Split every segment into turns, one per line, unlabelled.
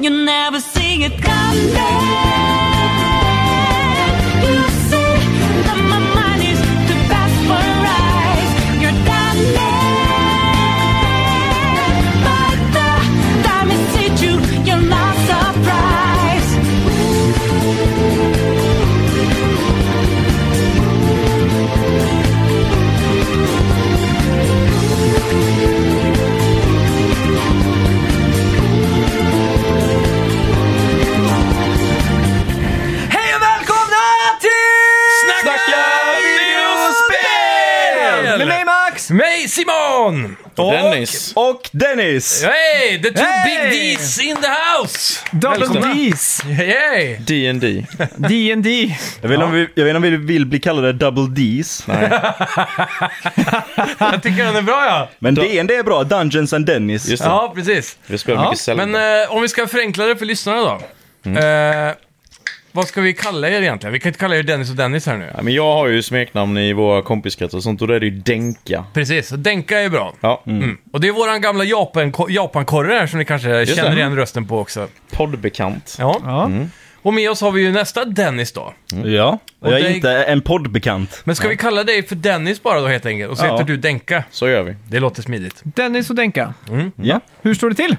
You never sing it coming. You say that my mind is to pasteurize your diamond. But the diamonds hit you, you're not surprised.
Hej och välkomna till
Snacka videospel!
Med mig Max!
Mig Simon!
Och
Dennis.
Och Dennis!
Hey, the two
Hey!
big D's in the house!
Double
Välkomna.
D's,
Yay!
D&D.
D&D.
Jag vet, inte om vi, jag vet inte om vi vill bli kallade double D's,
Jag tycker den är bra ja!
men D&D är bra, Dungeons and Dennis.
Just det,
Ja, precis.
vi spelar
Ja,
mycket Mm. sällan.
Men eh, om vi ska förenkla det för lyssnarna då. Eh, vad ska vi kalla er egentligen? Vi kan inte kalla er Dennis och Dennis här nu.
Ja, men jag har ju smeknamn i våra kompiskretsar och sånt och då är det ju Denka.
Precis, och Denka är bra.
Ja,
Mm. Och det är våran gamla Japan- Japan-korre här som ni kanske känner
det. Mm.
igen rösten på också.
poddbekant.
Ja.
Ja.
Och med oss har vi ju nästa Dennis då.
Mm.
Ja, och jag är
dig-
inte en poddbekant.
Men ska vi kalla dig för Dennis bara då helt enkelt? Och så
Ja.
heter du Denka.
Så gör vi.
Det låter smidigt.
Dennis och Denka,
Ja,
hur står det till?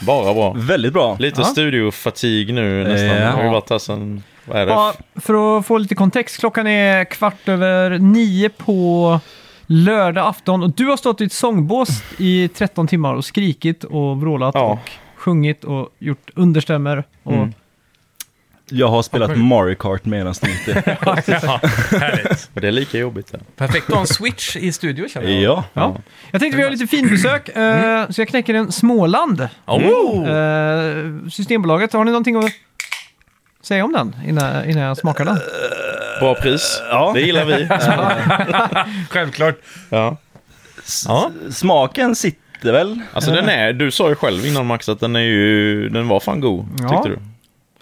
Bara bra.
väldigt bra.
Mm. Lite studiofatig nu nästan.
Ja.
Har ju varit här sen, vad är det?
Ja, för att få lite kontext, klockan är kvart över nio på lördag afton och du har stått i ett sångbås i 13 timmar och skrikit och vrålat
Ja.
och sjungit och gjort understämmer. Och
Mm.
Jag har spelat Mario Kart medan ni inte...
Ja, härligt.
Och det är lika jobbigt det.
Perfekt att ha en switch i studio känner jag.
Ja.
ja. Jag tänkte vi har lite finbesök, eh, så jag knäcker en Småland.
Oh!
Eh, Systembolaget, har ni någonting att säga om den innan, innan jag smakar den?
Bra pris.
Ja.
Det gillar vi.
Självklart.
Ja.
Ja.
Smaken sitter väl?
Alltså den är, du sa ju själv innan Max att den är ju, den var fan god.
Ja.
Tyckte du?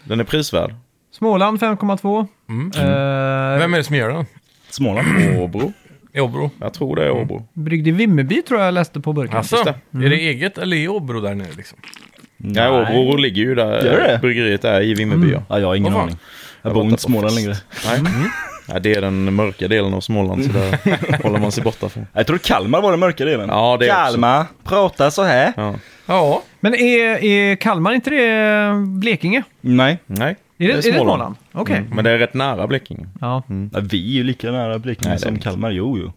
Den är prisvärd.
Småland 5,2.
Mm.
Eh,
Vem är det som gör den?
Småland.
Åbro.
I Åbro?
Jag tror
Mm.
det är Åbro.
Bryggd i Vimmerby tror jag jag läste på burken.
Alltså,
Just det.
är
Mm.
det eget eller är Åbro där nere liksom?
Nej, Åbro ligger ju där
Gör det? Mm.
bryggeriet är i Vimmerby. ja.
Ja, jag har ingen
Vad fan?
aning. Jag bor inte i Småland längre.
Nej. Ja, det är den mörka delen av Småland, så där håller man sig borta från.
Jag tror Kalmar var den mörka delen.
Ja, det är också.
Kalmar, prata så här.
Ja.
Ja.
Men är, är Kalmar inte det eh, Blekinge?
Nej,
Nej,
Är det, är det Småland? Okej.
Mm. Men det är rätt nära Blekinge.
Ja.
Ja, vi är ju lika nära Blekinge
Nej, det är
som
inte.
Kalmar. Jo, jo.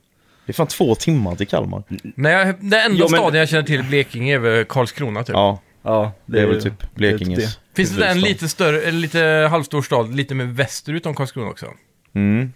Det är fan två timmar till Kalmar.
Nej, jag, den enda
Jo, men-
staden jag känner till i Blekinge är väl Karlskrona typ.
Ja,
Ja,
det är väl typ Blekinges.
Finns det där en
huvudstad.
lite större, eller lite halvstor stad, lite mer västerut om Karlskrona också?
Mm.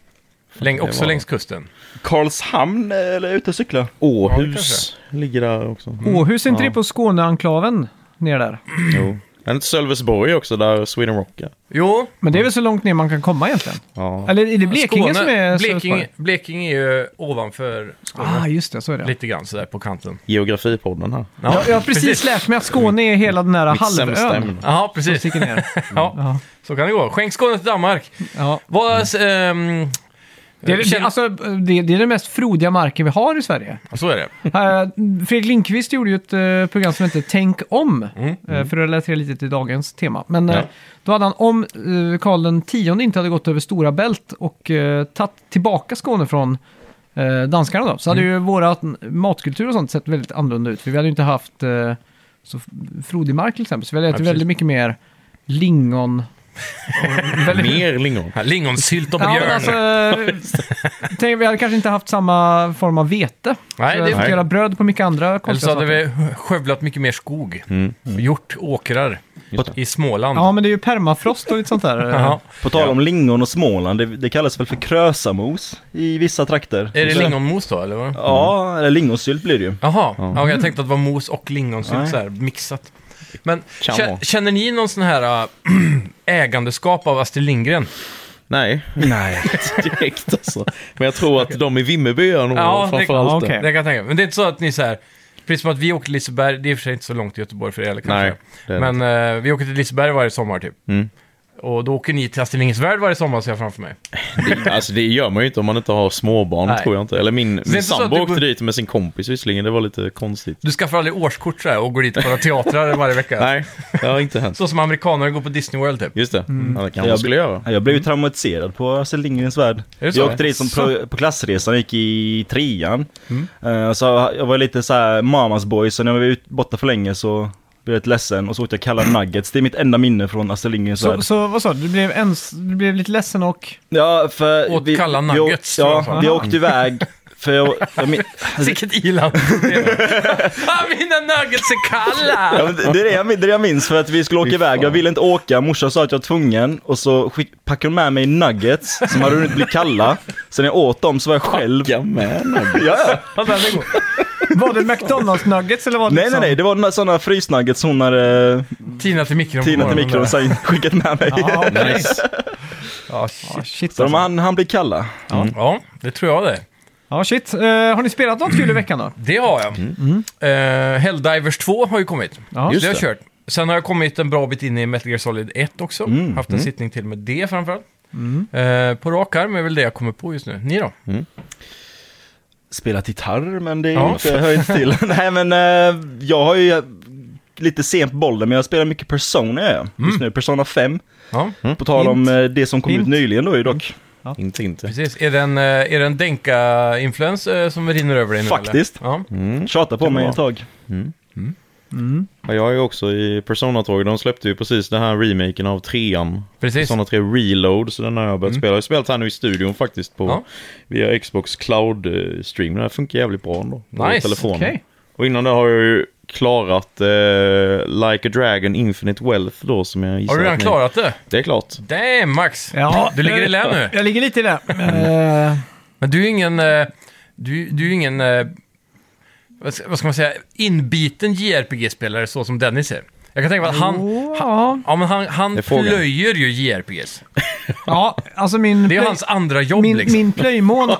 Läng, också
var-
längs kusten.
Karlshamn
eh,
eller ute och cykla?
Åhus ligger där också.
Åhus är inte det på Skåneanklaven ner där?
Jo. Men inte Sölvesborg också, där Sweden Rock är.
Jo,
Men det är väl så långt ner man kan komma egentligen?
Ja.
Eller är det Blekinge som är
Blekinge,
Sölvesborg?
Blekinge är ju ovanför Skåne.
Ah, just det, så är det.
Lite grann sådär på kanten.
Geografipodden här.
Ja,
Jag, jag har precis lärt mig att Skåne är hela den där
Mitt sämsta
halvön.
ämne.
Ja, precis.
Sticker ner.
Mm. Ja,
Ja.
så kan det gå. Skänk Skåne till Danmark.
Ja.
Vad... ehm,
Det, är, det,
känner-
alltså, det, det är den mest frodiga marken vi har i Sverige.
Så är det.
Eh, Fredrik Lindqvist gjorde ju ett eh, program som hette Tänk om,
Mm.
eh, för att relatera lite till dagens tema. Men eh,
Ja.
då hade han, om eh, Karl X inte hade gått över Stora Bält och eh, tagit tillbaka Skåne från eh, danskarna då, så hade
Mm.
ju våra matkultur och sånt sett väldigt annorlunda ut. För vi hade ju inte haft eh, så f- frodig mark till exempel, så vi hade ätit
precis.
väldigt mycket mer lingon. och väldigt-
Mer lingon.
Här, Lingonsylt och
Ja,
björn.
men alltså, eh, tänk, vi hade kanske inte haft samma form av vete.
Nej,
så
det-
vi hade
nej.
fått göra bröd på mycket andra
Eller så
konstiga
hade
saker.
vi skövlat mycket mer skog.
Mm.
Gjort åkrar i Småland.
Ja, men det är ju permafrost och lite sånt där.
Jaha.
På tal om lingon och Småland, det, det kallas väl för krösamos i vissa trakter?
Är det
Så-
lingonmos då, eller? vad?
Mm.
Ja, eller lingonsylt blir det ju.
Jaha, ja. jag tänkte att det var mos och lingonsylt
Nej.
så här mixat. Men
Kan
kä-
vara.
känner ni någon sån här äh, ägandeskap av Astrid Lindgren?
Nej. Nej. Direkt alltså. Men jag tror att de i Vimmerby gör nog
Ja, det-
framförallt
ja, okej.
Det kan jag tänka mig. Men det är inte så att ni så här, precis som att vi åker till Liseberg, det är i och för sig inte så långt till Göteborg för er eller kanske.
Nej, det är det
men eh, vi åker till Liseberg varje sommar typ.
Mm.
Och då åker ni till Astrid Lindgrens Värld varje sommar ser jag framför mig.
Det, alltså det gör man ju inte om man inte har småbarn,
Nej.
tror jag inte. Eller min,
det är
min
inte så att
sambo
du
åkte
går-
dit med sin kompis visserligen, det var lite konstigt.
Du skaffar aldrig årskort så här, och går dit och kollar teatrar varje vecka.
Nej, det har inte hänt.
Så som amerikaner går på Disney World typ.
Just det, ja, det kanske man
Jag
skulle göra. Mm.
Ja, Jag blev ju traumatiserad på Astrid Lindgrens Värld.
det
Jag
så?
åkte dit som pro- på klassresan, gick i trean.
Mm.
Eh, Så jag var lite så här mamas boy, så när jag var ut- borta för länge så blev jag lite ledsen och så åt jag kalla nuggets. Det är mitt enda minne från Astrid Lindgrens
Så,
Värld.
så vad sa du? Du blev, ens, du blev lite ledsen och...
Ja, för...
Åt kalla
vi, åk-
nuggets, tror jag
Ja,
fan.
vi åkte iväg. För jag, jag, min-
Vilket i-land! Ah, Mina nuggets är
Ja,
kalla!
men det, det är det jag, min- det är det jag minns för att vi skulle åka
Fy
iväg. Jag
fan.
ville inte åka, morsan sa att jag var tvungen. Och så skick, packade de med mig nuggets som hade hunnit bli kalla. Så när jag åt dem så var jag själv. Ja,
Ja, men.
ja.
Ja, den är god.
Var det McDonalds nuggets eller var det
Nej nej
liksom-
nej, det var några sådana frysnuggets hon hade eh,
Tina till mikron. på
tinat i
morgonen
mikron
där.
och sen skickat med mig.
Ja, okej.
Nice.
Ja, shit.
Ah, shit,
Så de,
alltså.
han, han blir kalla.
Ja, det tror jag det.
Ja, shit. Eh, har ni spelat något kul i veckan då?
Det har jag. Eh, Helldivers 2 har ju kommit.
Ja.
Just
det har
det.
jag kört. Sen har jag kommit en bra bit in i Metal Gear Solid 1 också. Haft en sittning till med det framförallt. Eh, på rak arm är väl det jag kommer på just nu. Ni då?
Spelat gitarr men det är
Ja.
inte, hör inte till. nej men eh, jag har ju eh, lite sent på bollen men jag spelar mycket Persona gör jag
Mm.
just nu. Persona 5.
Ja,
På tal om
Hint.
eh, det som kom
Hint.
ut nyligen då ju dock.
Inte, inte.
precis. Är det en, eh, är det en Denka-influens eh, som rinner över dig nu? eller?
Faktiskt.
Ja.
Tjata på mig
bra.
ett tag.
Ja, jag är ju också i Persona-tåget. De släppte ju precis den här remaken av trean.
Precis. Mm.
Persona 3 Reload, så den har jag börjat spela. Jag har spelat här nu i studion faktiskt på
Ja.
via Xbox Cloud-stream. Den här funkar jävligt bra ändå. på
Nice,
telefonen.
okej.
Och innan det har jag ju klarat eh, Like a Dragon Infinite Wealth då som jag gissar
Har du
att
redan
ni-
klarat det?
Det är klart.
Damn, Max!
Ja.
Du ligger i lä nu.
Jag ligger lite i det. Eh,
Men du är ju ingen... eh, Du, du är ju ingen... eh, Vad ska vad ska man säga? Inbiten JRPG-spelare så som Dennis är. Jag kan tänka mig att han...
ja.
Ja, men han, han
är frågan.
plöjer ju JRPGs.
ja, alltså min...
Det är
plöj-
hans andra jobb
min,
liksom.
min plöjmån.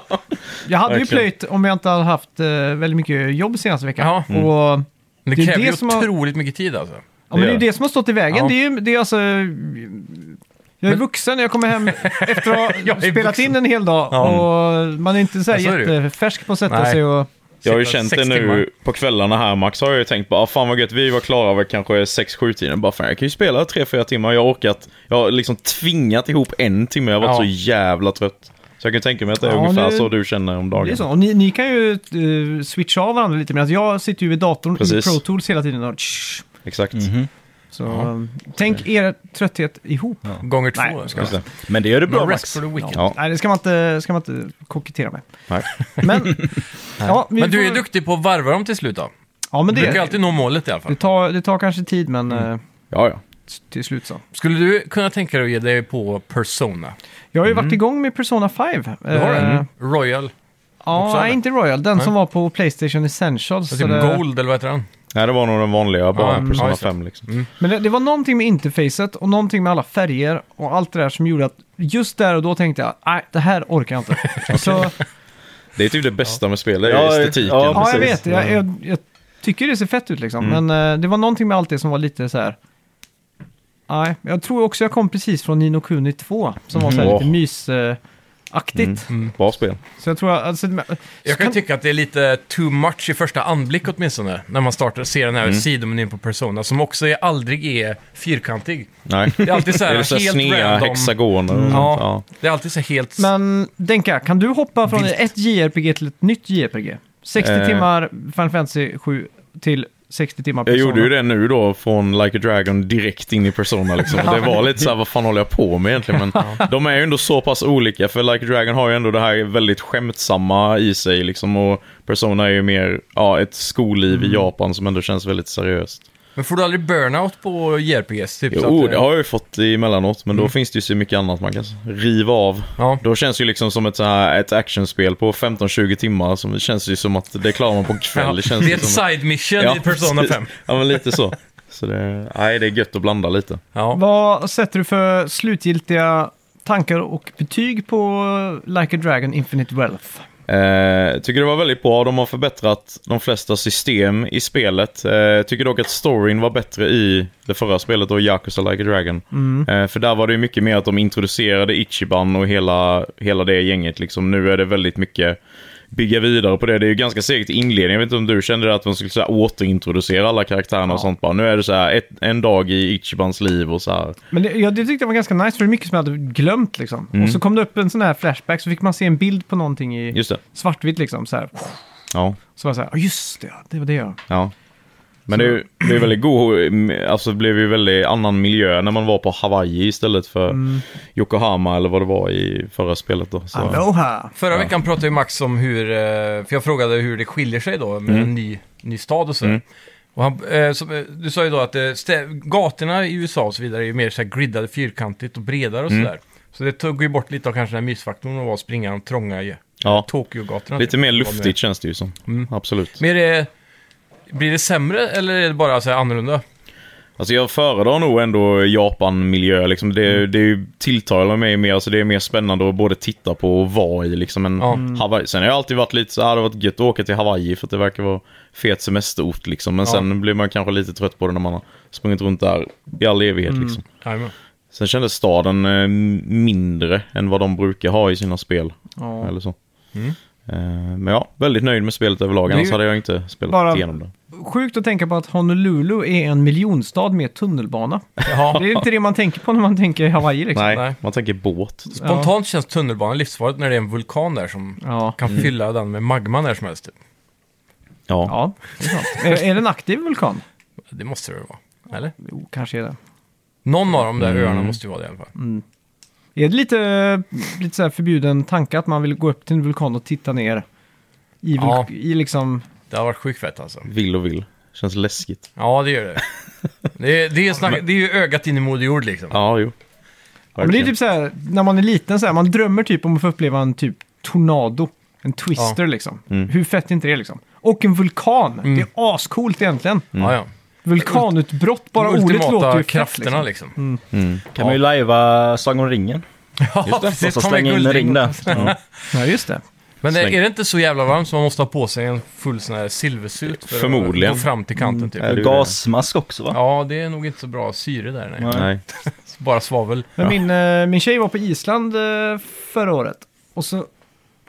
Jag hade ju
Verkligen.
plöjt om jag inte hade haft eh, väldigt mycket jobb senaste veckan.
Ja. Mm.
Och,
Men
det
det
är
kräver
det
ju
som har-
otroligt mycket tid alltså.
Ja, men det är ju
gör det.
det som har stått i vägen.
Ja.
Det är ju det är alltså... Jag är vuxen när jag kommer hem efter att
Jag
ha
är
spelat
vuxen.
in en hel dag.
Ja.
Och man är inte så här
Ja, så är det ju.
jättefärsk på att sätta
Nej.
sig och...
Jag har ju
Sitta
känt
sex
det nu
timmar.
på kvällarna här Max har jag ju tänkt bara, ah, fan vad gött, vi var klara vid kanske 6-7 tiden. Bara fan jag kan ju spela 3-4 timmar, jag har orkat, jag har liksom tvingat ihop en timme, jag har varit
Ja.
så jävla trött. Så jag kan tänka mig att det är
Ja,
ungefär
nu-
så du känner om dagen.
Det är så. Och ni, ni kan ju eh, switcha av varandra lite medan jag sitter ju vid datorn
Precis.
i Pro Tools hela tiden och... tsch.
Exakt.
Mhm.
Så eh, tänk er trötthet ihop.
Gånger
Nej,
två. ska
Just det.
jag.
Men det gör du bra
No rest
Max.
for the wicked.
Ja.
Nej, det ska man inte, ska man inte kokettera med.
Nej.
Men, ja, vi
Men du är
får-
duktig på att varva dem till slut då.
Ja, men
Du brukar
det,
alltid Mm. nå målet i alla
det,
fall.
tar, det tar kanske tid, men eh,
Ja, ja.
till slut så.
Skulle du kunna tänka dig att ge dig på Persona?
Jag har ju varit igång med Persona 5. Du
Mm. Du har den? Royal? typ
Ja,
Också,
nej,
eller?
inte Royal. Den som var på Playstation Essentials.
Typ
eller-
Gold eller vad heter den?
Nej, det var nog den vanliga, bara
Ja, ja,
Persona
just det. Mm.
5 liksom.
Men det, det var någonting med interfacet och någonting med alla färger och allt det där som gjorde att just där och då tänkte jag, nej, det här orkar jag inte. så,
Det är typ det bästa med spel, det är
Ja,
estetiken.
ja,
ja, jag
precis.
vet. Jag, jag, jag tycker det ser fett ut liksom.
Mm.
Men eh, det var någonting med allt det som var lite så här... Nej, jag tror också jag kom precis från Nino Kuni 2, som var så här
Mm.
lite
Åh.
mysaktigt.
Mm.
Bra spel.
Så jag tror jag... Alltså, men-
Jag kan tycka att det är lite too much i första anblick åtminstone. När man startar ser den här sidomenyn på Persona som också är, aldrig är fyrkantig.
Nej.
Det är alltid så
Det
här
är så här
helt
sneda
random. Mm.
hexagoner. och sånt,
Ja,
Ja.
det är alltid så här helt...
Men Denka, kan du hoppa från ett JRPG till ett nytt JRPG? 60
Eh.
timmar Final Fantasy 7 till 60 timmar
Jag
Persona.
gjorde ju det nu då från Like a Dragon direkt in i Persona liksom. Och Det var lite så här, vad fan håller jag på med egentligen? Men de är ju ändå så pass olika för Like a Dragon har ju ändå det här väldigt skämtsamma i sig liksom. Och Persona är ju mer, ja, ett skolliv
Mm.
i Japan som ändå känns väldigt seriöst.
Men får du aldrig burnout på JRPGs? Typ, så att,
Jo,
eh,
oh, det har jag ju fått emellanåt, men då finns det ju så mycket annat man kan riva av.
Ja.
Då känns det ju liksom som ett, så här, ett actionspel på 15-20 timmar. Som, det känns ju som att det klarar man på en
ja,
kväll.
det,
känns
är ett
som,
side mission i Persona
precis.
5.
Ja, men lite så. Så det, nej, det är gött att blanda lite.
Ja.
Vad sätter du för slutgiltiga tankar och betyg på Like a Dragon Infinite Wealth?
Eh, tycker det var väldigt bra. De har förbättrat de flesta system i spelet. Eh, tycker dock att storyn var bättre i det förra spelet, då Yakuza Like a Dragon. Eh, för där var det ju mycket mer att de introducerade Ichiban och hela, hela det gänget. Liksom. Nu är det väldigt mycket bygga vidare på det. Det är ju ganska segt i inledningen. Jag vet inte om du kände det att de skulle så här, återintroducera alla karaktärerna och sånt bara. Nu är det så här ett, en dag i Ichibans liv och så här.
Men det, jag, det tyckte jag var ganska nice, för det är mycket som jag hade glömt liksom. Och så kom det upp en sån här flashback, så fick man se en bild på någonting i
Mm. Just det.
svartvitt liksom. Så, här.
Ja.
så var jag så här, "Ja, just det, ja, det var det jag...
Ja. Men det är ju det är väldigt god, alltså det blev ju väldigt annan miljö när man var på Hawaii istället för
Mm.
Yokohama eller vad det var i förra spelet då. Så.
Aloha!
Förra veckan pratade ju Max om hur, eh, för jag frågade hur det skiljer sig då med
Mm.
en ny, ny stad och så. Och han, eh, som, eh, du sa ju då att eh, stä- gatorna i USA och så vidare är ju mer så här griddade, fyrkantigt och bredare
Mm.
och sådär. Så det tog ju bort lite av kanske den här mysfaktorn och var att springa de trånga ju-
Ja,
Tokyo-gatorna.
lite
typ.
mer
Vad det nu är.
luftigt känns det ju som. Absolut.
Mm. Men är det, blir det sämre eller är det bara så här annorlunda?
Alltså jag föredrar nog ändå Japan-miljö liksom. Det,
Mm.
det är ju tilltalar mig mer, alltså det är mer spännande att både titta på och vara i liksom än
Ja.
Hawaii. Sen har jag alltid varit lite så här, "Ah, det har varit gött att åka till Hawaii för att det verkar vara fet semesterort liksom. Men
Ja.
sen blir man kanske lite trött på det när man har sprungit runt där i all evighet
Mm.
liksom.
Jajamän.
Sen kändes staden eh, mindre än vad de brukar ha i sina spel.
Ja.
Eller så. Eh, men ja, väldigt nöjd med spelet överlag.
Det är
Annars
ju
hade jag inte spelat
bara-
igenom det.
Sjukt att tänka på att Honolulu är en miljonstad med tunnelbana.
Jaha.
Det är inte det man tänker på när man tänker Hawaii liksom.
Nej,
nej.
man tänker båt. typ.
Spontant känns tunnelbanan livsfarligt när det är en vulkan där som
Ja.
kan fylla den med magma när som helst. typ.
Ja.
Ja, det är sant. är, är det en aktiv vulkan?
Det måste det väl vara? Eller?
Jo, kanske är det.
Någon av de där öarna måste ju vara det i alla
Mm.
fall.
Är det lite, lite så här förbjuden tanke att man vill gå upp till en vulkan och titta ner i, vulk-
Ja.
i liksom...
Det har varit sjukt fett alltså.
Vill och vill. Känns läskigt.
Ja, det gör det. Det är, det är, snack, det är ju ögat in i Moder Jord liksom.
Ja, jo.
Ja, men det är typ så här, när man är liten så här, man drömmer typ om att få uppleva en typ tornado. En twister liksom.
Mm.
Hur fett är inte det liksom? Och en vulkan! Det är ascoolt egentligen.
Ja, ja.
Vulkanutbrott, bara
De
ordet låter ju fett
krafterna
liksom.
liksom.
Kan man ju lajva Sagan om ringen.
Ja,
Och
precis.
så
Ta med
slänga in en ring
guldring.
där. Ja.
liksom.
Ja, just det.
Men är,
Släng.
är det inte så jävla varmt som man måste ha på sig en full sån här silversut för
Förmodligen.
att gå fram till kanten typ?
Mm. det är
Gasmask också va?
Ja, det är nog inte så bra syre där, nej.
Nej.
Bara svavel.
Men min, eh, min tjej var på Island eh, förra året. Och så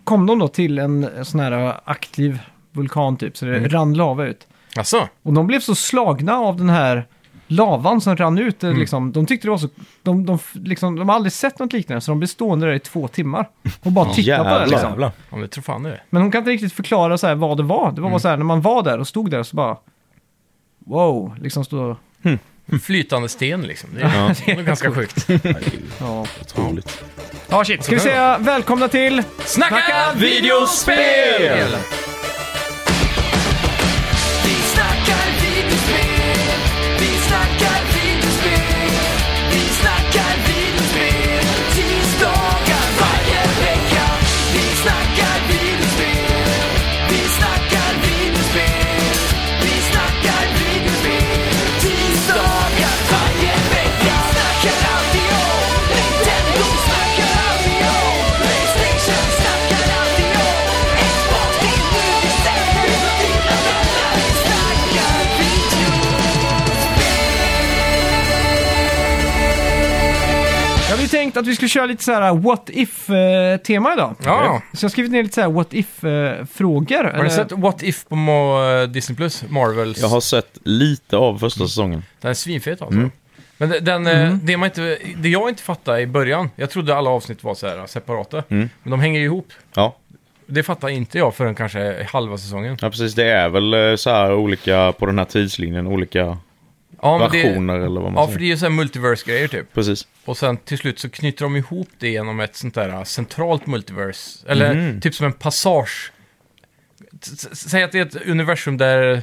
kom de då till en sån här aktiv vulkan typ, så det rann lava ut.
Alltså,
Och de blev så slagna av den här lavan som rann ut. eh, Liksom, de tyckte det var så... De, de, f- liksom, de har aldrig sett något liknande, så de blev stående där i två timmar. Och bara tittade på det
jävlar.
liksom.
Jävlar.
ja, men det tror fan det är.
Men hon kan inte riktigt förklara så här vad det var. Det var bara så här, när man var där och stod där så bara... Wow, liksom stå...
Flytande sten liksom. Det är, det är nog ganska sjukt.
Ja.
Otroligt.
Ja, shit.
Ska vi säga välkomna till...
Snacka
videospel!
Vi snackar videospel, vi snackar videospel, vi snackar videospel, tisdagar varje vecka. Vi snackar videospel, vi snackar videospel, vi snackar videospel, tisdagar varje vecka. Snackar alltid om Nintendo, snackar alltid om Playstation, snackar alltid om Xbox, det är nu vi sänder, dina vänner, vi snackar video.
Jag hade ju tänkt att vi skulle köra lite så här uh, what if-tema idag.
Ja.
Så jag har skrivit ner lite så här what uh, if-frågor.
Har ni sett What If på Mo- eh, Disney Plus? Marvels?
Jag har sett lite av första säsongen.
Den är svinfet alltså. Men de- den, eh, det, man inte, det jag inte fattade i början, jag trodde alla avsnitt var så här eh, separata, men de hänger ju ihop.
Ja.
Det fattar inte jag förrän kanske halva säsongen.
ja, precis. Det är väl eh, så här olika, på den här tidslinjen, olika
Ja, men det,
versioner eller vad man
ja
säger.
för det är ju så här multiverse-grejer typ.
Precis.
Och sen till slut så knyter de ihop det genom ett sånt där eh, centralt multiverse. Eller
Mm.
typ som en passage. S- s- Säg att det är ett universum där,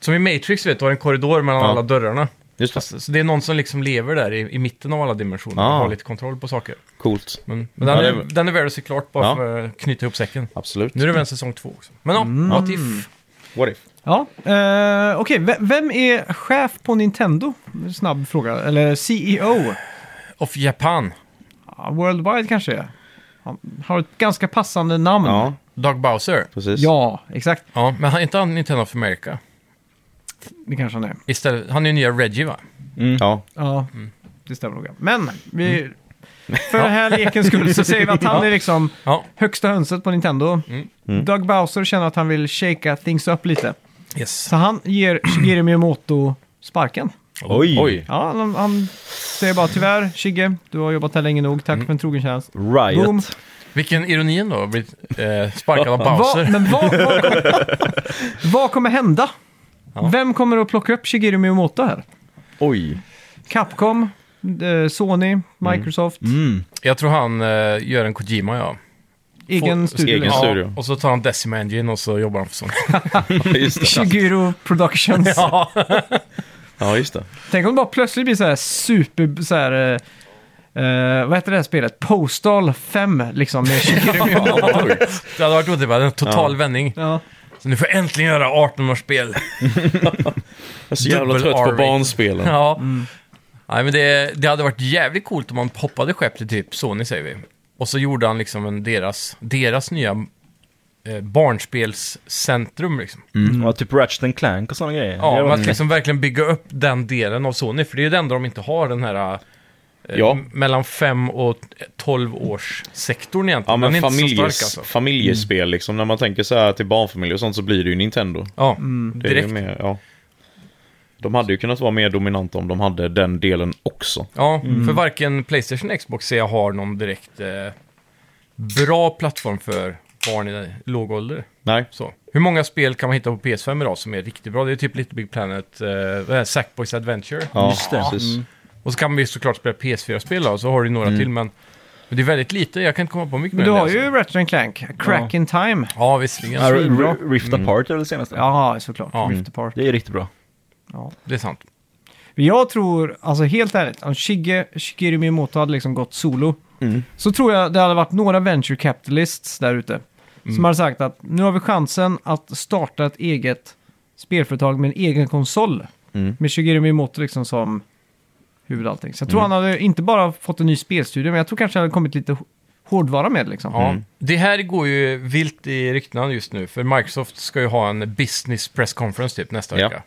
som i Matrix vet du, har en korridor mellan
Ja.
alla dörrarna.
Just det.
Så det är någon som liksom lever där i, i mitten av alla dimensioner och
Ah.
har lite kontroll på saker.
Coolt.
Men, men den,
Ja, det
är,
är-
den är värd att se klart bara
Ja.
för att knyta ihop säcken.
Absolut.
Nu är det väl en säsong två också. Men ja, what if?
What if?
Ja, eh, okej. Ve- Vem är chef på Nintendo? Snabb fråga. Eller E CEO?
Of Japan.
Ja, Worldwide kanske det är. Han har ett ganska passande namn.
Ja.
Doug Bowser.
Precis.
Ja, exakt.
Ja, men han är inte han Nintendo of America?
Det kanske han är.
Istället, han är ju nya Reggie va?
Ja.
Ja,
Mm.
det stämmer nog. ja. Men, vi, för den här lekens skull så säger vi att han är liksom
Ja, Mm.
högsta hönset på Nintendo. Doug Bowser känner att han vill shakea things up lite.
yes.
Så han ger Shigeru Miyamoto sparken.
Oj.
Oj.
Ja, han, han säger bara tyvärr, Shigge, du har jobbat här länge nog, tack för en trogen tjänst.
Riot.
Boom.
Vilken ironi då, att bli eh, sparkad av
Vad-
Bowser.
men vad, vad, vad kommer hända? Vem kommer att plocka upp Shigeru Miyamoto här?
Oj.
Capcom, eh, Sony, Microsoft,
Mm.
Jag tror han eh, gör en Kojima ja.
egen
Få-
studio.
egen
liksom.
ja.
studio.
Och så tar han Decima Engine och så jobbar han för Sony.
Just det.
Shigeru Productions.
ja.
Ja, just det.
Tänk om det bara plötsligt blir så här super... Så här, eh, eh, vad heter det här spelet? Postal 5, liksom. Med Shigeru Miyamoto.
Det hade varit otippat, en total vändning.
ja.
Så nu får jag äntligen göra 18-årsspel.
Jag är så jävla
Dubbel
trött på
R-rating.
barnspelen.
Ja.
Mm.
Nej, men det, det hade varit jävligt coolt om man hoppade skepp till typ Sony, säger vi. Och så gjorde han liksom en deras, deras nya eh, barnspelscentrum. Liksom.
Mm. Och typ Ratchet and Clank och sådana grejer.
Ja,
Det
men
var-
att liksom verkligen bygga upp den delen av Sony, för det är ju det enda de inte har, den här eh,
Ja.
m- mellan 5 och 12 års sektorn egentligen.
Ja,
Den
men
är inte så stark
familjes,
alltså.
familjespel liksom. När man tänker så här till barnfamiljer och sånt så blir det ju Nintendo.
Ja,
Mm.
Det är ju
direkt.
mer, ja. De hade ju kunnat vara mer dominanta om de hade den delen också.
Ja,
Mm.
för varken Playstation eller Xbox ser jag har någon direkt eh, bra plattform för barn i låg ålder.
Nej.
Så. Hur många spel kan man hitta på PS5 idag som är riktigt bra? Det är typ Little Big Planet, uh, Sackboys Adventure.
Ja,
Just det.
precis.
Mm.
Och så kan man ju såklart spela PS4-spel då, så har du några
Mm.
till, men, men det är väldigt lite. Jag kan inte komma på mycket
Men
mer
du
än det,
har ju
alltså.
Ratchet and Clank, Crack in Time.
Ja, visserligen.
Ja,
Svinbra.
R- Rift Apart eller senaste.
Ja, såklart.
Ja.
Rift Apart.
Det är riktigt bra.
Det är sant.
Men Jag tror, alltså helt ärligt, om Shige, Shigeru Miyamoto hade liksom gått solo,
Mm.
så tror jag det hade varit några venture capitalists där ute
Mm.
som hade sagt att nu har vi chansen att starta ett eget spelföretag med en egen konsol.
Mm.
Med Shigeru Miyamoto liksom som huvud allting. Så jag
Mm.
tror han hade inte bara fått en ny spelstudio, men jag tror kanske han hade kommit lite h- hårdvara med liksom.
Ja.
Mm.
Det här går ju vilt i ryktena just nu, för Microsoft ska ju ha en business press conference typ nästa
Ja.
vecka.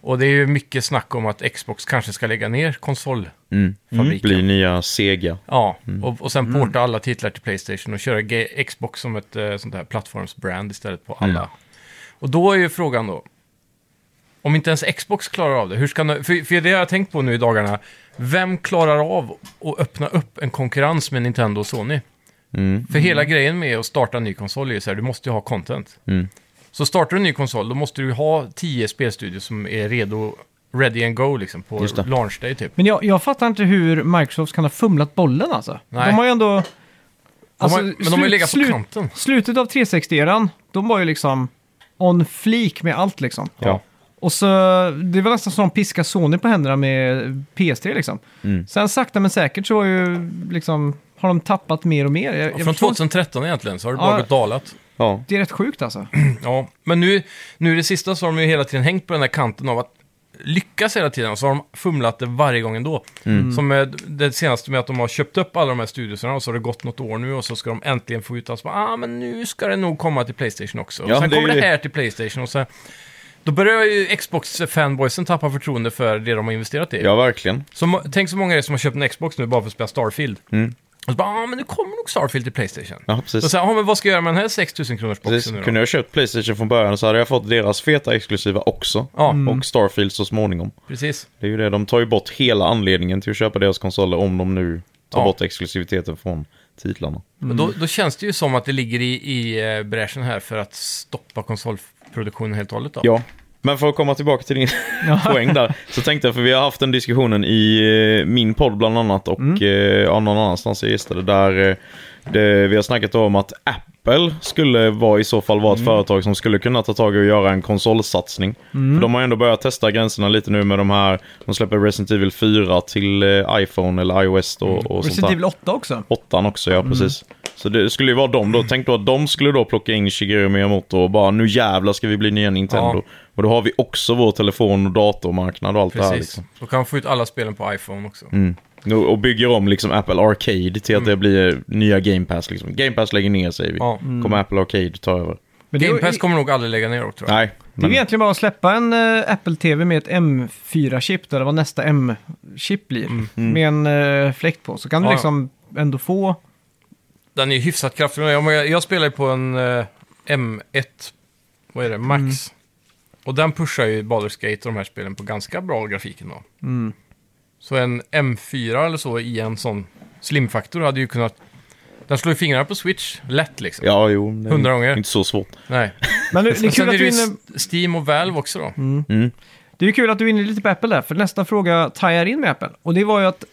Och det är ju mycket snack om att Xbox kanske ska lägga ner konsol.
Mm. Blir nya Sega.
Ja,
Mm.
och, och sen porta alla titlar till Playstation och köra ge- Xbox som ett eh, sånt här plattformsbrand istället på alla.
Mm.
Och då är ju frågan då, om inte ens Xbox klarar av det, hur ska nu- för, för det har jag tänkt på nu i dagarna, vem klarar av att öppna upp en konkurrens med Nintendo och Sony?
Mm.
För hela grejen med att starta en ny konsol är ju så här, du måste ju ha content.
Mm.
Så startar du en ny konsol, då måste du ju ha tio spelstudios som är redo, ready and go liksom, på
Just det.
launch day typ.
Men jag, jag fattar inte hur Microsoft kan ha fumlat bollen alltså.
Nej.
De har ju ändå... Alltså,
de har, men de har ju legat på kanten.
Slutet av 360-eran, de var ju liksom on flik med allt liksom.
Ja.
Och så, det var nästan som de piskade Sony på händerna med PS3 liksom.
Mm.
Sen sakta men säkert så var ju liksom, har de tappat mer och mer. Jag, jag
Från
förstår inte.
2013 egentligen så har det bara
Ja.
gått dalat.
Ja.
Det är rätt sjukt alltså.
Ja, men nu, nu i det sista så har de ju hela tiden hängt på den här kanten av att lyckas hela tiden och så har de fumlat det varje gång ändå.
Mm.
Som eh, det senaste med att de har köpt upp alla de här studioserna och så har det gått något år nu och så ska de äntligen få ut att ah, men nu ska det nog komma till Playstation också.
Ja,
och sen
det är
kommer
ju
det
det.
här till Playstation och så då börjar ju Xbox-fanboysen tappa förtroende för det de har investerat i.
ja, verkligen.
Så, må- tänk så många det är som har köpt en Xbox nu bara för att spela Starfield. Och så bara, ah, men nu kommer nog Starfield till Playstation.
Mm. Ja,
Så
precis.
sen, ah, men vad ska jag göra med den här 6000 kronors
precis.
boxen nu då?
Kunde jag köpt Playstation från början så hade jag fått deras feta exklusiva också.
Ja,
Mm.
Och Starfield så småningom.
precis.
Det är ju det, de tar ju bort hela anledningen till att köpa deras konsoler om de nu tar
Ja.
bort exklusiviteten från titlarna.
Men då, då känns det ju som att det ligger i, i eh, bräschen här för att stoppa konsolproduktionen helt och hållet då.
Ja, men för att komma tillbaka till din poäng där. Så tänkte jag, för vi har haft den diskussionen i eh, min podd bland annat och mm. ja, någon annanstans jag gissade. Där eh, det, vi har snackat om att Apple skulle vara, i så fall vara ett företag som skulle kunna ta tag i och göra en konsolsatsning. För de har ju ändå börjat testa gränserna lite nu med de här, de släpper Resident Evil 4 till eh, iPhone eller iOS då, och sånt
Resident
där.
Evil 8 också.
Mm.
Åttan också, ja precis. Så det skulle ju vara dem då. Tänk då att de skulle då plocka in Shigeru Miyamoto och bara nu jävlar ska vi bli nya Nintendo.
Ja.
Och då har vi också vår telefon och datormarknad och allt det här
Precis.
liksom.
Då kan man få ut alla spelen på iPhone också.
Och- Och bygger om liksom Apple Arcade till att det blir nya Game Pass liksom. Game Pass lägger ner säger vi.
Mm. Ja.
Kommer Apple Arcade ta över?
Men det är ju-
Game Pass kommer nog aldrig lägga ner dock, tror jag.
Nej.
Det är
Men...
ju egentligen bara att släppa en eh, Apple TV med ett M4-chip, där det var nästa M-chip blir,
Mm,
med en eh, fläkt på. Så kan du
Ja, ja.
liksom ändå få...
Den är ju hyfsat kraftig. Jag, jag, jag spelar ju på en eh, M1, vad är det, Max.
Mm.
Och den pushar ju Baldur's Gate och de här spelen på ganska bra grafiken då.
Mm.
Så en M4 eller så i en sån slimfaktor hade ju kunnat... Den slår ju fingrarna på Switch lätt liksom.
Ja, Mm. jo. men det är
Hundra gånger.
Inte så svårt.
Nej.
Men nu, det, är
Men
kul
sen
att Mm.
är det
du är
ju
inne,
S- Steam och Valve också då.
det är ju kul att du är inne lite på Apple där, för nästa fråga tajar in med Apple. Och det var ju att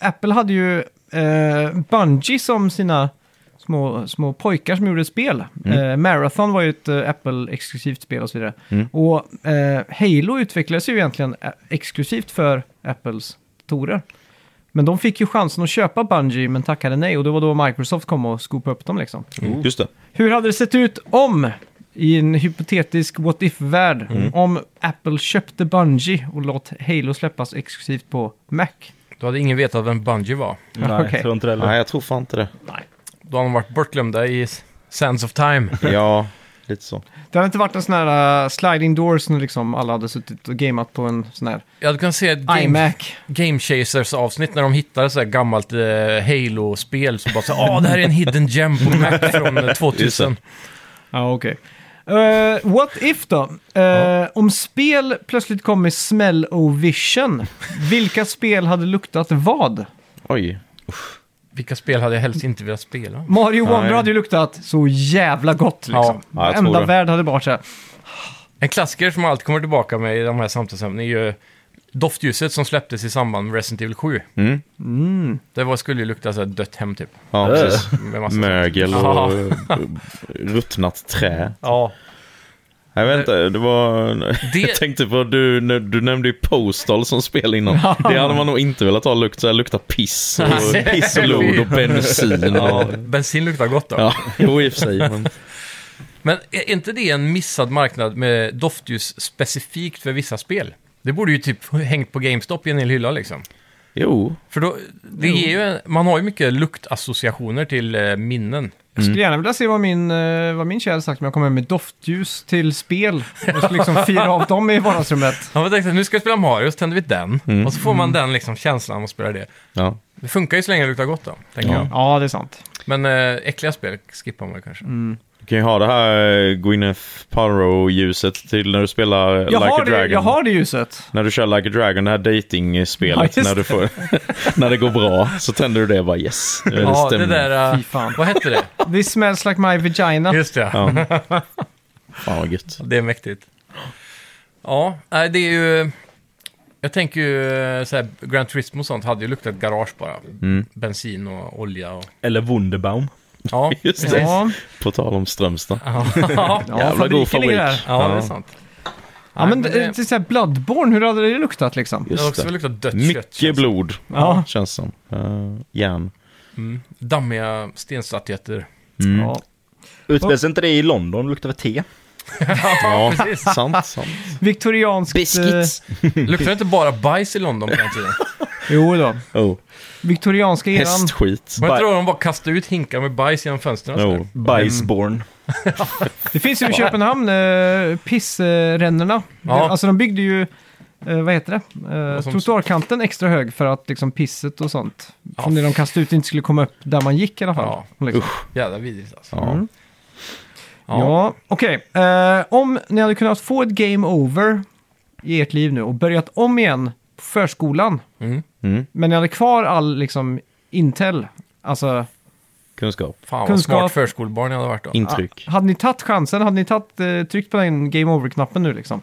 Apple hade ju eh, Bungie som sina små, små pojkar som gjorde spel. Eh, Marathon var ju ett eh, Apple-exklusivt spel och så vidare. Och eh, Halo utvecklades ju egentligen eh, exklusivt för Apples datorer. Men de fick ju chansen att köpa Bungie men tackade nej och det var då Microsoft kom och skopade upp dem liksom.
Mm. Just det.
Hur hade det sett ut om, i en hypotetisk what if-värld,
Mm.
om Apple köpte Bungie och låt Halo släppas exklusivt på Mac?
Då hade ingen vetat vem Bungie var.
Nej,
Okej.
tror inte det heller.
Nej, jag tror fan inte det.
Då hade de varit bortglömda i S- Sands of Time.
Ja, lite så.
Det hade inte varit en sån här uh, sliding doors när liksom alla hade suttit och gamat på en sån här
Jag hade kunnat se ett game,
iMac.
game Chasers-avsnitt när de hittade så här gammalt eh, Halo-spel. Så bara så här, ah, det här är en hidden gem på Mac från eh, 2000.
Ja, okej. Eh, what if då? Eh, Om spel plötsligt kom med smell och vision, vilka spel hade luktat vad?
Oj.
Vilka spel hade jag helst inte velat spela?
Mario Wonder
Nej.
hade ju luktat så jävla gott liksom.
Ja, jag tror
Enda
det.
värld hade varit så här.
En klassiker som alltid kommer tillbaka med i de här samtalsämnena är ju doftljuset som släpptes i samband med Resident Evil 7.
Mm.
Det var, skulle ju lukta så här dött hem typ.
Ja,
Äh.
precis.
Med massa
Mögel
Ja.
och ruttnat trä.
Ja.
Jag vet inte, det var...
Det-
Jag tänkte på, du, du nämnde ju Postal som spel innan. Det hade man nog inte velat ha lukt, så här lukta piss och piss och blod och bensin. Ja,
Bensin luktar gott då.
ja jo i och för sig. Men...
Men är inte det en missad marknad med doftljus specifikt för vissa spel? Det borde ju typ hängt på GameStop i en hel hylla liksom.
Jo,
För då, det ger ju, en- man har ju mycket luktassociationer till eh, minnen.
Jag
Mm.
skulle gärna vilja se vad min, eh, vad min tjej hade sagt om jag kom hem med doftljus till spel. Och så liksom fira av dem i vardagsrummet.
Ja, men tänkte, nu ska jag spela Mario, så tänder vi den.
Mm.
Och så får man den liksom känslan av att spela det.
ja.
Det funkar ju så länge det luktar gott då, tänker jag.
Ja, det är sant.
Men eh, äckliga spel skippar man ju kanske.
Du kan ju ha det här eh, Gwyneth Paltrow-ljuset till när du spelar eh,
Jag,
Like
har
a Dragon.
det, jag har det ljuset.
När du kör Like a Dragon, det här dating-spelet,
Ja, just
när, du får, när det går bra, så tänder du det och bara yes. nu är
Ja, det
stämning.
där... eh,
Fy fan.
vad hette det?
This smells like my vagina.
Just det, ja.
Ja. Fan vad gött.
Det är mäktigt. Ja, nej, det är ju... Jag tänker ju eh, så här, Grand Turismo och sånt hade ju luktat garage bara.
Mm.
Bensin och olja och...
Eller Wunderbaum.
Ja,
Just det.
Ja,
På tal om Strömstad.
ja,
ja,
Jävla
fabriken
god fabrik.
ligger där.
ja, det är sant.
Ja, men
Nej,
det, det är så här Bloodborne, hur hade det luktat liksom?
Det har
Just
också
det.
luktat dött kött.
Mycket
känns det.
blod,
Ja.
känns som. Uh, järn.
Dammiga stenstatyetter.
Mm.
Ja.
Utspelas inte det i London? Det luktar väl te?
Ja, sant, sant.
Viktorianskt... eh,
Luktar det inte bara bajs i London på den tiden?
eh, jo då.
Eh.
Oh.
Viktorianska eran.
Hästskit.
Var det inte då de bara kastade ut hinkar med bajs genom fönstren? och
Oh.
sådär?
Bajsborn.
Det finns ju i Köpenhamn, eh, pissrännorna.
Ja.
Alltså de byggde ju, eh, vad heter det, eh,
som-
trottoarkanten extra hög för att liksom pisset och sånt, från det de kastade ut, inte skulle komma upp där man gick i alla fall.
Ja.
Liksom.
Jävla vidrigt alltså.
Ja.
Ja, okej. Eh, om ni hade kunnat få ett game over i ert liv nu och börjat om igen på förskolan,
Mm.
Mm.
men ni hade kvar all liksom intel, alltså
Kunskap.
Fan vad
Kunskap.
smart förskolebarn jag hade varit då.
Intryck.
hade ni tagit chansen, hade ni tagit, eh, tryckt på den game over-knappen nu liksom?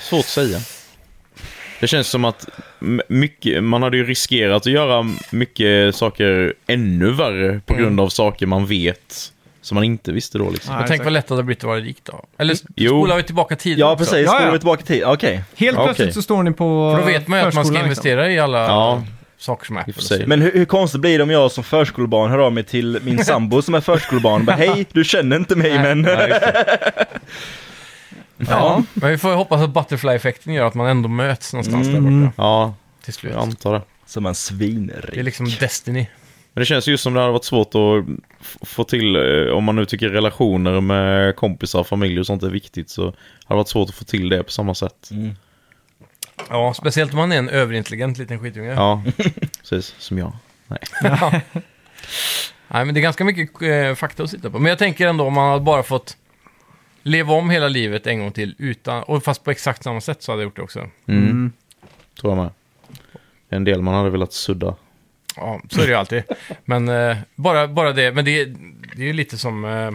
Svårt att säga. Det känns som att m- mycket, man hade ju riskerat att göra mycket saker ännu värre på grund av saker man vet som man inte visste då. Liksom.
Nej,
Men tänk
exakt.
vad lätt det hade blivit att vara rik då. Eller sp-
Jo.
spolar vi tillbaka tiden
Ja,
också?
precis.
Ja, ja.
Spolar vi tillbaka till... Okej.
Helt
Ja,
plötsligt
okej.
så står ni på
För då vet man ju att man ska
förskolan, liksom.
investera i alla
Ja,
saker som
och för
Apple.
sig.
Men hur, hur konstigt blir det om jag som förskolebarn hör av mig till min sambo som är förskolebarn och bara hej, du känner inte mig
Nej.
men...
Ja, just det.
Ja, men vi får ju hoppas att butterfly-effekten gör att man ändå möts någonstans där borta
Mm. ja,
till slut.
jag antar det.
Som en svinrik.
Det är liksom Destiny.
Men det känns just som det hade varit svårt att f- få till, eh, om man nu tycker relationer med kompisar, familj och sånt är viktigt, så hade det varit svårt att få till det på samma sätt.
Ja, speciellt om man är en överintelligent liten skitunge.
Ja, precis. Som jag. Nej.
Nej, men det är ganska mycket eh, fakta att sitta på. Men jag tänker ändå om man hade bara fått leva om hela livet en gång till, utan, och fast på exakt samma sätt så hade jag gjort det också.
Mm. Tror jag med. Det är En del man hade velat sudda.
Ja, så är det ju alltid. Men eh, bara, bara det, men det, det är ju lite som eh,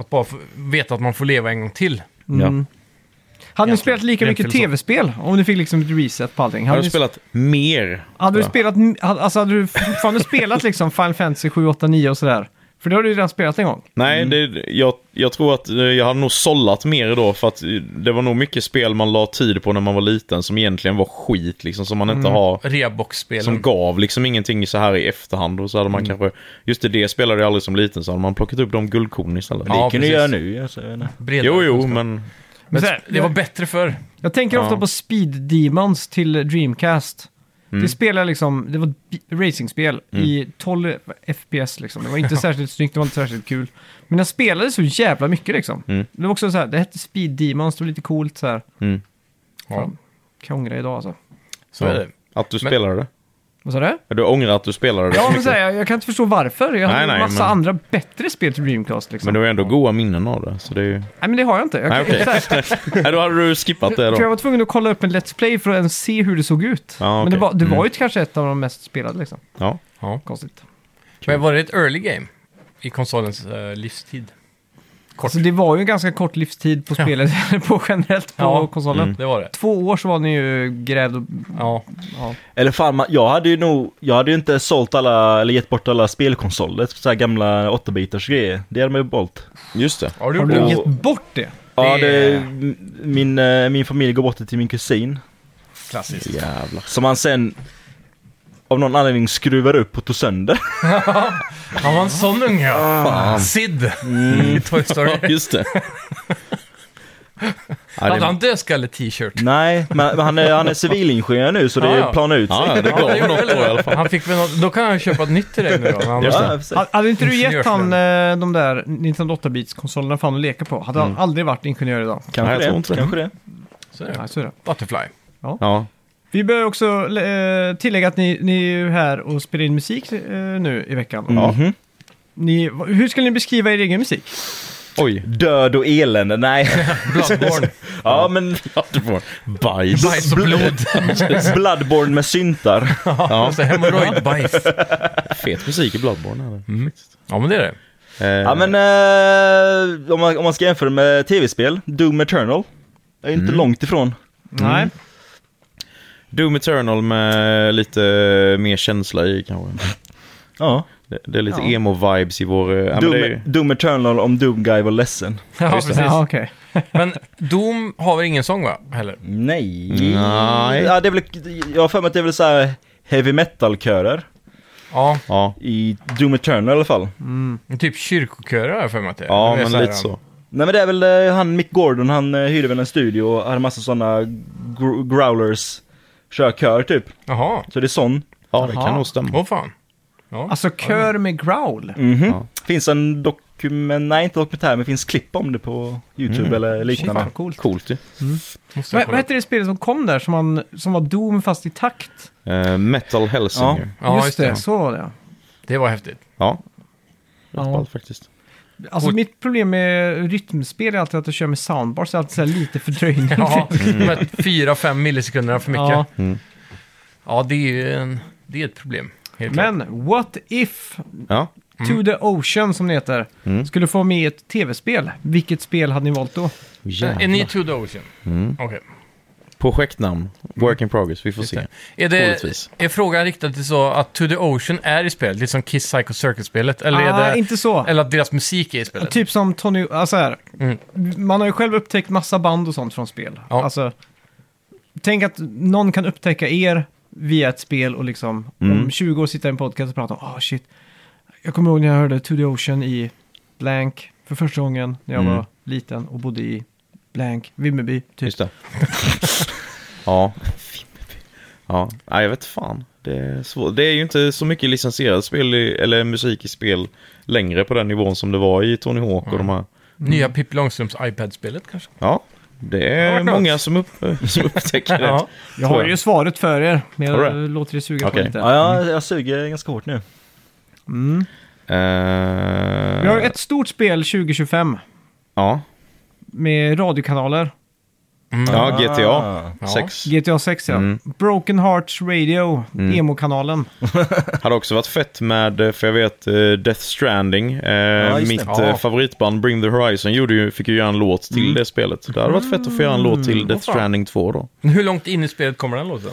att bara få, veta att man får leva en gång till. Mm.
Ja.
Hade ni
Egentligen-
spelat lika mycket
egentligen så.
tv-spel om ni fick liksom ett reset på allting?
Jag hade
ni,
spelat mer.
hade du
Ja.
spelat, alltså hade du fortfarande spelat liksom Final Fantasy 7, 8, 9 och sådär? För det har du ju redan spelat en gång.
Nej, det, jag, jag tror att eh, jag hade nog sållat mer då för att eh, det var nog mycket spel man la tid på när man var liten som egentligen var skit liksom som man inte har.
Reabox-spelen.
Som gav liksom ingenting så här i efterhand och så hade man kanske, just det, det spelade jag aldrig som liten så hade man plockat upp de guldkornen istället.
Det
Ja,
kan du
precis.
göra nu. Alltså, jag vet inte.
bredare
Jo, jo,
kunskap.
men
Men
Så här,
det var bättre förr.
Jag tänker ofta
Ja.
på Speed Demons till Dreamcast.
Mm.
Det spelade liksom, det var ett bi- racingspel i 12 FPS liksom. Det var inte särskilt snyggt, det var inte särskilt kul. Men jag spelade så jävla mycket liksom.
Mm.
Det var också så här, det hette Speed Demons, det var lite coolt så här.
Mm.
Ja,
Kan jag ångra idag alltså.
så är det.
att du
Men-
spelade det.
Vad sa du?
Du ångrar att du spelade det.
Ja, men så här, jag, jag kan inte förstå varför. Jag
Nej,
har en
nej,
massa
men-
andra bättre spel till Dreamcast liksom.
men du har ändå goda minnen av det. Så det är ju...
Nej, men det har jag inte. Jag,
Nej, okej.
så här,
Nej, då hade du skippat det då.
För jag var tvungen att kolla upp en Let's Play för att ens se hur det såg ut.
Ja,
Men det
okej.
var, det var
Mm.
ju kanske ett av de mest spelade liksom.
Ja.
Konstigt.
Men var det ett early game i konsolens eh, livstid? Kort.
Alltså det var ju en ganska kort livstid på
Ja.
spelet, på generellt på
Ja.
konsolen.
Mm.
Det var det.
Två år så var ni ju grävd och...
Ja.
Ja.
Eller fan, man- jag hade ju nog, jag hade ju inte sålt alla, eller gett bort alla spelkonsoler, typ så här gamla 8-bitars grejer. Det hade man ju behållit.
Just det.
Har
Har
du
du
gjort
gett bort det?
Ja,
Det-
det, m- min, eh, min familj går bort det till min kusin.
det? Klassiskt.
Jävlar.
Som han sen av någon anledning skruvar upp och tog sönder.
Han var en sån unge ja. Sid
Mm.
i Toy
Ja,
Story.
just det. ja,
Hade Alltså, han
det,
dödskalle-t-shirt?
Nej, men men han är, han är civilingenjör nu så det
Ja, ja.
planar ut sig.
ja, det
Ja, det
gav
gjorde
något då i alla fall.
Han fick väl något, då kan han köpa ett nytt till dig nu då. när Han,
Just det.
Ja, precis.
Ha- Hade inte du gett han
Ingenjörslön.
eh, de där Nintendo 8-bits-konsolerna för han att leka på? Hade
Mm.
han aldrig varit ingenjör idag?
Kanske
Nej, jag tror
det.
inte det.
Kanske det.
så är det.
Nej, så är det.
Butterfly.
Ja.
Vi bör också eh, tillägga att ni, ni är ju här och spelar in musik eh, nu i veckan.
Mm.
Mhm.
Ni, va- hur skulle ni beskriva er egen musik?
Oj.
Död och elände, nej.
Bloodborne.
Ja, men
Ja, du får bajs.
Bajs och blod.
Bloodborne med syntar.
Ja. Hemorrojdbajs.
Fet musik i Bloodborne. Eller?
Ja, men det är det.
Eh,
Ja men eh, om, man, om man ska jämföra med tv-spel, Doom Eternal. Det är ju inte långt ifrån.
Mm.
Nej.
Doom Eternal med lite mer känsla i kanske.
Ja.
Det, det är lite
Ja.
emo-vibes i vår... eh, Ja, men
Doom, E-
det är,
Doom Eternal om Doom Guy var ledsen.
Ja,
just det.
precis.
Ja, okej.
Men Doom har väl ingen sång va? Heller.
Nej.
Nej.
Ja, det är väl, jag har för mig att det är väl så här heavy metal-körer.
Ja,
ja,
I Doom Eternal i alla fall.
typ kyrkokörer har jag för mig att det är.
ja
Det är
men
här,
lite så.
Nej men det är väl eh, han Mick Gordon, han eh, hyrde väl en studio och hade massa sådana gr- growlers. Kör kör typ.
Jaha.
Så det är sån.
Ja, det kan
Jaha.
nog stämma.
Åh fan. Ja.
Alltså kör med growl.
Mhm.
Ja.
Finns en dokument, nej inte dokumentär men finns klipp om det på YouTube eller liknande.
Fan, coolt.
Mm. Coolt ju.
måste jag
Vad,
kolla
vad hette det spelet som kom där som, man, som var Doom fast i takt?
Eh, Metal Hellsinger.
upp. Ja,
just det, så var det. ja.
Det var häftigt.
Ja.
Ja.
Rätt ballt faktiskt.
Alltså
Och-
mitt problem med rytmspel är alltid att jag kör med soundbar så jag har alltid så här lite fördröjning.
Ja, de här 4-5 millisekunderna för mycket. Ja,
Mm. Ja.
Mm.
det är ju en, det är ett problem. Helt klart.
Men What If
Ja.
Mm.
To The Ocean som det heter skulle få med ett tv-spel. Vilket spel hade ni valt då?
Är ni to the ocean?
Mm.
Okej.
Projektnamn. Work in progress. Vi får
det.
se.
Är, det,
Troligtvis.
är frågan riktad till så att To the Ocean är i spelet, lite som Kiss Psycho Circle-spelet? Eller, är
Ah,
det-
inte så.
eller att deras musik är i spelet?
Typ som Tony, alltså här,
Mm.
man har ju själv upptäckt massa band och sånt från spel.
Ja.
Alltså, tänk att någon kan upptäcka er via ett spel och liksom
Mm.
om 20 år sitta i en podcast och prata om ah shit. Jag kommer ihåg när jag hörde To the Ocean i Blank för första gången när jag
Mm.
var liten och bodde i Blank, Vimmerby. Typ.
Just det. ja. Ja, nej, jag vet fan. Det är, svårt. det är ju inte så mycket licensierade spel i, eller musik i spel längre på den nivån som det var i Tony Hawk och de
Mm.
här.
Mm.
Nya Pippi Långstrumps iPad-spelet kanske?
Ja, det
Det har
är
varit något.
många som, upp, som upptäcker det.
Ja.
Jag
tror
har
jag.
ju svaret för er, men jag
Har du det?
låter er suga på
Okej.
lite.
Ja, jag, jag suger ganska hårt nu.
Mm.
Eh,
Vi har ett stort spel 2025
Ja,
med radiokanaler.
ja GTA
Ah.
Ja.
6.
GTA 6 ja.
Mm.
Broken Hearts Radio, emo-kanalen.
Hade också varit fett med, eh, för jag vet, eh, Death Stranding. Eh,
just det.
mitt
Ja. Mm.
eh, favoritband Bring the Horizon gjorde ju, fick ju göra en låt till det spelet. Så Det hade varit fett att få göra en låt till Death
fan.
Stranding 2 då.
Hur långt in i spelet kommer den låten?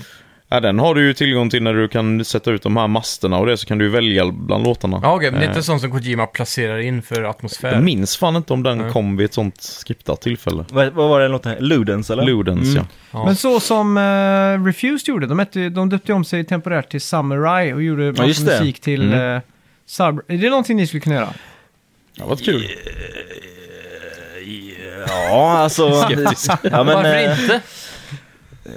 Ja, den har du ju tillgång till när du kan sätta ut de här masterna och det så kan du ju välja bland låtarna.
Ja, okej, men det
Eh.
är inte sånt som Kojima placerar in för atmosfär.
Jag minns fan inte om den
Nej.
kom vid ett sånt skriptat tillfälle.
Vad, vad var den låten? Ludens eller?
Ludens ja.
Mm.
Ja.
Men så som eh, Refused gjorde, de, hette, ju- de döpte ju om sig temporärt till Samurai och gjorde massa
just det.
musik till...
Mm.
eh, Sub- är det någonting ni skulle kunna göra?
Ja, vad kul.
Ja, alltså...
Skeptisk.
ja, men,
Varför
eh,
inte?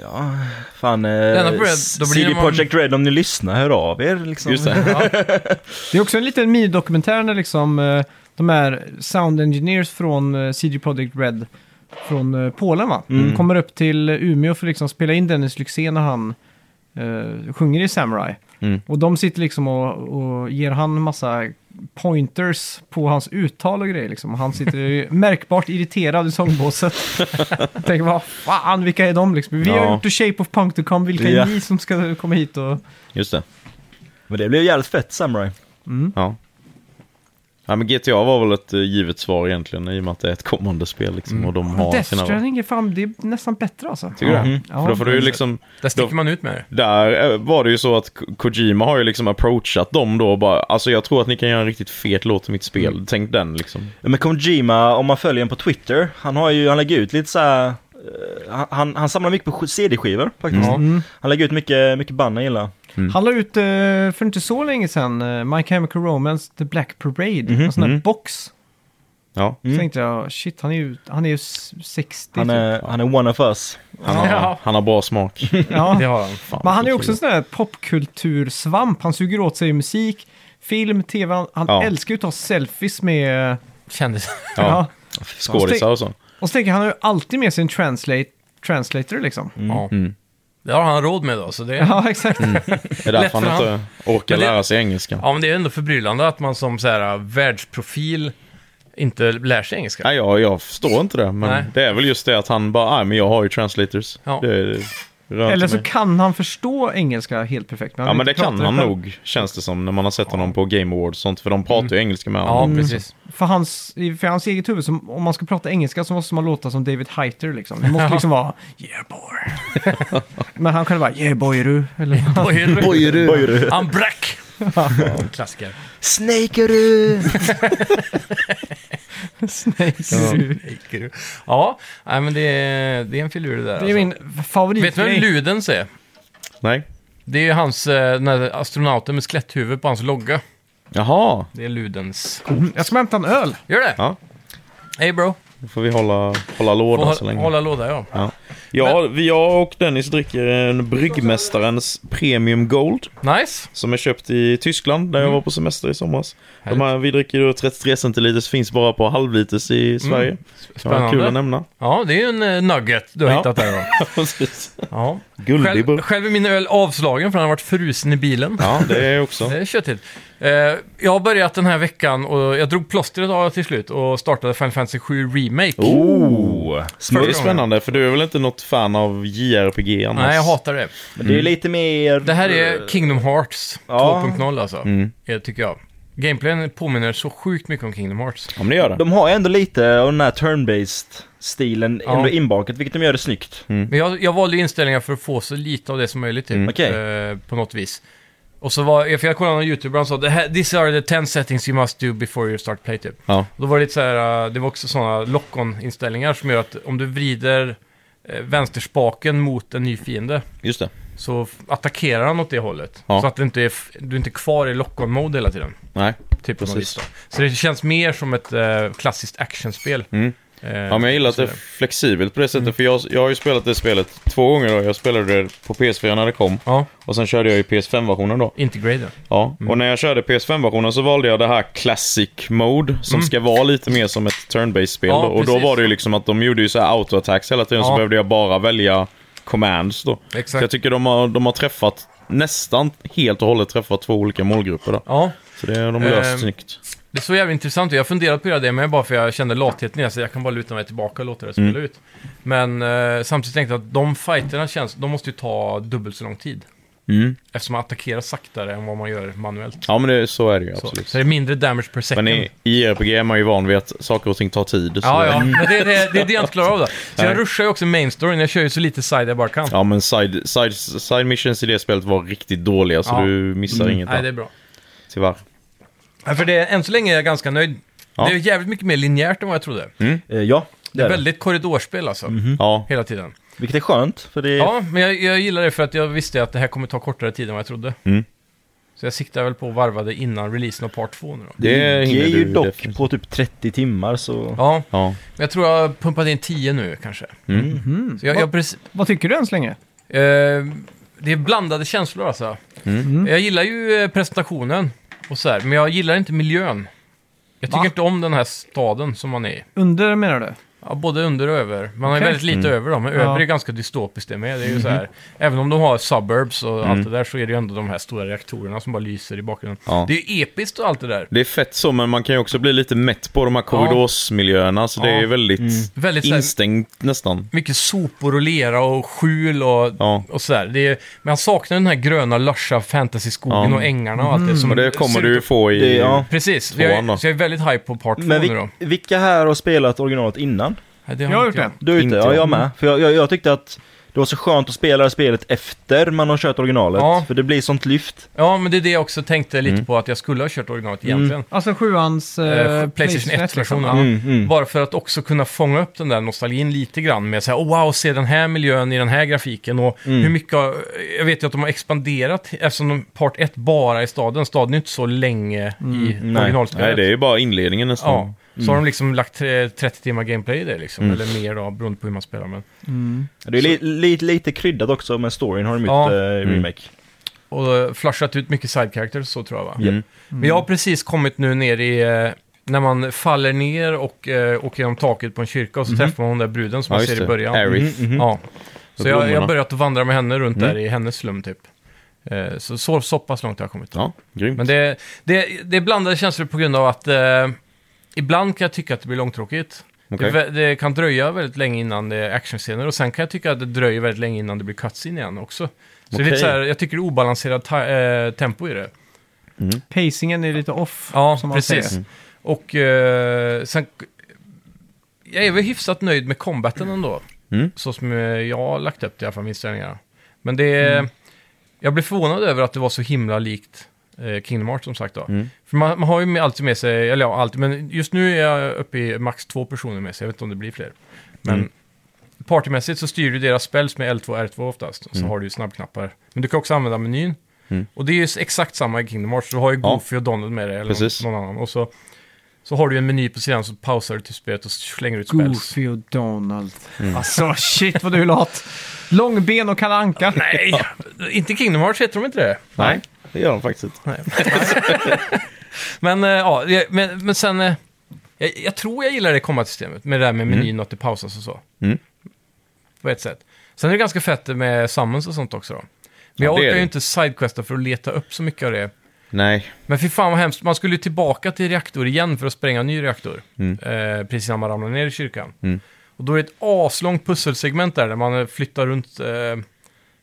Ja, fan...
enda
Eh,
problemet- då blir
CD
det man-
Projekt Red, om ni lyssnar, hör av er liksom.
Just det.
Det är också en liten minidokumentär när liksom eh, de här sound engineers från eh, CD Projekt Red från eh, Polen va?
Mm.
Kommer upp till Umeå för att liksom spela in Dennis Lyxzén när han eh, sjunger i Samurai.
Mm.
Och de sitter liksom och, och ger han massa pointers på hans uttal och grejer liksom. Och Han sitter ju märkbart irriterad i sångbåset. Tänker vad fan, vilka är de liksom? Vi har
Ja.
gjort The Shape of Punk to Come, vilka
Ja.
är ni som ska komma hit och...
Just det.
Men det blev jävligt fett, Samurai.
Ja. ja, men GTA var väl ett eh, givet svar egentligen i och med att det är ett kommande spel liksom och de har
Mm. Death
sina...
Stranding är fan, det är nästan bättre alltså.
Tycker du det?
Mhm.
Ja.
För då får du ju liksom...
Där sticker
Då-
man ut med det.
Där eh, var det ju så att Ko- Kojima har ju liksom approachat dem då och bara, alltså jag tror att ni kan göra en riktigt fet låt till mitt spel.
Mm.
Tänk den liksom.
Ja, Men Kojima, om man följer honom på Twitter, han har ju, han lägger ut lite så här. eh, han- Han, han samlar mycket på sk- CD-skivor faktiskt.
Mm.
Han lägger ut mycket, mycket band han gillar.
Mm.
Han la ut eh, för inte så länge sedan eh, My Chemical Romance The Black Parade. En sån där
mhm.
box.
Ja.
Så
Mm.
tänkte jag, shit han är ju, han är ju s- 60.
Han är, han är one of us.
Han har,
Ja.
han har bra smak.
typ. ja.
Det har han.
Fan,
Men han är ju
så
också en
kul.
sån där popkultursvamp. Han suger åt sig musik, film, tv. Han, han
Ja.
älskar ju att ta selfies med... eh,
Kändes...
Ja,
Ja.
skådisar och så.
Och så tänker jag, han har ju alltid med sig en translate, translator liksom.
Mm.
Ja. Det har han råd med då, så det...
Ja, exakt.
Det är därför
Lätt
han
för
inte orkar
Men det-
lära sig engelska.
Ja, men det är ändå förbryllande att man som så här äh, världsprofil inte lär sig engelska.
Nej, jag, jag förstår inte det, men
Nej.
det är väl just det att han bara, nej men jag har ju translators.
Ja.
Det, är- det rör
Eller
inte
så
mig.
kan han förstå engelska helt perfekt.
Ja
han
men det
inte
kan
pratar
han
själv.
nog, känns det som, när man har sett honom på Game Awards och sånt, för de pratar ju engelska med
Mm. Ja,
honom.
precis.
För hans, i- för hans eget huvud, som, om man ska prata engelska så måste man låta som David Heiter liksom. Det måste liksom vara Yeah boy. Men han själv bara Yeah boy du. Eller,
Bojer.
Bojru.
Han brack! Klassiker.
Snakeru!
du.
Ja, nej, men det är, det är en filur det där. alltså.
Det är min
Vet du vem
favoritgrej.
Ludens är?
Nej?
Det är ju hans, eh, den här astronauten med skeletthuvud på hans logga.
Jaha,
Det är Ludens.
Jag ska hämta en öl.
Gör det?
Ja.
Hey bro.
då får vi hålla, hålla
Får
lådan så
hålla,
länge.
hålla låda ja.
Ja, ja vi, jag och Dennis dricker en Bryggmästarens Premium Gold
Nice.
som är köpt i Tyskland där
Mm.
jag var på semester i somras. De här, vi dricker då 33 centiliters, finns bara på halvliters i Sverige. Kan vara
Mm. Spännande.
Kul att nämna.
Ja, det är ju en eh, nugget du har
Ja.
hittat där då.
Precis.
Ja. Själv,
Guldibber.
själv är min öl avslagen för den har varit frusen i bilen.
Ja, det är också.
Det är köttigt. Eh, jag har börjat den här veckan och jag drog plåstret av till slut och startade Final Fantasy 7 Remake.
Oh!
Det
Smooth.
är spännande, för du är väl inte något fan av JRPG annars?
Nej, jag hatar det.
Men
Mm.
Det är lite mer...
Det här
Mm.
är Kingdom Hearts
Ja. Mm.
2.0 alltså, eh, tycker jag. Gameplayen påminner så sjukt mycket om Kingdom Hearts.
Mm.
Ja, men det gör det.
De har ändå lite av den här turn-based stilen
Ja.
ändå inbakat, vilket de gör det snyggt.
Mm.
Men jag, jag valde ju inställningar för att få så lite av det som möjligt typ,
Okej.
eh, på något vis. Och så var, för jag kollade någon YouTuber, han sa "Det här- “These are the 10 settings you must do before you start play” typ.
Ja.
Och Då var det lite så här, eh, det var också sådana lock-on-inställningar som gör att om du vrider eh, vänsterspaken äh, mot en ny fiende
Just det.
så f- attackerar han åt det hållet.
Ja.
Så att det inte är f- du inte är kvar i lock-on-mode hela tiden.
Nej.
Typ på något
Precis.
vis då. Så det känns mer som ett eh, klassiskt actionspel.
Mm.
Eh,
Ja, men jag gillar att det är flexibelt på det sättet.
Mm.
För jag, jag har ju spelat det spelet två gånger och jag spelade det på PS4 när det kom.
Ja,
Och sen körde jag ju PS5-versionen då.
integrated.
Ja.
Mm.
Och när jag körde PS5-versionen så valde jag det här Classic Mode som ska vara lite mer som ett turn-based-spel.
Mm. Ja,
då. och då
precis.
var det ju liksom att de gjorde ju så här auto-attacks hela tiden
Ja.
så behövde jag bara välja commands då.
Exakt.
Så jag tycker de har, de har träffat nästan helt och hållet träffat två olika målgrupper där.
Ja,
Så det har de löst
Ehm.
snyggt.
det såg jävligt intressant ut. Jag har funderat på att göra det, men bara för jag kände latheten i det, så jag kan bara luta mig tillbaka och låta det spela ut. Men eh, samtidigt tänkte jag att de fighterna känns, de måste ju ta dubbelt så lång tid.
Mm.
Eftersom man attackerar saktare än vad man gör manuellt.
Ja men det, så är det ju
Så,
absolut.
så det är mindre damage per second.
Men i, i RPG är man ju van vid att saker och ting tar tid. Så
Ja, ja, men det, det, det är det jag inte klarar av då. Så jag
Mm. Nej.
rushar ju också main storyn, jag kör ju så lite side jag bara kan.
Ja, men side, side, side missions i det spelet var riktigt dåliga så
Ja. Mm.
du missar inget
Nej,
där,
det är bra.
tyvärr.
Ja, för det, än så länge är jag ganska nöjd.
Ja.
Det är jävligt mycket mer linjärt än vad jag trodde.
Eh, ja, det är det.
Väldigt korridorspel alltså,
Ja,
hela tiden.
Vilket är skönt, för det är...
Ja, men jag, jag gillar det för att jag visste att det här kommer ta kortare tid än vad jag trodde.
Mm.
Så jag siktar väl på att varva det innan releasen av part 2 nu då.
det
det
hinner
är
du
ju dock
definitivt.
på typ 30 timmar så...
Ja,
Ja.
men jag tror jag har pumpat in 10 nu kanske. Så jag, jag precis,
Vad tycker du än så länge?
Eh, det är blandade känslor alltså. Jag gillar ju eh, presentationen och så här, men jag gillar inte miljön. Jag tycker
Va?
inte om den här staden som man är i.
Under menar du?
Ja, både under och över. Man har ju
Okej.
väldigt
Mm.
lite över då, men över
Ja.
är ganska dystopiskt det med. Det är ju så här,
Mm-hmm.
även om de har suburbs och allt det där så är det ju ändå de här stora reaktorerna som bara lyser i bakgrunden.
Mm. Ja.
Det är ju episkt och allt det där.
Det är fett så, men man kan ju också bli lite mätt på de här korridorsmiljöerna, så det
Ja. Mm.
är väldigt
Väldigt så här,
instängt nästan.
mycket sopor och lera och skjul och,
Ja.
och sådär. Det är, men jag saknar den här gröna, lusha fantasyskogen
Ja.
och ängarna och allt det. Som
Och det
ser
kommer
ut
du ju
att-
få i...
Det, ja.
Precis, vi
Tvåan
har,
då.
så jag är väldigt hype på part 2
Men
nu
vi,
då.
vilka här har spelat originalet innan?
Nej, det
Jag har gjort
inte
det.
Du är ute?
Inte
Ja,
jag.
jag med. För jag, jag, jag tyckte att det var så skönt att spela det här spelet efter man har kört originalet.
Ja.
För det blir sånt lyft.
Ja, men det är det jag också tänkte lite
Mm.
på, att jag skulle ha kört originalet egentligen.
Alltså sjuans... Eh,
Eh, Playstation 1-versionen.
liksom.
Mm.
ja. mm. Bara för att också kunna fånga upp den där nostalgin lite grann med så här, oh, wow, se den här miljön i den här grafiken och
Mm.
hur mycket, har- jag vet ju att de har expanderat eftersom de, part 1 bara är staden, staden är ju inte så länge i
nej.
originalspelet.
Nej, det är ju Mm. bara inledningen nästan.
Ja, så har de liksom lagt tre- 30 timmar gameplay i det liksom,
Mm.
eller mer då, beroende på hur man spelar. Men.
Det är li, li, lite kryddat också med storyn har de gjort
Ja. Mm.
eh, i remake.
Och eh, flashat ut mycket side characters så tror jag va? Mm. Men jag har precis kommit nu ner i... eh, När man faller ner och eh, åker genom taket på en kyrka och så träffar man den där bruden som
Mhm. Ja,
man
just
ser i
det. Mhm.
början. Mm.
Aerith.
Ja. Så jag, jag
blommorna.
har börjat att vandra med henne
Mm.
runt där i hennes slum typ. Eh, Så, så, så pass långt har jag kommit.
Ja, grymt.
Men det, det, det är blandade känslor på grund av att eh, ibland kan jag tycka att det blir långtråkigt.
Okej.
Det, vä- det kan dröja väldigt länge innan det är actionscener och sen kan jag tycka att det dröjer väldigt länge innan det blir cutscene igen också. Så det är
Okej.
lite så här, jag tycker det är obalanserat ta- eh, tempo i det.
Pacingen är lite off.
Ja,
som man
precis.
Mm.
säger.
Och eh, sen... Jag är väl hyfsat nöjd med combaten ändå.
Mm.
Så som eh, jag har lagt upp det i alla fall, med inställningarna. Men det... är-
Mm.
Jag blev förvånad över att det var så himla likt eh, Kingdom Hearts som sagt då.
Mm.
För man, man har ju med, alltid med sig, eller ja, alltid, men just nu är jag uppe i max två personer med sig, jag vet inte om det blir fler. Men
Mm.
partymässigt så styr du deras spells med L2 och R2 oftast,
Mm.
och så har du ju snabbknappar. Men du kan också använda menyn. Och det är ju s- exakt samma i Kingdom Hearts, du har ju
Ja.
Goofy och Donald med dig, eller
Precis.
någon annan. Och så, så har du ju en meny på sidan, så pausar du till spelet och slänger ut spells.
Goofy och Donald.
Mm.
Alltså shit vad du är lat. Långben och Kalle Anka.
Nej, inte Kingdom Hearts heter de inte det.
Nej, det gör de faktiskt inte.
Men, eh, ja, det- men, men sen... eh, Jag, jag tror jag gillar det kombatsystemet med det där med menyn och att det pausas och så.
Mm.
På ett sätt. Sen är det ganska fett med summons och sånt också då. Men
Ja,
jag
det är
orkar ju
det.
inte sidequesta för att leta upp så mycket av det.
Nej,
Men fy fan vad hemskt, man skulle ju tillbaka till reaktor igen för att spränga en ny reaktor.
Mm.
Eh, precis innan man ramlar ner i kyrkan. Och då är det ett aslångt pusselsegment där, där man eh, flyttar runt eh, sådana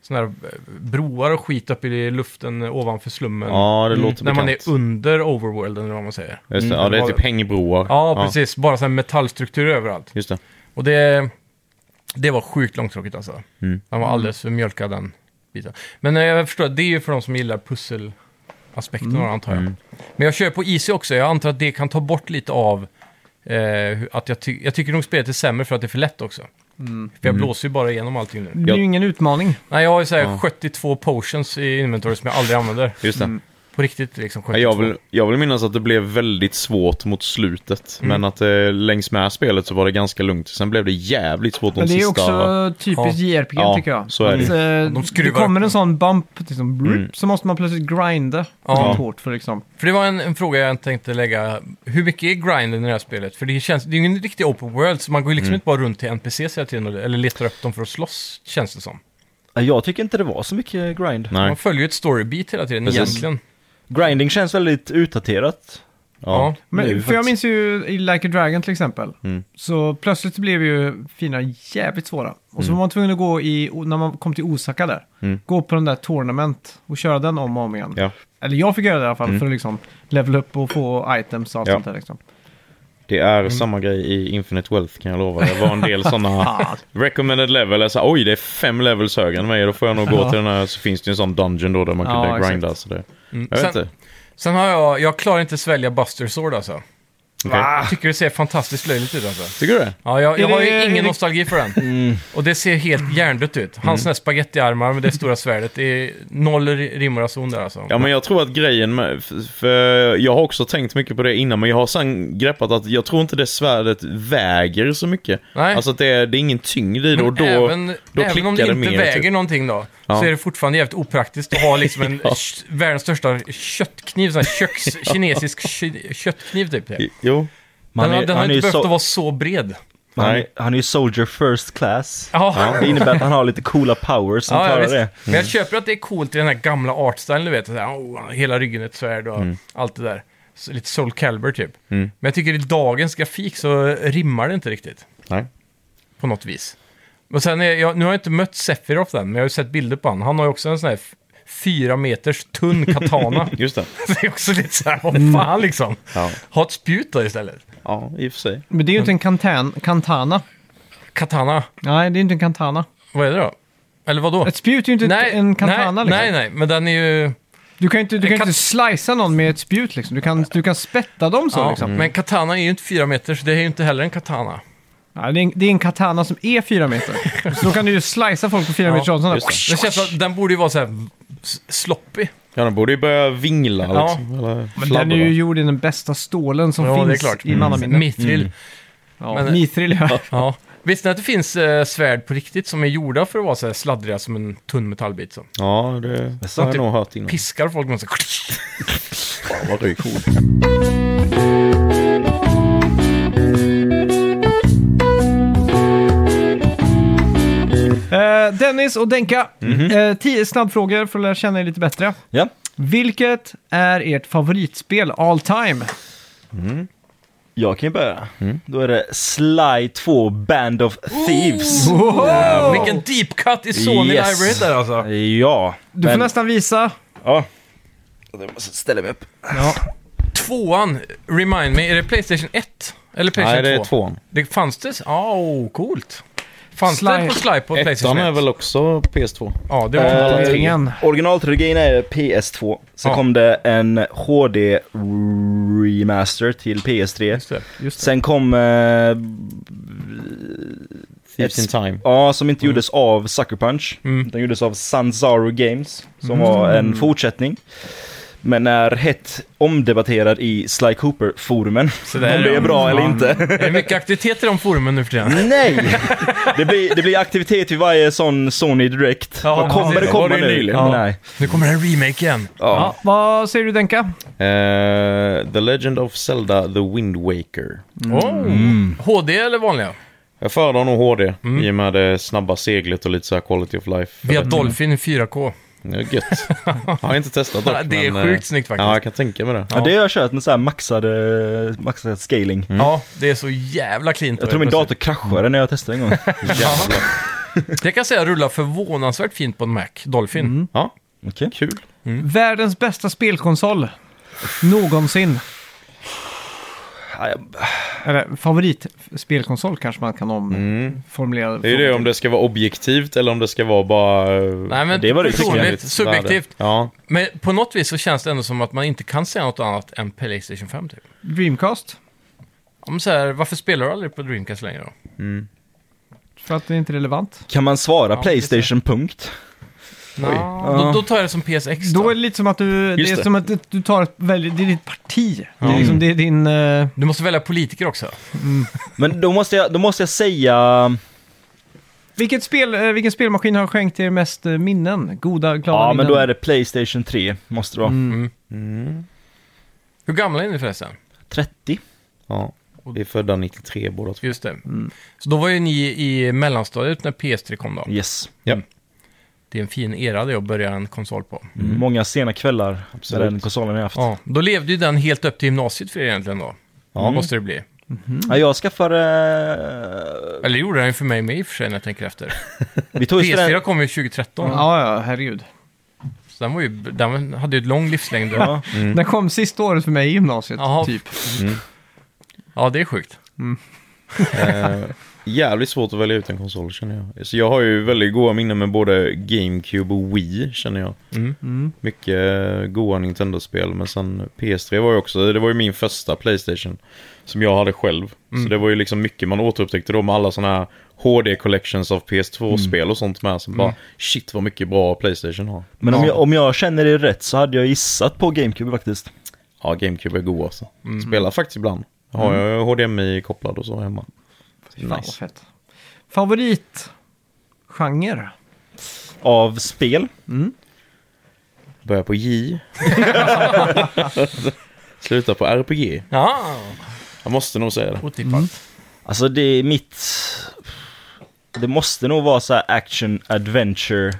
här eh, broar och skit upp i luften eh, ovanför slummen.
ja det låter
Mm. När man är
bekant.
under overworlden eller vad man säger.
Just det. Ja, det är typ hängbroar.
Ja, precis. Bara sån här metallstruktur överallt.
Just det.
Och det, det var sjukt långtråkigt alltså. Mm. Den var alldeles för mjölkad den biten. Men eh, jag förstår, det är ju för de som gillar pusselaspekten mm. antar jag. Men jag kör på IC också, jag antar att det kan ta bort lite av eh, hur- att jag, ty- jag tycker nog spelet är sämre för att det är för lätt också. För jag blåser ju bara igenom allting nu.
Det blir ju ingen utmaning.
Nej, jag har ju såhär
Ja.
72 potions i inventory som jag aldrig använder.
Just det.
På riktigt liksom 72.
Ja, Jag vill, jag vill minnas att det blev väldigt svårt mot slutet.
Mm.
Men att eh, längs med spelet så var det ganska lugnt. Sen blev det jävligt svårt de
Men det är
sista...
ju också typiskt JRPG
Ja,
tycker jag.
så är det Mm. ju.
att, eh,
De
det
skruvar
kommer
upp.
en sån bump, liksom, blup, så måste man plötsligt grinda
Ja.
väldigt hårt för liksom.
För det var en, en fråga jag tänkte lägga. Hur mycket är grinden i det här spelet? För det känns, det är ju en riktig open world, så man går ju liksom
Mm.
inte bara runt till NPCs hela tiden, eller letar upp dem för att slåss, känns det som.
Ja, Jag tycker inte det var så mycket grind.
Nej.
Man följer ju ett storybeat hela tiden
Precis.
egentligen.
Grinding känns väldigt utdaterat.
Ja.
Men,
Det är
för
ju
jag minns
faktiskt-
ju i Like a Dragon till exempel.
Mm.
Så plötsligt blev ju fina jävligt svåra. Och så var man tvungen att gå i, när man kom till Osaka där,
Mm.
gå på den där tournament och köra den om och om igen.
ja.
Eller jag fick göra det i alla fall
Mm.
för att liksom level upp och få items och allt
Ja.
sånt där liksom.
Det är samma grej i Infinite Wealth kan jag lova. Det var en del sådana
Fan.
recommended level. Jag sa, Oj, det är fem levels högre än mig. Då får jag nog gå
Ja.
till den här. Så finns det ju en sån dungeon då där man
Ja,
kunde
exakt.
grinda. Så det,
Mm.
jag vet
Sen-
inte.
Sen har jag, jag klarar inte svälja Buster Sword alltså.
Okej.
Jag tycker det ser fantastiskt löjligt ut alltså.
Tycker du det?
Ja, jag,
Är
jag har
det-
ju
är
ingen
det-
nostalgi för den.
Mm.
Och det ser helt hjärndött ut. Hans mm. spagettiarmar med det stora svärdet. Det är noll ri- rim och reson där alltså.
Ja, men jag tror att grejen med... f- För jag har också tänkt mycket på det innan, men jag har sen greppat att jag tror inte det svärdet väger så mycket.
Nej.
Alltså att det är, det är ingen tyngd i det
Men
och då,
även,
då
även
klickar
om det inte
mer.
väger
typ.
någonting då,
Ja.
så är det fortfarande jävligt opraktiskt att ha liksom en
Ja.
sh- världens största köttkniv, sån här köks, kinesisk ki- köttkniv typ. Den,
Jo.
Men
har- den har
är
inte
ju
behövt
so-
att vara så bred.
han, är-
Nej.
han är ju soldier first class.
Ja.
Det innebär att han har lite coola powers som
Ja, ja,
klarar
visst.
det.
Men
Mm.
jag köper att det är coolt i den här gamla artstylen, du vet. Så här, oh, hela ryggen är ett svärd och
Mm.
allt det där. Så, lite Soul Calibur typ. Men jag tycker i dagens grafik så rimmar det inte riktigt.
Nej.
På något vis. Och sen är jag, nu har jag inte mött Sephiroth än, men jag har ju sett bilder på honom. Han har ju också en sån här f- fyra meters tunn katana.
Just det.
Så det är också lite så här, vad fan liksom.
Ja.
Ha ett spjut då istället.
ja, i och för sig.
Men det är ju inte en kantan, kantana.
Katana,
Nej, det är inte en kantana.
vad är det då? Eller vadå?
Ett spjut är ju inte ett- en kantana
nej,
liksom.
nej, nej, men den är ju...
Du kan ju inte, du kan
kat-
inte slicea någon med ett spjut liksom. Du kan, du kan spetta dem så
ja, mm.
liksom.
Men katana är ju inte fyra meter, så det är ju inte heller en katana.
Ja, det, är en, det är en katana som är fyra meter. så då kan du ju slicea folk på fyra meters avstånd.
just det.
Det känns som att den borde ju vara så här s- sloppy.
Ja, de borde ju börja vingla
Ja.
liksom. Eller
Men den är ju
fladdra.
gjord i den bästa stålen som
Ja, det är
finns
klart. Mm.
i mannaminne. Mm.
Mithril.
Ja,
Men-
Mithril, ja.
Ja. Visste ni att det finns eh, svärd på riktigt som är gjorda för att vara så här sladdriga som en tunn metallbit? Så.
Ja, det,
Så
har jag
typ
nog hört innan.
Piskar folk med så här-
Fan, vad det är coolt.
Eh, Dennis och Denka,
Mhm.
eh, tio snabbfrågor för att lära känna er lite bättre.
Ja.
Vilket är ert favoritspel all time?
Jag kan ju börja. Då är det Sly 2 Band of Thieves.
Oh, Vilken deep cut i Sony
Yes.
Library där alltså.
Ja.
Du får
men-
nästan visa.
Ja. Jag måste ställa mig upp.
Ja.
Tvåan, remind me, är det Playstation 1? Eller
Nej,
Playstation 2?
det är tvåan.
Det fanns det? Ja, oh, coolt. Fanns
Sly-
det på Sly på Playstation
Ettan
1?
är väl också PS2?
Ja, det var
Eh,
alla tre.
Ingen.
Originaltrilogin är PS2. Sen
Ja.
kom det en HD remaster till PS3.
Just det.
Just det.
Sen kom, eh,
Thieves in
Ett-
Time.
ja som inte gjordes av Sucker Punch. Den gjordes av Sanzaru Games, som var en fortsättning. Men är hett omdebatterad i Sly Cooper-forumen.
Så
Om
där är
det är
de.
bra eller inte.
Är det mycket aktivitet i de forumen nu för tiden?
Nej! Det blir, det blir aktivitet vid varje sån Sony Direct.
Ja,
Vad kommer
precis.
det
Var
komma
det
nu?
nyligen?
Ja. Nej.
Nu kommer en remake igen.
Ja, vad säger du Denka?
Eh, The Legend of Zelda The Wind Waker.
Oh. HD eller vanliga?
Jag föredrar nog HD
Mm.
i och med det snabba seglet och lite så här quality of life.
Via Dolphin i 4K.
Det är gött. Jag har inte testat dock,
Det är
men, eh,
sjukt snyggt faktiskt.
Ja, jag kan tänka mig det.
Ja, det har jag kört med så här maxad, eh, maxad scaling.
Ja, det är så jävla cleant.
Jag tror min dator kraschade när jag testade en gång.
Jävlar.
Det kan jag säga rullar förvånansvärt fint på en Mac, Dolphin.
Ja,
Okej.
kul.
Världens bästa spelkonsol. Någonsin.
Ja, jag-
Eller favoritspelkonsol kanske man kan omformulera.
Mm. Det är ju det om det ska vara objektivt eller om det ska vara bara... eh,
Nej, men
Det var det
personligt,
personligt
subjektivt.
värde. Ja,
Men på något vis så känns det ändå som att man inte kan säga något annat än Playstation 5 typ.
Dreamcast.
Om så här, varför spelar du aldrig på Dreamcast längre då?
För att det är inte är relevant.
Kan man svara
Ja,
Playstation punkt?
Nå, Då, då tar jag det som PSX
Då är
då.
det lite som att du, det
Just
är
det.
som att du tar ett, väldigt, det är ditt parti. Det,
Ja. Mm.
är liksom, det är din... eh,
Du måste välja politiker också.
Men då måste jag, då måste jag säga...
vilket spel, eh, vilken spelmaskin har skänkt er mest eh, minnen? Goda, glada
Ja,
minnen?
men då är det Playstation 3, måste det vara.
Hur gamla är ni förresten?
30?
Ja. Vi är födda 93 båda två.
Just det. Så då var ju ni i mellanstadiet när PS3 kom då.
Yes.
Det är en fin era det att börja en konsol på.
Många sena kvällar
Absolut.
med den konsolen jag haft. Ja.
Ja, då levde ju den helt upp till gymnasiet för er egentligen då. Mm.
Ja.
Måste det bli.
jag skaffade...
Eller gjorde den ju för mig med i och för sig när jag tänker efter.
Vi tog ju
PS4
student...
kom ju 2013.
Ja, ja, herregud.
Så den, var ju, den hade ju ett lång livslängd. Ja.
Ja.
Mm.
Den kom sista året för mig i gymnasiet,
Jaha.
typ.
ja, det är sjukt.
Eh, jävligt svårt att välja ut en konsol känner jag. Så jag har ju väldigt goda minnen med både GameCube och Wii känner jag.
Mm.
Mycket eh, goda Nintendo-spel. Men sen PS3 var ju också, det var ju min första Playstation. Som jag hade själv. Så det var ju liksom mycket man återupptäckte då med alla sådana här HD-collections av PS2-spel och sånt med. Som bara, shit vad mycket bra Playstation har.
Men om jag, om jag känner det rätt så hade jag gissat på GameCube faktiskt.
Ja, GameCube är god alltså. Spelar faktiskt ibland. Har jag HDMI kopplad och så hemma.
Fan, vad
Nice.
fett. Favoritgenre?
Av spel.
Börjar på J. Slutar på RPG.
Ja,
Jag måste nog säga det.
otippat.
Alltså det är mitt... Det måste nog vara så här action adventure.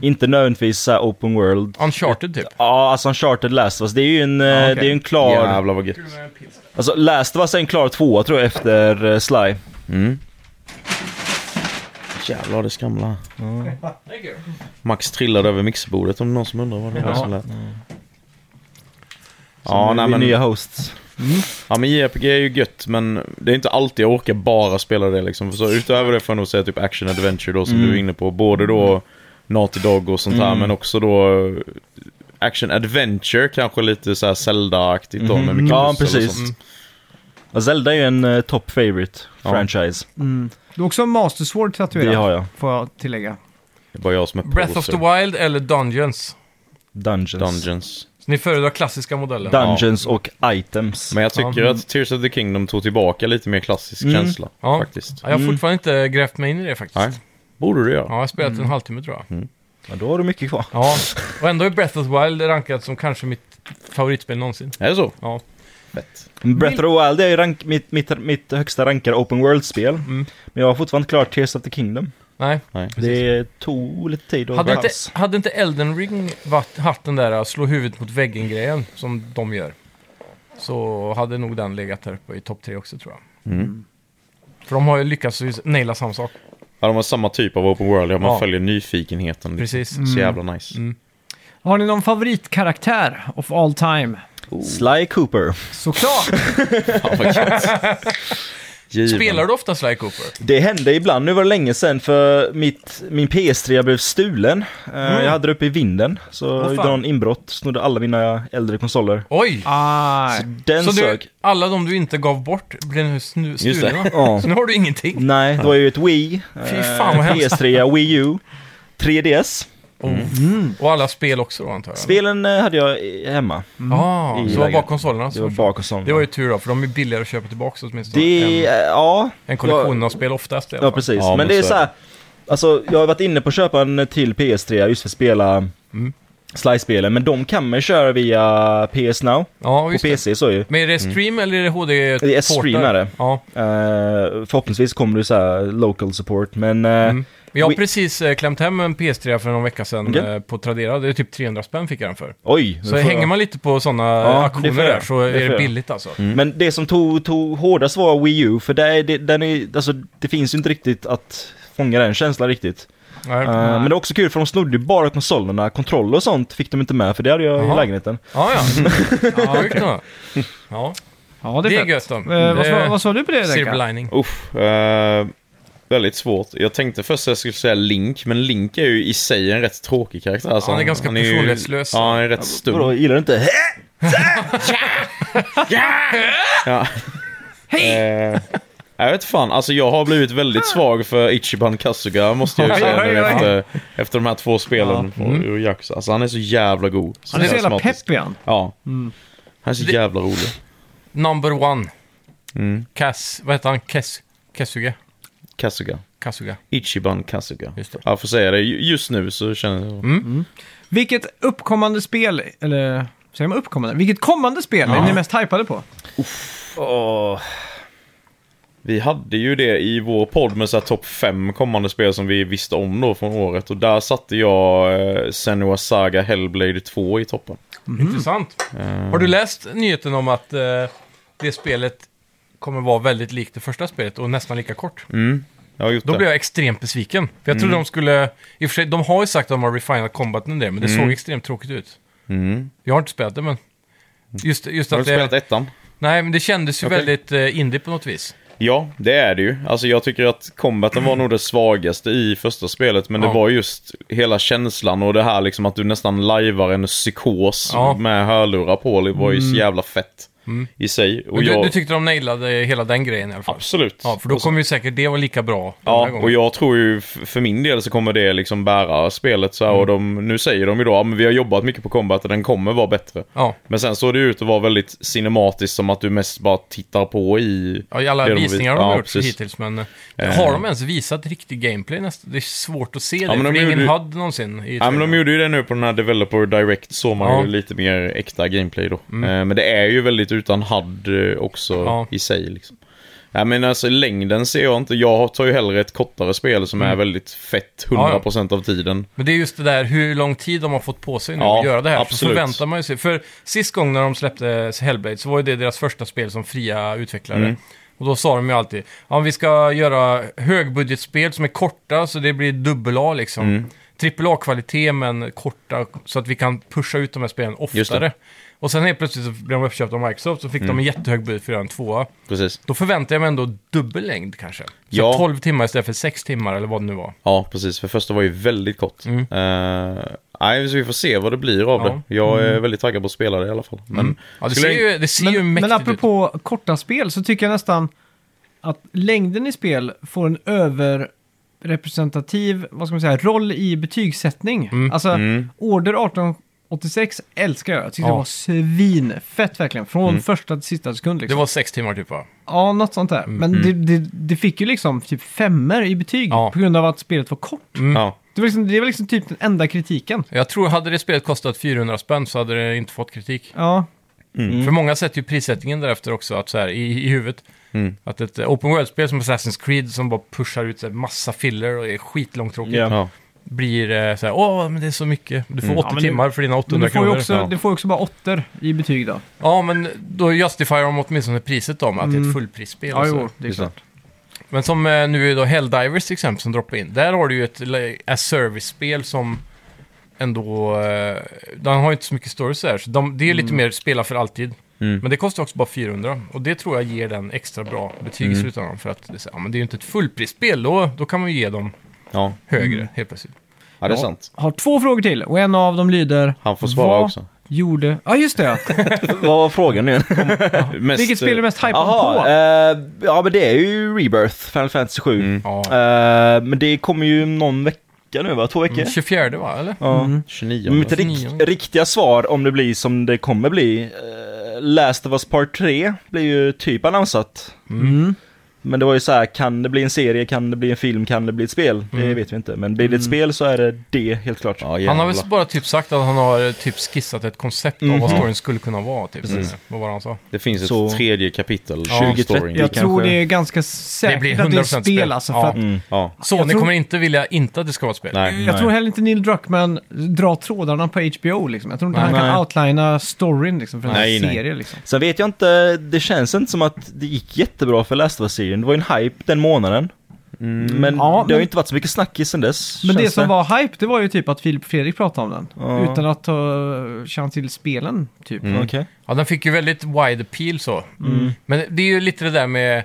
Inte nödvändigtvis så här open world.
Uncharted typ.
Ja, alltså Uncharted Last of Us, det är ju en, eh,
okej.
det är ju en klar...
Ah, Jävlar vad gött.
Alltså Last of Us är en klar tvåa tror jag efter eh, Sly.
Mm. Jävlar det skramlar. Max trillade över mixbordet om det är någon som undrar vad det var som lät.
Mm.
Ja,
Som
nej,
vi
men,
Nya hosts.
ja, men JRPG är ju gött men det är inte alltid jag orkar bara spela det liksom. Så utöver det får jag nog säga typ action adventure då som du
Mm.
är inne på. Både då Naughty Dog och sånt här men också då eh, action adventure kanske lite så här Zelda-aktigt då med mycket
Mm. Ja,
pussel och
precis.
sånt.
Ja, Zelda är ju en uh, top favorite
Ja.
franchise.
Du har också en Master Sword tatuerad.
Det har jag.
Får jag tillägga.
Det är bara jag som är
Breath of
poser.
the Wild eller Dungeons?
Dungeons.
Dungeons.
Så ni föredrar klassiska modellen?
Dungeons och items.
Men jag tycker
Ja. Mm.
att Tears of the Kingdom tog tillbaka lite mer klassisk känsla.
Ja.
Faktiskt.
Ja, jag har fortfarande inte grävt mig in i det faktiskt.
Mm. Nej. Borde du göra.
Ja, jag har spelat en halvtimme tror jag.
Ja, då har du mycket kvar.
Ja, och ändå är Breath of the Wild rankat som kanske mitt favoritspel någonsin.
Är det så?
Ja.
Fett.
Breath of the Wild är ju rank, mitt, mitt, mitt högsta rankade open world-spel.
Mm.
Men jag har fortfarande inte klart Tears of the Kingdom.
Nej.
Nej.
Det tog lite tid att
Hade inte,
pass.
hade inte Elden Ring varit, haft den där att slå huvudet mot väggen-grejen som de gör, så hade nog den legat där uppe i topp tre också tror jag.
Mm.
För de har ju lyckats ju naila samma sak.
Ja, de har samma typ av open world. Ja, man
Ja.
följer nyfikenheten.
Precis. Mm.
Så jävla nice.
Har ni någon favoritkaraktär of all time?
Sly Cooper.
Såklart!
Fan, vad gött. Given.
Spelar du ofta Sly Cooper?
Det hände ibland, nu var det länge sedan för mitt, min PS3 blev stulen. Eh, Jag hade det uppe i vinden, så
Mm. Åh, fan.
gjorde någon inbrott, snodde alla mina äldre konsoler.
Oj!
ah,
Den
så du,
sög.
alla de du inte gav bort blev nu snu-
det.
stulna?
Ja.
Så nu har du ingenting?
Nej, det var ju ett Wii,
Fy
eh,
fan, vad hemskt.
PS3, Wii U, 3DS.
Och alla spel också då antar jag?
Spelen eh, hade jag eh, hemma.
Ah,
I
så det var bara
lägenheten.
konsolerna?
Det
som
var
försvann.
bara konsolerna.
Det var ju tur då, för de är billigare att köpa tillbaka åtminstone.
Det,
än,
eh, ja.
en kollektion
Ja,
av spel oftast i alla
Ja,
fall.
precis.
Ja,
men
men
det är
så
så
är
här, alltså jag har varit inne på att köpa en till PS3 just för att spela mm. Slice-spelen, men de kan man ju köra via PS Now.
Ja,
På
just det.
PC så ju.
Men är det stream eller är det HD?
Det är stream är det.
Ja.
Eh, förhoppningsvis kommer det så här local support, men... eh,
Men mm. Jag har
We-
precis eh, klämt hem en PS3 för någon vecka sedan
Okej.
eh, på Tradera. Det är typ 300 spänn fick jag den för.
Oj! nu
Så
får
hänger
jag-
man lite på sådana
det
auktioner
får jag.
där så
Det får
är det
jag. Mm.
billigt alltså.
Men det som tog, tog hårdast var Wii U, för där är det, den är, alltså, det finns ju inte riktigt att fånga den känslan riktigt.
Nej.
Eh, men det är också kul för de snodde ju bara konsolerna, kontroller och sånt fick de inte med för det hade jag
Jaha.
i lägenheten.
Ja, ja. ja, sjukt då. ja.
ja, det
Det
är
är
fett.
gött då.
Eh, vad, sa,
Det-
vad sa du på det,
Silver
Rebecka?
lining.
Uff, eh, väldigt svårt. Jag tänkte först att jag skulle säga Link, men Link är ju i sig en rätt tråkig karaktär. alltså.
han är ganska
ju-
personlighetslös.
Ja, han är rätt stum.
Vadå, gillar du inte? Hä?
Ja. Eh, Jag vet fan, alltså jag har blivit väldigt svag för Ichiban Kasuga måste jag ju säga
Oj,
nu
oj, oj.
efter, efter de här två spelen ja. ur Yakuza. Alltså han är så jävla god.
Han är så jävla
karismatisk.
pepp Mm. igen.
Ja. Han är så
Det-
jävla rolig.
Number one.
Mm.
Cass, vad heter han? Kes, Kesuga?
Kasuga.
Kasuga.
Ichiban Kasuga.
Just det. Mm.
Jag får säga det, Ju- just nu så känner jag...
Vilket uppkommande spel, eller säger man uppkommande? Vilket kommande spel är ni mest hypade på?
Åh,
Vi hade ju det i vår podd med så här topp 5 kommande spel som vi visste om då från året. Och där satte jag eh, Senua Saga Hellblade 2 i toppen.
Mm.
Intressant.
Eh.
Har du läst nyheten om att eh, det spelet kommer vara väldigt likt det första spelet och nästan lika kort?
Mm. Jag har gjort
Då
det.
blev jag extremt besviken. För jag trodde
Mm.
de skulle... I och för sig, de har ju sagt att de har refinat combaten där, men det såg extremt tråkigt ut.
Mm.
Jag har inte spelat det, men... Just, just
Har du
att
spelat
det...
ettan?
Nej, men det kändes ju
Okej.
väldigt eh, indie på något vis.
Ja, det är det ju. Alltså jag tycker att combaten var nog det svagaste i första spelet. Men
Ja.
det var just hela känslan och det här liksom att du nästan lajvar en psykos
Ja. Mm.
med hörlurar på. Det var ju så jävla fett i sig. Och
Men
jag...
Du, du tyckte de nailade hela den grejen i alla fall?
Absolut.
Ja, för då
Och så-
kommer ju säkert det vara lika bra den här
Ja,
gången.
och jag tror ju f- för min del så kommer det liksom bära spelet så här, och
Mm.
de, nu säger de ju då att vi har jobbat mycket på combat och den kommer vara bättre.
Ja.
Men sen såg det ju ut att vara väldigt cinematiskt som att du mest bara tittar på i...
Ja, i alla
det de vis-
visningar de har
Ja,
gjort
precis.
hittills, men eh, har de ens visat riktig gameplay nästan? Det är svårt att se det,
men
för
de
det är ingen
gjorde-
HUD någonsin i
Ja men
trailern.
de gjorde ju det nu på den här Developer Direct såg man
Ja. Mm.
ju lite mer äkta gameplay då. Eh, Men det är ju väldigt utan HUD eh, också
Ja.
i sig liksom. Ja, men alltså längden ser jag inte. Jag tar ju hellre ett kortare spel som
Mm.
är väldigt fett 100% av tiden.
Men det är just det där hur lång tid de har fått på sig nu
Ja,
att göra det här. Så
absolut.
förväntar man ju sig. För sist gång när de släppte Hellblade så var ju det deras första spel som fria utvecklare.
Mm.
Och då sa de ju alltid, ja, vi ska göra högbudgetspel som är korta så det blir dubbel A liksom.
Mm.
Trippel A-kvalitet men korta så att vi kan pusha ut de här spelen
Just
oftare.
det. Mm.
Och sen helt plötsligt så blev de uppköpta av Microsoft så fick de en jättehög budget för att göra en tvåa.
Precis.
Då förväntar jag mig ändå dubbel längd kanske. Så
Ja.
12 timmar istället för 6 timmar eller vad det nu var.
Ja, precis. För första var ju väldigt kort. Mm. nej, så vi får se vad det blir av
Ja. Mm.
det. Jag är väldigt taggad på att spela det i alla fall. Men
Ja, det
skulle
ser
jag-
ju, det ser ju
Men,
mäktigt
men
ut.
apropå korta spel så tycker jag nästan att längden i spel får en överrepresentativ, vad ska man säga, roll i betygssättning.
Mm.
Alltså,
Mm.
Order 1886 älskar jag. Jag tyckte
Ja.
det var svinfett verkligen. Från
Mm.
första till sista sekund
Det
liksom.
var sex timmar typ va?
Ja, något sånt där. Men
Mm.
det, det, det fick ju liksom typ femmer i betyg
Ja. Mm.
på grund av att spelet var kort.
Ja,
Det var liksom, det var liksom typ den enda kritiken.
Jag tror, hade det spelet kostat 400 spänn så hade det inte fått kritik.
Ja,
För många sätter ju prissättningen därefter också, att så här, i, i huvudet. Att ett eh, open world-spel som Assassin's Creed som bara pushar ut så här, massa filler och är skitlångtråkigt.
Ja.
ja.
Blir eh, så här, åh, men det är så mycket. Du får 80
men det-
timmar för dina
men
800
du får ju
kronor.
också,
ja.
du får ju också bara åttor i betyg då.
Ja, men då justifierar de åtminstone priset då, med att det är ett fullprisspel.
Mm.
och
Ja,
så här.
jo, det är
Just det.
klart.
Men som eh, nu är då Helldivers till exempel som droppar in. Där har du ju ett le- as service-spel som ändå... Eh, den har ju inte så mycket stories där, så de, det är lite mer spela för alltid.
Mm.
Men det kostar också bara 400 och det tror jag ger den extra bra betyg
Mm.
i slutändan. För att det är, så här, ja, men det är ju inte ett fullprisspel, då, då kan man ju ge dem
Ja. Mm.
högre helt plötsligt.
ja, det är
Ja.
sant.
har två frågor till och en av dem lyder...
Han får svara
Vad
också.
gjorde... Ja, just det. ja.
vad var frågan nu igen?
Mest,
Vilket spel är mest hypad
Jaha,
på?
eh, ja men det är ju Rebirth, Final Fantasy 7.
Ja.
Eh, men det kommer ju någon vecka nu va? Två veckor?
Mm. 24 va, eller?
Ja.
eh, 29.
Mitt
Nionde.
rikt, riktiga svar, om det blir som det kommer bli, eh, Last of Us Part 3 blir ju typ annonsat.
Mm.
Men det var ju så här, kan det bli en serie, kan det bli en film, kan det bli ett spel? Det vet vi inte. Men blir det ett spel så är det det, helt klart.
Ja,
Han har
jävlar.
väl bara typ sagt att han har eh, typ skissat ett koncept av vad
Mhm.
storyn skulle kunna vara. Typ. Vad var det han sa?
Det finns ett
Så-
tredje kapitel.
Ja.
2030.
Jag
kanske-
tror det är ganska säkert
blir
att det är
100%
spel,
spel.
alltså.
Ja.
För att,
Mm.
Ja.
Så
Jag
ni
tror-
kommer inte vilja inte att det ska vara ett spel?
Nej.
Jag tror heller inte Neil Druckmann drar trådarna på HBO liksom. Jag tror inte
Nej.
han
Nej.
kan outlina storyn liksom, för en
Nej, nej.
serie liksom.
Sen vet jag inte, det känns inte som att det gick jättebra för Last of Us-serien. Det var ju en hype den månaden. Men
Ja,
det har
men-
ju inte varit så mycket snackis sen dess.
Men det
känns
som var hype, det var ju typ att Filip och Fredrik pratade om den.
Ja.
Utan att ta känna till spelen, typ.
Mm. Okej.
Ja, den fick ju väldigt wide appeal så. Men det är ju lite det där med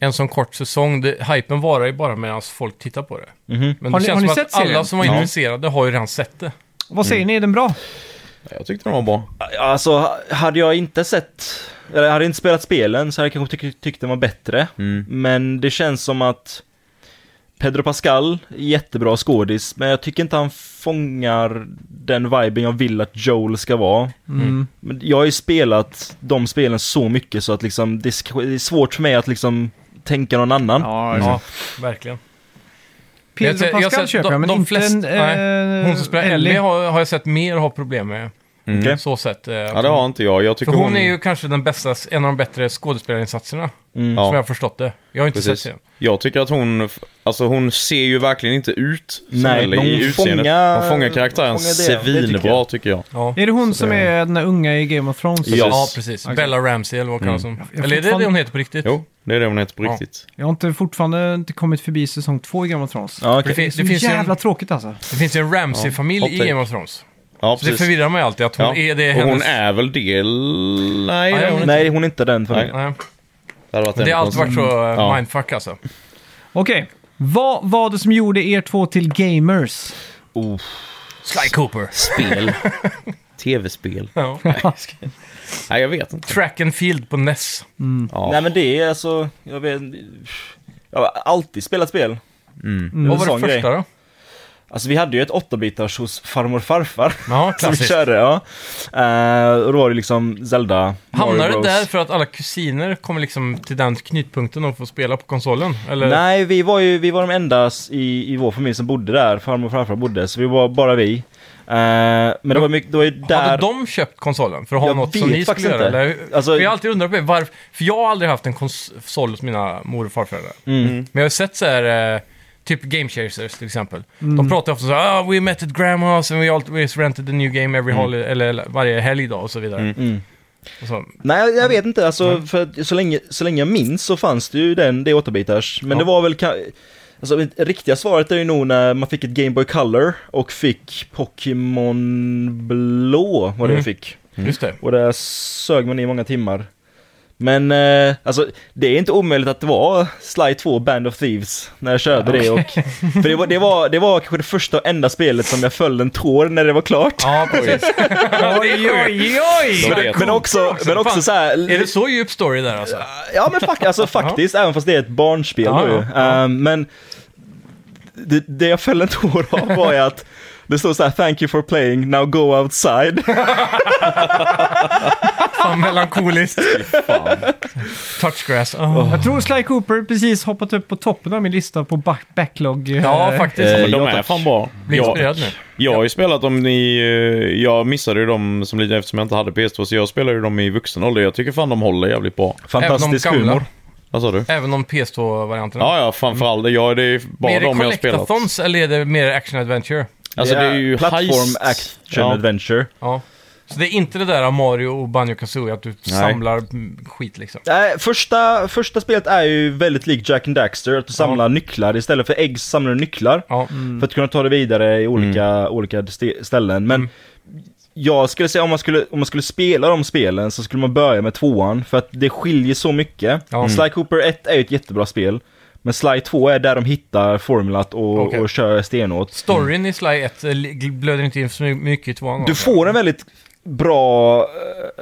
en sån kort säsong. Det, hypen varar ju bara medan folk tittar på det.
Mhm.
Men
Har
det
ni-
känns
har ni
som att
sett serien?
alla som var
Ja.
intresserade har ju redan sett det. Mm.
Vad säger ni, är den bra?
Jag tyckte de var bra.
Alltså, hade jag inte sett Eller jag hade inte spelat spelen så hade jag kanske tyck- tyckt den var bättre.
Mm.
Men det känns som att Pedro Pascal, är jättebra skådis, men jag tycker inte han fångar den viben jag vill att Joel ska vara.
Mm.
Men jag har ju spelat de spelen så mycket så att liksom, det är sk- det är svårt för mig att liksom tänka någon annan.
Ja,
Ja, verkligen. Jag ser-
Pedro
jag
Pascal
ser-
köper
de-
jag, men
de
inte
flest-
en,
nej.
eh,
Hon som spelar Ellie har, har jag sett mer ha problem med.
Mm.
Okej.
Så sett. eh,
Ja, det har inte jag. Jag
För
tycker
hon är ju kanske den bästa, en av de bättre skådespelarinsatserna.
Mm.
Ja.
Som jag har förstått det. Jag har inte
Precis.
sett det.
Jag tycker att hon... Alltså hon ser ju verkligen inte ut som
Nej,
Ellie
men
i
hon
utseendet.
fångar-
hon fångar karaktären
fångar det, det tycker jag.
svinbra tycker jag.
Ja,
Är det hon som är den där unga i Game of Thrones?
Ja.
ja precis.
Okej.
Bella Ramsey eller vad kallas hon?
jag
Eller är det
fortfarande-
det hon heter på riktigt?
Jo, det är det hon heter på
Ja.
riktigt.
Jag har inte, fortfarande inte kommit förbi säsong två i Game of Thrones.
Ja,
Det,
okej.
Det är
finns,
så
det, finns ju
jävla
en,
tråkigt alltså.
det finns ju en
Ja,
Ramsey-familj
hopp
i
dig.
Game of Thrones.
Ja,
Så det
precis.
förvirrar mig alltid att hon
Ja.
är det
Och hon
hennes...
är väl del... Nej,
Nej,
det-
hon är-
Nej, hon är inte den för mig.
Nej.
det hade varit
Det
ännu
har alltid varit
konstigt.
så eh,
Ja.
mindfuck alltså.
Okej, vad var det som gjorde er två till gamers?
Sly Cooper.
Spel. Tv-spel.
Ja.
Nej, jag vet inte.
Track and field på NES.
Ja.
Nej men det är alltså, jag vet Jag har alltid spelat spel. Mm.
Vad var det första då?
Alltså vi hade ju ett 8-bitars hos farmor och farfar.
Ja,
Som vi
klassiskt.
körde, ja. Eh, och då var det liksom Zelda,
Hamnade
Mario
det
Bros.
där för att alla kusiner kommer liksom till den knutpunkten och får spela på konsolen? Eller?
Nej, vi var ju vi var de enda s- i, i vår familj som bodde där, farmor och farfar bodde, så vi var bara vi. Eh, men det var, mycket, det var ju där...
Hade de köpt konsolen för att ha
Jag
något som
vet
ni skulle
faktiskt
göra?
inte.
Eller?
Alltså-
för jag har alltid undrat på det, varför, för jag har aldrig haft en konsol hos mina mor och farföräldrar.
Mm,
Men jag har sett så här, eh, typ Game Chasers till exempel. De pratar ofta så här, ah, we met at grandma's and we always rented a new game every
Mm.
holiday, eller, eller varje helg då och så vidare.
Mm.
Och så,
Mm.
Nej, jag vet inte. Alltså,
Mm.
för att så, länge, så länge jag minns så fanns det ju den, det 8-bitars. Men
Ja.
det var väl ka- Alltså det riktiga svaret är ju nog när man fick ett Game Boy Color och fick Pokémon Blå, var det
Mm.
jag fick.
just det.
Och där sög man i många timmar. Men eh, alltså, det är inte omöjligt att det var Sly 2 Band of Thieves när jag körde det. Och, för det var, det, var, det var kanske det första och enda spelet som jag följde en tår när det var klart.
Ja, precis. oj, oj, oj!
Då vet
Men
man.
också, men också
Fan.
så här,
Är det så djup story där alltså?
Ja men fak- alltså, faktiskt, även fast det är ett barnspel
Ja,
då ju.
ja, ja.
Ehm, Men det, det jag föll en tår av var ju att det stod så här “Thank you for playing, now go outside”.
Fan, melankoliskt. Touchgrass. Oh.
Jag tror Sly Cooper precis hoppat upp på toppen av min lista på back- backlog. eh,
Ja, faktiskt.
Eh,
Jag
de är fan bra.
Blir
Ja.
inspirerad nu.
Jag har ju spelat dem i... eh, Jag missade ju dem som liten eftersom jag inte hade PS2, så jag spelade ju dem i vuxen ålder. Jag tycker fan de håller jävligt bra.
Fantastisk
Även de gamla.
humor.
Vad sa du?
Även om PS2-varianterna.
Ja, ja, framförallt. Ja, det är bara
är det
de jag har spelat.
collectathons eller är det mer action adventure?
Alltså, det är ju
Platform
heist.
action
Ja.
adventure.
Ja. Så det är inte det där av Mario och Banjo Kazooie att du samlar mm, skit liksom?
Nej, första, första spelet är ju väldigt likt Jack and Daxter, att du samlar nycklar. Istället för ägg samlar du nycklar.
Ja.
För att kunna ta det vidare i olika, olika st- ställen. Men jag skulle säga om man skulle, om man skulle spela de spelen så skulle man börja med tvåan. För att det skiljer så mycket.
Ja.
Sly Cooper 1 är ju ett jättebra spel. Men Sly 2 är där de hittar formulat och,
Okej.
och kör stenåt.
Storyn i Sly 1 eh, li- blöder inte in så my- mycket i tvåan.
Du
va?
får en väldigt bra... eh,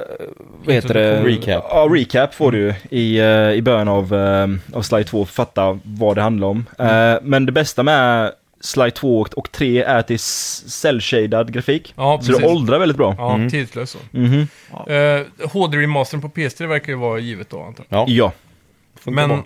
vad heter det?
Recap.
Ja, recap får du i, eh, i början av, eh, av Slide 2. Fatta vad det handlar om. Eh,
Mm.
men det bästa med Slide 2 och- och 3 är att det är s- cell-shaded grafik.
Ja,
så det
precis.
åldrar väldigt bra.
Ja, tidslös så.
Mhm.
Eh, HD-remastern på PS3 verkar ju vara givet då, antar
Ja,
Ja.
funkar
Men
bra.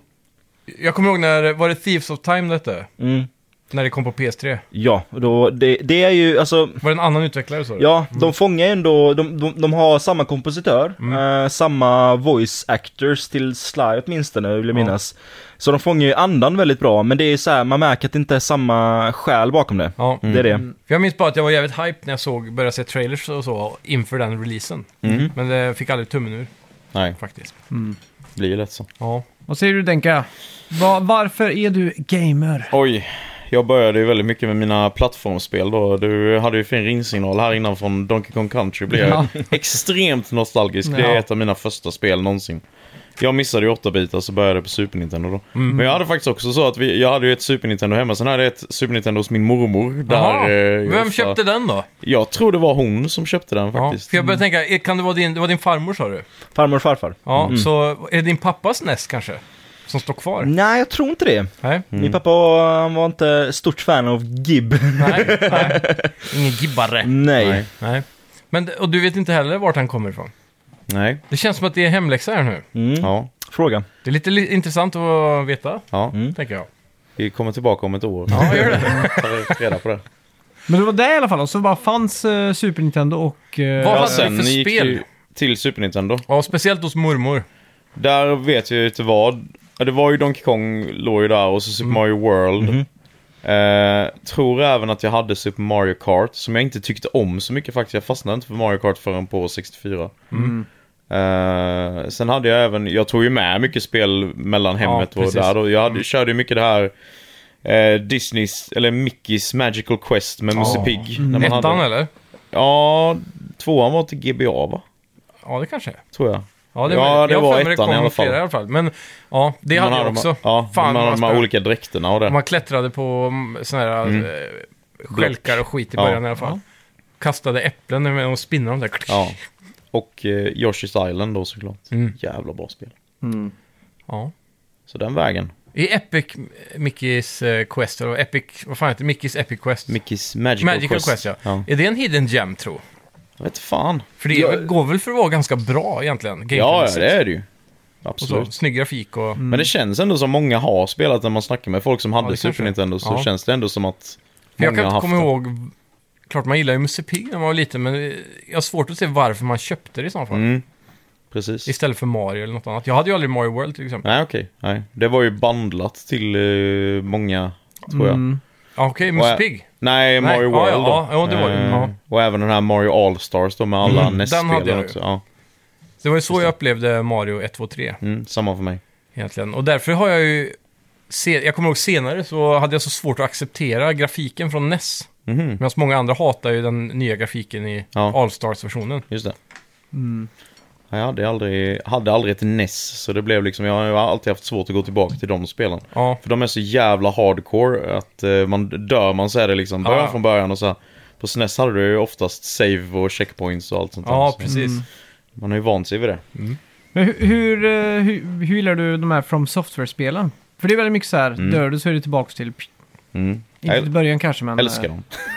jag kommer ihåg när, var det Thieves of Time detta?
Mm.
När det kom på PS3?
Ja, och då, det, det är ju alltså...
Var det en annan utvecklare så?
Ja, de fångar ju ändå, de, de, de har samma kompositör, eh, samma voice actors till Sly åtminstone vill jag
Ja.
minnas. Så de fångar ju andan väldigt bra, men det är så här, man märker att det inte är samma själ bakom det.
Ja.
Det är det.
För jag minns bara att jag var jävligt hype när jag såg, började se trailers och så inför den releasen. Men det fick aldrig tummen ur
Nej,
faktiskt.
det blir ju lätt så.
Ja.
Vad säger du Denka? Va- varför är du gamer?
Oj, jag började ju väldigt mycket med mina plattformsspel då. Du hade ju fin ringsignal här innan från Donkey Kong Country. Blev jag extremt nostalgisk. Det är
Ja.
ett av mina första spel någonsin. Jag missade ju 8-bitar så började jag på Super Nintendo då.
Mhm.
Men jag hade faktiskt också så att vi, jag hade ju ett Super Nintendo hemma. Sen hade jag ett Super Nintendo hos min mormor. Där,
Jaha.
eh, jag
Vem
ofta-
köpte den då?
Jag tror det var hon som köpte den
Ja,
faktiskt.
för jag började tänka, eh, kan det vara din, det var din farmor sa du?
Farmor och farfar.
Ja,
Mm.
så är det din pappas NES kanske? Som står kvar?
Nej, jag tror inte det.
Nej.
Min pappa var, han var inte stort fan av Gib.
Nej, nej. Ingen gibbare.
Mm.
Nej.
Nej.
Nej. Men, och du vet inte heller vart han kommer ifrån?
Mm. Nej.
Det känns som att det är hemläxa här nu.
Mm.
Ja.
Fråga.
Det är lite li- intressant att veta,
Ja.
tänker jag.
Vi kommer tillbaka om ett år.
Mm. Ja, gör det.
Tar reda på det.
Men det var det i alla fall. Och så bara fanns eh, Super Nintendo och... eh,
Vad
Ja,
hade du
sen
för
gick
spel?
du till Super Nintendo.
Ja, speciellt hos mormor.
Där vet jag ju inte vad. Ja, Det var ju Donkey Kong låg ju där och så Super Mario World. Eh, tror även att jag hade Super Mario Kart som jag inte tyckte om så mycket faktiskt. Jag fastnade inte för Mario Kart förrän på 64. Eh, sen hade jag även, jag tog ju med mycket spel mellan hemmet och
precis.
där. Då. Jag hade, körde ju mycket det här eh, Disneys, eller Mickeys Magical Quest med Musse Pigg. när man hade-
Ettan eller?
Ja, tvåan var till GBA va?
Ja, det kanske är.
Tror jag.
Ja, det,
Ja,
jag har
det
för
var
mig det
ettan i
kom
alla fall.
Flera, i alla fall. Men ja, det hade jag också.
De, ja,
Fan,
man hade de här
spelade.
olika dräkterna och det.
Man klättrade på mm, såna här eh, stjälkar och skit i
Ja.
början i alla fall. Kastade äpplen med och spinner dem där.
Ja. Och eh, Yoshi's Island då såklart.
Mm.
Jävla bra spel.
Ja.
Så den vägen.
I Epic Mickeys eh, Quest, eller Epic, vad fan heter det? Mickeys Epic Quest?
Mickeys Magical,
Magical Quest, ja. Är det en hidden gem, tro?
Jag vet fan.
För det
Ja.
går väl för att vara ganska bra egentligen?
Ja, ja,
gameplaymässigt.
det är det ju.
Och så,
Absolut. Mm.
snygg grafik och...
Men det känns ändå som många har spelat när man snackar med folk som hade
det kanske
Super
är.
Nintendo. Så
Ja.
känns det ändå som att
För
många
jag kan
har
inte
haft
komma
det.
ihåg... Klart man gillar ju Musse Pigg när man var liten, men jag har svårt att se varför man köpte det i så fall.
Mm. Precis.
Istället för Mario eller något annat. Jag hade ju aldrig Mario World till exempel.
Nej, okej. Nej. Det var ju bandlat till eh, många, tror jag.
Mm.
Ja, okej,
Och
Musse
jag-
Pigg. Nej,
Nej, Mario
ja,
World då.
ja, ja, det var det.
Eh,
Ja.
Och även den här Mario All-Stars då med alla
Mm, den hade jag
NES-spelen
ju.
också. Ja.
Det var ju så jag upplevde Mario 1, 2, 3
Mm, samma för mig.
egentligen. Och därför har jag ju... Se, jag kommer ihåg senare så hade jag så svårt att acceptera grafiken från E NES.
Mhm,
Medan många andra hatar ju den nya grafiken i
Ja.
Allstars-versionen.
just det.
Mm.
Ja, Jag hade aldrig, hade aldrig ett NES, så det blev liksom, jag har ju alltid haft svårt att gå tillbaka till de spelen.
Ja,
För de är så jävla hardcore att eh, man dör man så är det liksom början
Ja.
från början och så här. På SNES hade du ju oftast save och checkpoints och allt sånt där.
ja
Så
precis.
Mm.
Man har ju vant sig vid det.
Men hur, hur, eh, hur, hur gillar du de här From Software-spelen? För det är väldigt mycket så här, dör du så är du tillbaka till...
Mm.
Inte
Jag
till början kanske, men...
älskar dem.
eh,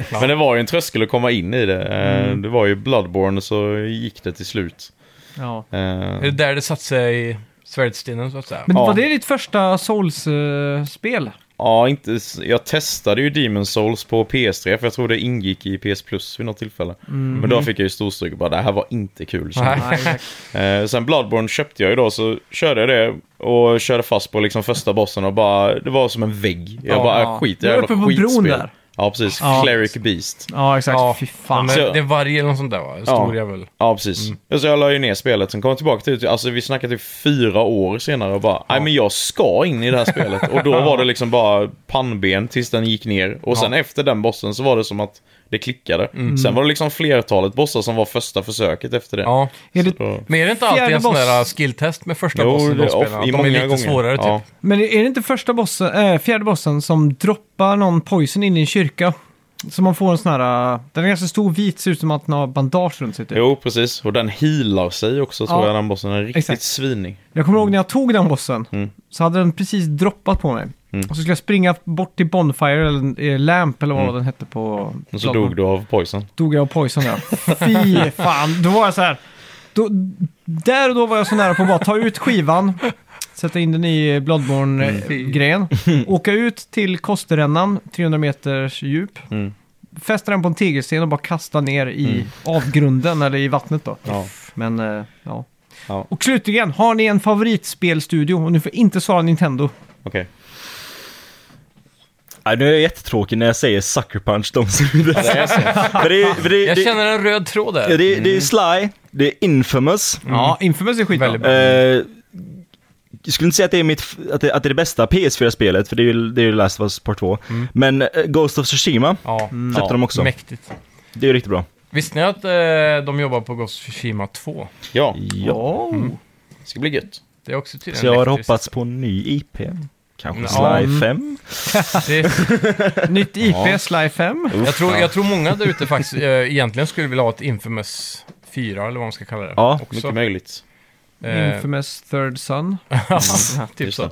Ja,
Men det var ju en tröskel att komma in i det. Eh,
Mm.
Det var ju Bloodborne så gick det till slut.
ja.
Eh,
Är det där det satte sig i svärdstenen så att säga?
Men
Ja.
var det ditt första eh, Souls-spel?
Ja, inte, s- jag testade ju Demon Souls på PS3 för jag tror det ingick i PS Plus vid något tillfälle. Men då fick jag ju storstryk och bara det här var inte kul. kände jag.
Nej.
Mhm. Nej, exakt.
Eh, sen Bloodborne köpte jag ju då så körde jag det och körde fast på liksom första bossen och bara det var som en vägg. Jag
Ja,
bara "Äh,
ja.
skit,
Du var
jävla
uppe på bron
skitspel.
där.
Ja, precis.
Ja.
Cleric Beast.
Ja, exakt.
Ja.
Fy fan.
Men
Så-
det är varje eller något sånt där va? En Stor
Ja.
jävel.
Ja, precis. Så jag la ju ner spelet, sen kom jag tillbaka till alltså vi snackade typ fyra år senare och bara, nej men jag ska in i det här spelet. Och då var det liksom bara pannben tills den gick ner. Och sen efter den bossen så var det som att det klickade. Sen var det liksom flertalet bossar som var första försöket efter det.
Ja.
Är det,
Så,
Men är det inte alltid
Fjärde
en sån
boss.
där skilltest med första
jo,
bossen
det,
de
off,
spelarna? Att
i
De
många
är lite
gånger.
svårare typ.
Ja.
men är det inte första bossen, eh, fjärde bossen som droppar någon poison in i en kyrka? Så man får en sån här... eh, Den är ganska stor vit, ser ut som att den har bandage runt sig. Typ.
Jo, precis. Och den healar sig också tror
Ja.
jag, den bossen. Den är riktigt
Exakt.
svinig.
Jag kommer
Mm.
ihåg när jag tog den bossen, så hade den precis droppat på mig.
Mm.
Och så skulle jag springa bort till Bonfire eller eh, Lamp eller vad den hette på...
Mm. Och så dog du av poison.
Dog jag av poison ja. Fy fan, då var jag så här. Då, där och då var jag så nära på att bara ta ut skivan, sätta in den i Bloodborne-grejen,
Mm.
åka ut till Kosterrännan, 300 meters djup,
Mm.
fästa den på en tegelsten och bara kasta ner i avgrunden eller i vattnet då.
Ja.
Men eh, ja.
Ja.
Och slutligen, har ni en favoritspelstudio? Och nu får inte svara Nintendo.
Okej.
Nej, nu är jag jättetråkig när jag säger Sucker Punch de som
Ja, det är så.
för det, är- för det,
Jag
det,
känner en röd tråd där.
ja, det, det är Sly, det är Infamous,
Ja, Infamous är skitbra.
Väldigt
eh, jag skulle inte säga att det är, mitt, f- att det, att det, är det bästa PS4-spelet, för det är ju, det är ju Last of Us Part 2. Men eh, Ghost of Tsushima
Mm. Ja,
Mm.
släppte de också.
mäktigt.
Det är ju riktigt bra.
Visste ni att eh, de jobbar på Ghost of Tsushima 2?
Ja,
Ja.
Mm. det ska bli gött.
Det är också tydligen
Så jag har
elektriskt.
hoppats på en ny IP. Kanske
Ja.
Sly 5?
Det,
Nytt IP, Sly 5.
jag, tror, jag tror många där ute faktiskt eh, egentligen skulle vilja ha ett Infamous 4, eller vad man ska kalla det.
Ja,
Mycket möjligt.
Eh,
Infamous Third Son.
typ
Just
så.
det.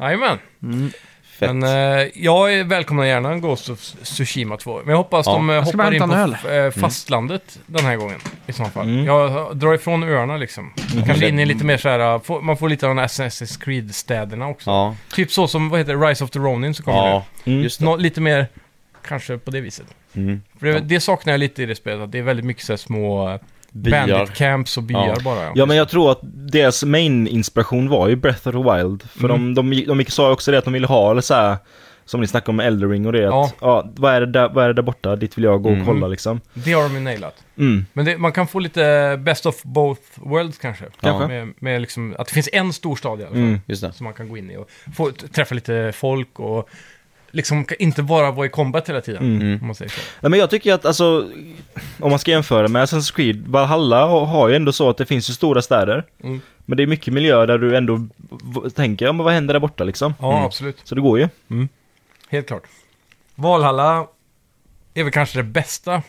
Jajamän.
Mm.
Fett.
Men eh, jag välkomnar gärna en Ghost of Tsushima 2. Men jag hoppas
Ja. Mm.
de eh,
Jag ska bara
hoppar in på
hämta en Mm.
f- eh, fastlandet den här gången. I så fall. Jag drar ifrån öarna liksom.
Mm.
Kanske in i lite mer så här, eh, få- man får lite av den här Assassin's Creed-städerna också.
ja,
Typ så som, vad heter det, Rise of the Ronin som kommer
ja.
Mm.
just
nu.
det.
Nå, lite mer, kanske på det viset.
Mm.
För det, det saknar jag lite i det spelet, att det är väldigt mycket så här små eh, bandit
Byar.
camps och byar
Ja.
bara.
Ja men jag tror att deras main-inspiration var ju Breath of the Wild. För
Mm.
de, de, de gick- sa ju också det att de ville ha, eller så här, som ni snackade om Eldering och det,
Ja.
att ja, vad, är det där, vad är det där borta? Dit vill jag gå och
Mm.
kolla liksom.
Det har de ju nailat.
Mm.
Men det, man kan få lite best of both worlds kanske.
Kanske.
Med, med liksom, att det finns en storstad i alla fall.
Mm.
Just det.
Som man kan gå in i och få, t- träffa lite folk och liksom ka- inte bara vara i combat hela tiden.
Mm.
Om man säger så.
Nej, men jag tycker att alltså, om man ska jämföra med Assassin's Creed, Valhalla har- har ju ändå så att det finns ju stora städer.
Mm.
Men det är mycket miljöer där du ändå v- tänker, ja men vad händer där borta liksom?
Ja, absolut.
Så det går ju.
Helt klart. Valhalla är väl kanske det bästa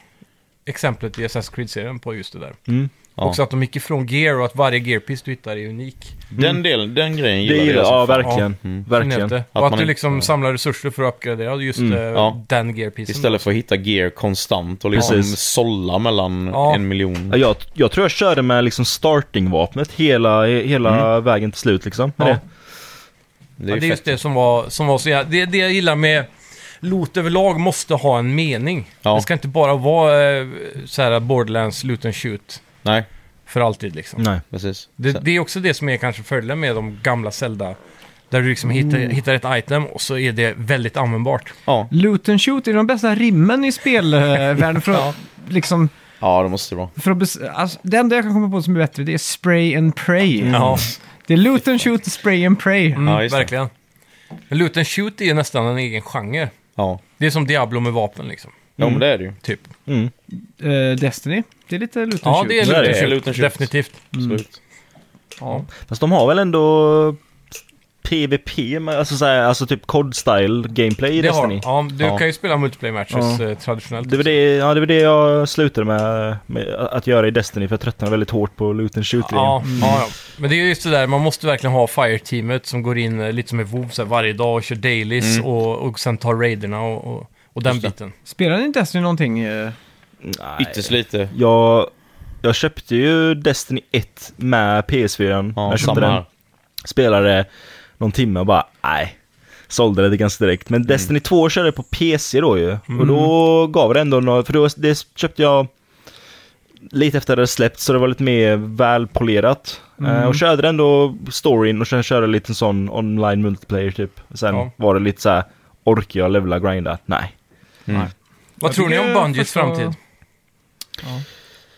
exemplet i Assassin's Creed-serien på just det där.
Mm.
Ja.
Också att de gick ifrån gear och att varje gearpiece du hittar är unik.
Den, delen, den grejen
Det
gillar
gillar
jag.
jag, ja
alltså.
verkligen. Verkligen.
Att
Att
och att
man
du
inte-
liksom samlar resurser för att uppgradera just eh,
ja.
den gearpicen.
Istället för att hitta gear konstant och liksom
Precis.
sålla mellan
Ja.
en miljon.
Ja, Jag, jag tror jag körde med liksom starting-vapnet hela, he- hela vägen till slut liksom. Med
Ja.
det.
Det
Ja,
är
det är
ju
just
fett.
det som var, som var så jävla... Det, det jag gillar med loot överlag måste ha en mening.
Ja.
Det ska inte bara vara eh, så här borderlands loot and shoot
Nej,
för alltid liksom.
Nej.
precis.
Det,
Sen-
det är också det som är kanske fördelen med de gamla Zelda. Där du liksom hittar,
Mm.
hittar ett item och så är det väldigt användbart.
Ja.
Loot and shoot är de bästa rimmen i spelvärlden. För, att liksom,
ja, det måste det vara.
för att bes- alltså, det enda jag kan komma på som är bättre det är spray and pray.
Ja,
Det är loot and shoot, spray and pray.
mm,
Ja, just det.
verkligen. Men loot and shoot är ju nästan en egen genre.
Ja,
Det är som Diablo med vapen liksom.
ja men det är det ju.
Typ.
Mm.
Eh, Destiny, det är lite loot and
Ja,
shoot.
det är
Det
loot and
är
shoot.
loot and shoot.
Definitivt.
Absolut.
Ja.
Fast de har väl ändå PVP, men alltså, så här, alltså typ COD-style gameplay i
Det har,
Destiny.
de. ja, du
Ja.
kan ju spela multiplayer matches
Ja.
eh, traditionellt.
Det var det, ja, det var det jag slutade med, med att göra i Destiny för jag tröttnade väldigt hårt på loot and shoot
Ja,
Mm.
ja, ja. Men det är ju just det där, man måste verkligen ha Fire-teamet som går in eh, lite som i WoW så här, varje dag och kör dailies och, och sen tar raiderna och, och, och den
Mm. Just det.
biten.
Spelar ni Destiny någonting? eh?
Ytterst lite.
Jag, jag köpte ju Destiny 1 med PS4.
Ja,
när jag köpte
samma
den.
här.
Spelade någon timme och bara, nej. Sålde det ganska direkt.
Mm.
Men Destiny 2 körde jag på PC då ju. Och då gav det ändå något, för då, det köpte jag lite efter det hade släppt så det var lite mer välpolerat. Eh,
Mm.
och körde det ändå storyn och sen körde lite en sån online multiplayer typ. Sen
Ja.
var det lite så här, orkar jag levla grinda? Nej.
Vad
Jag
tror ni
tycker
om Bungies
första-
framtid?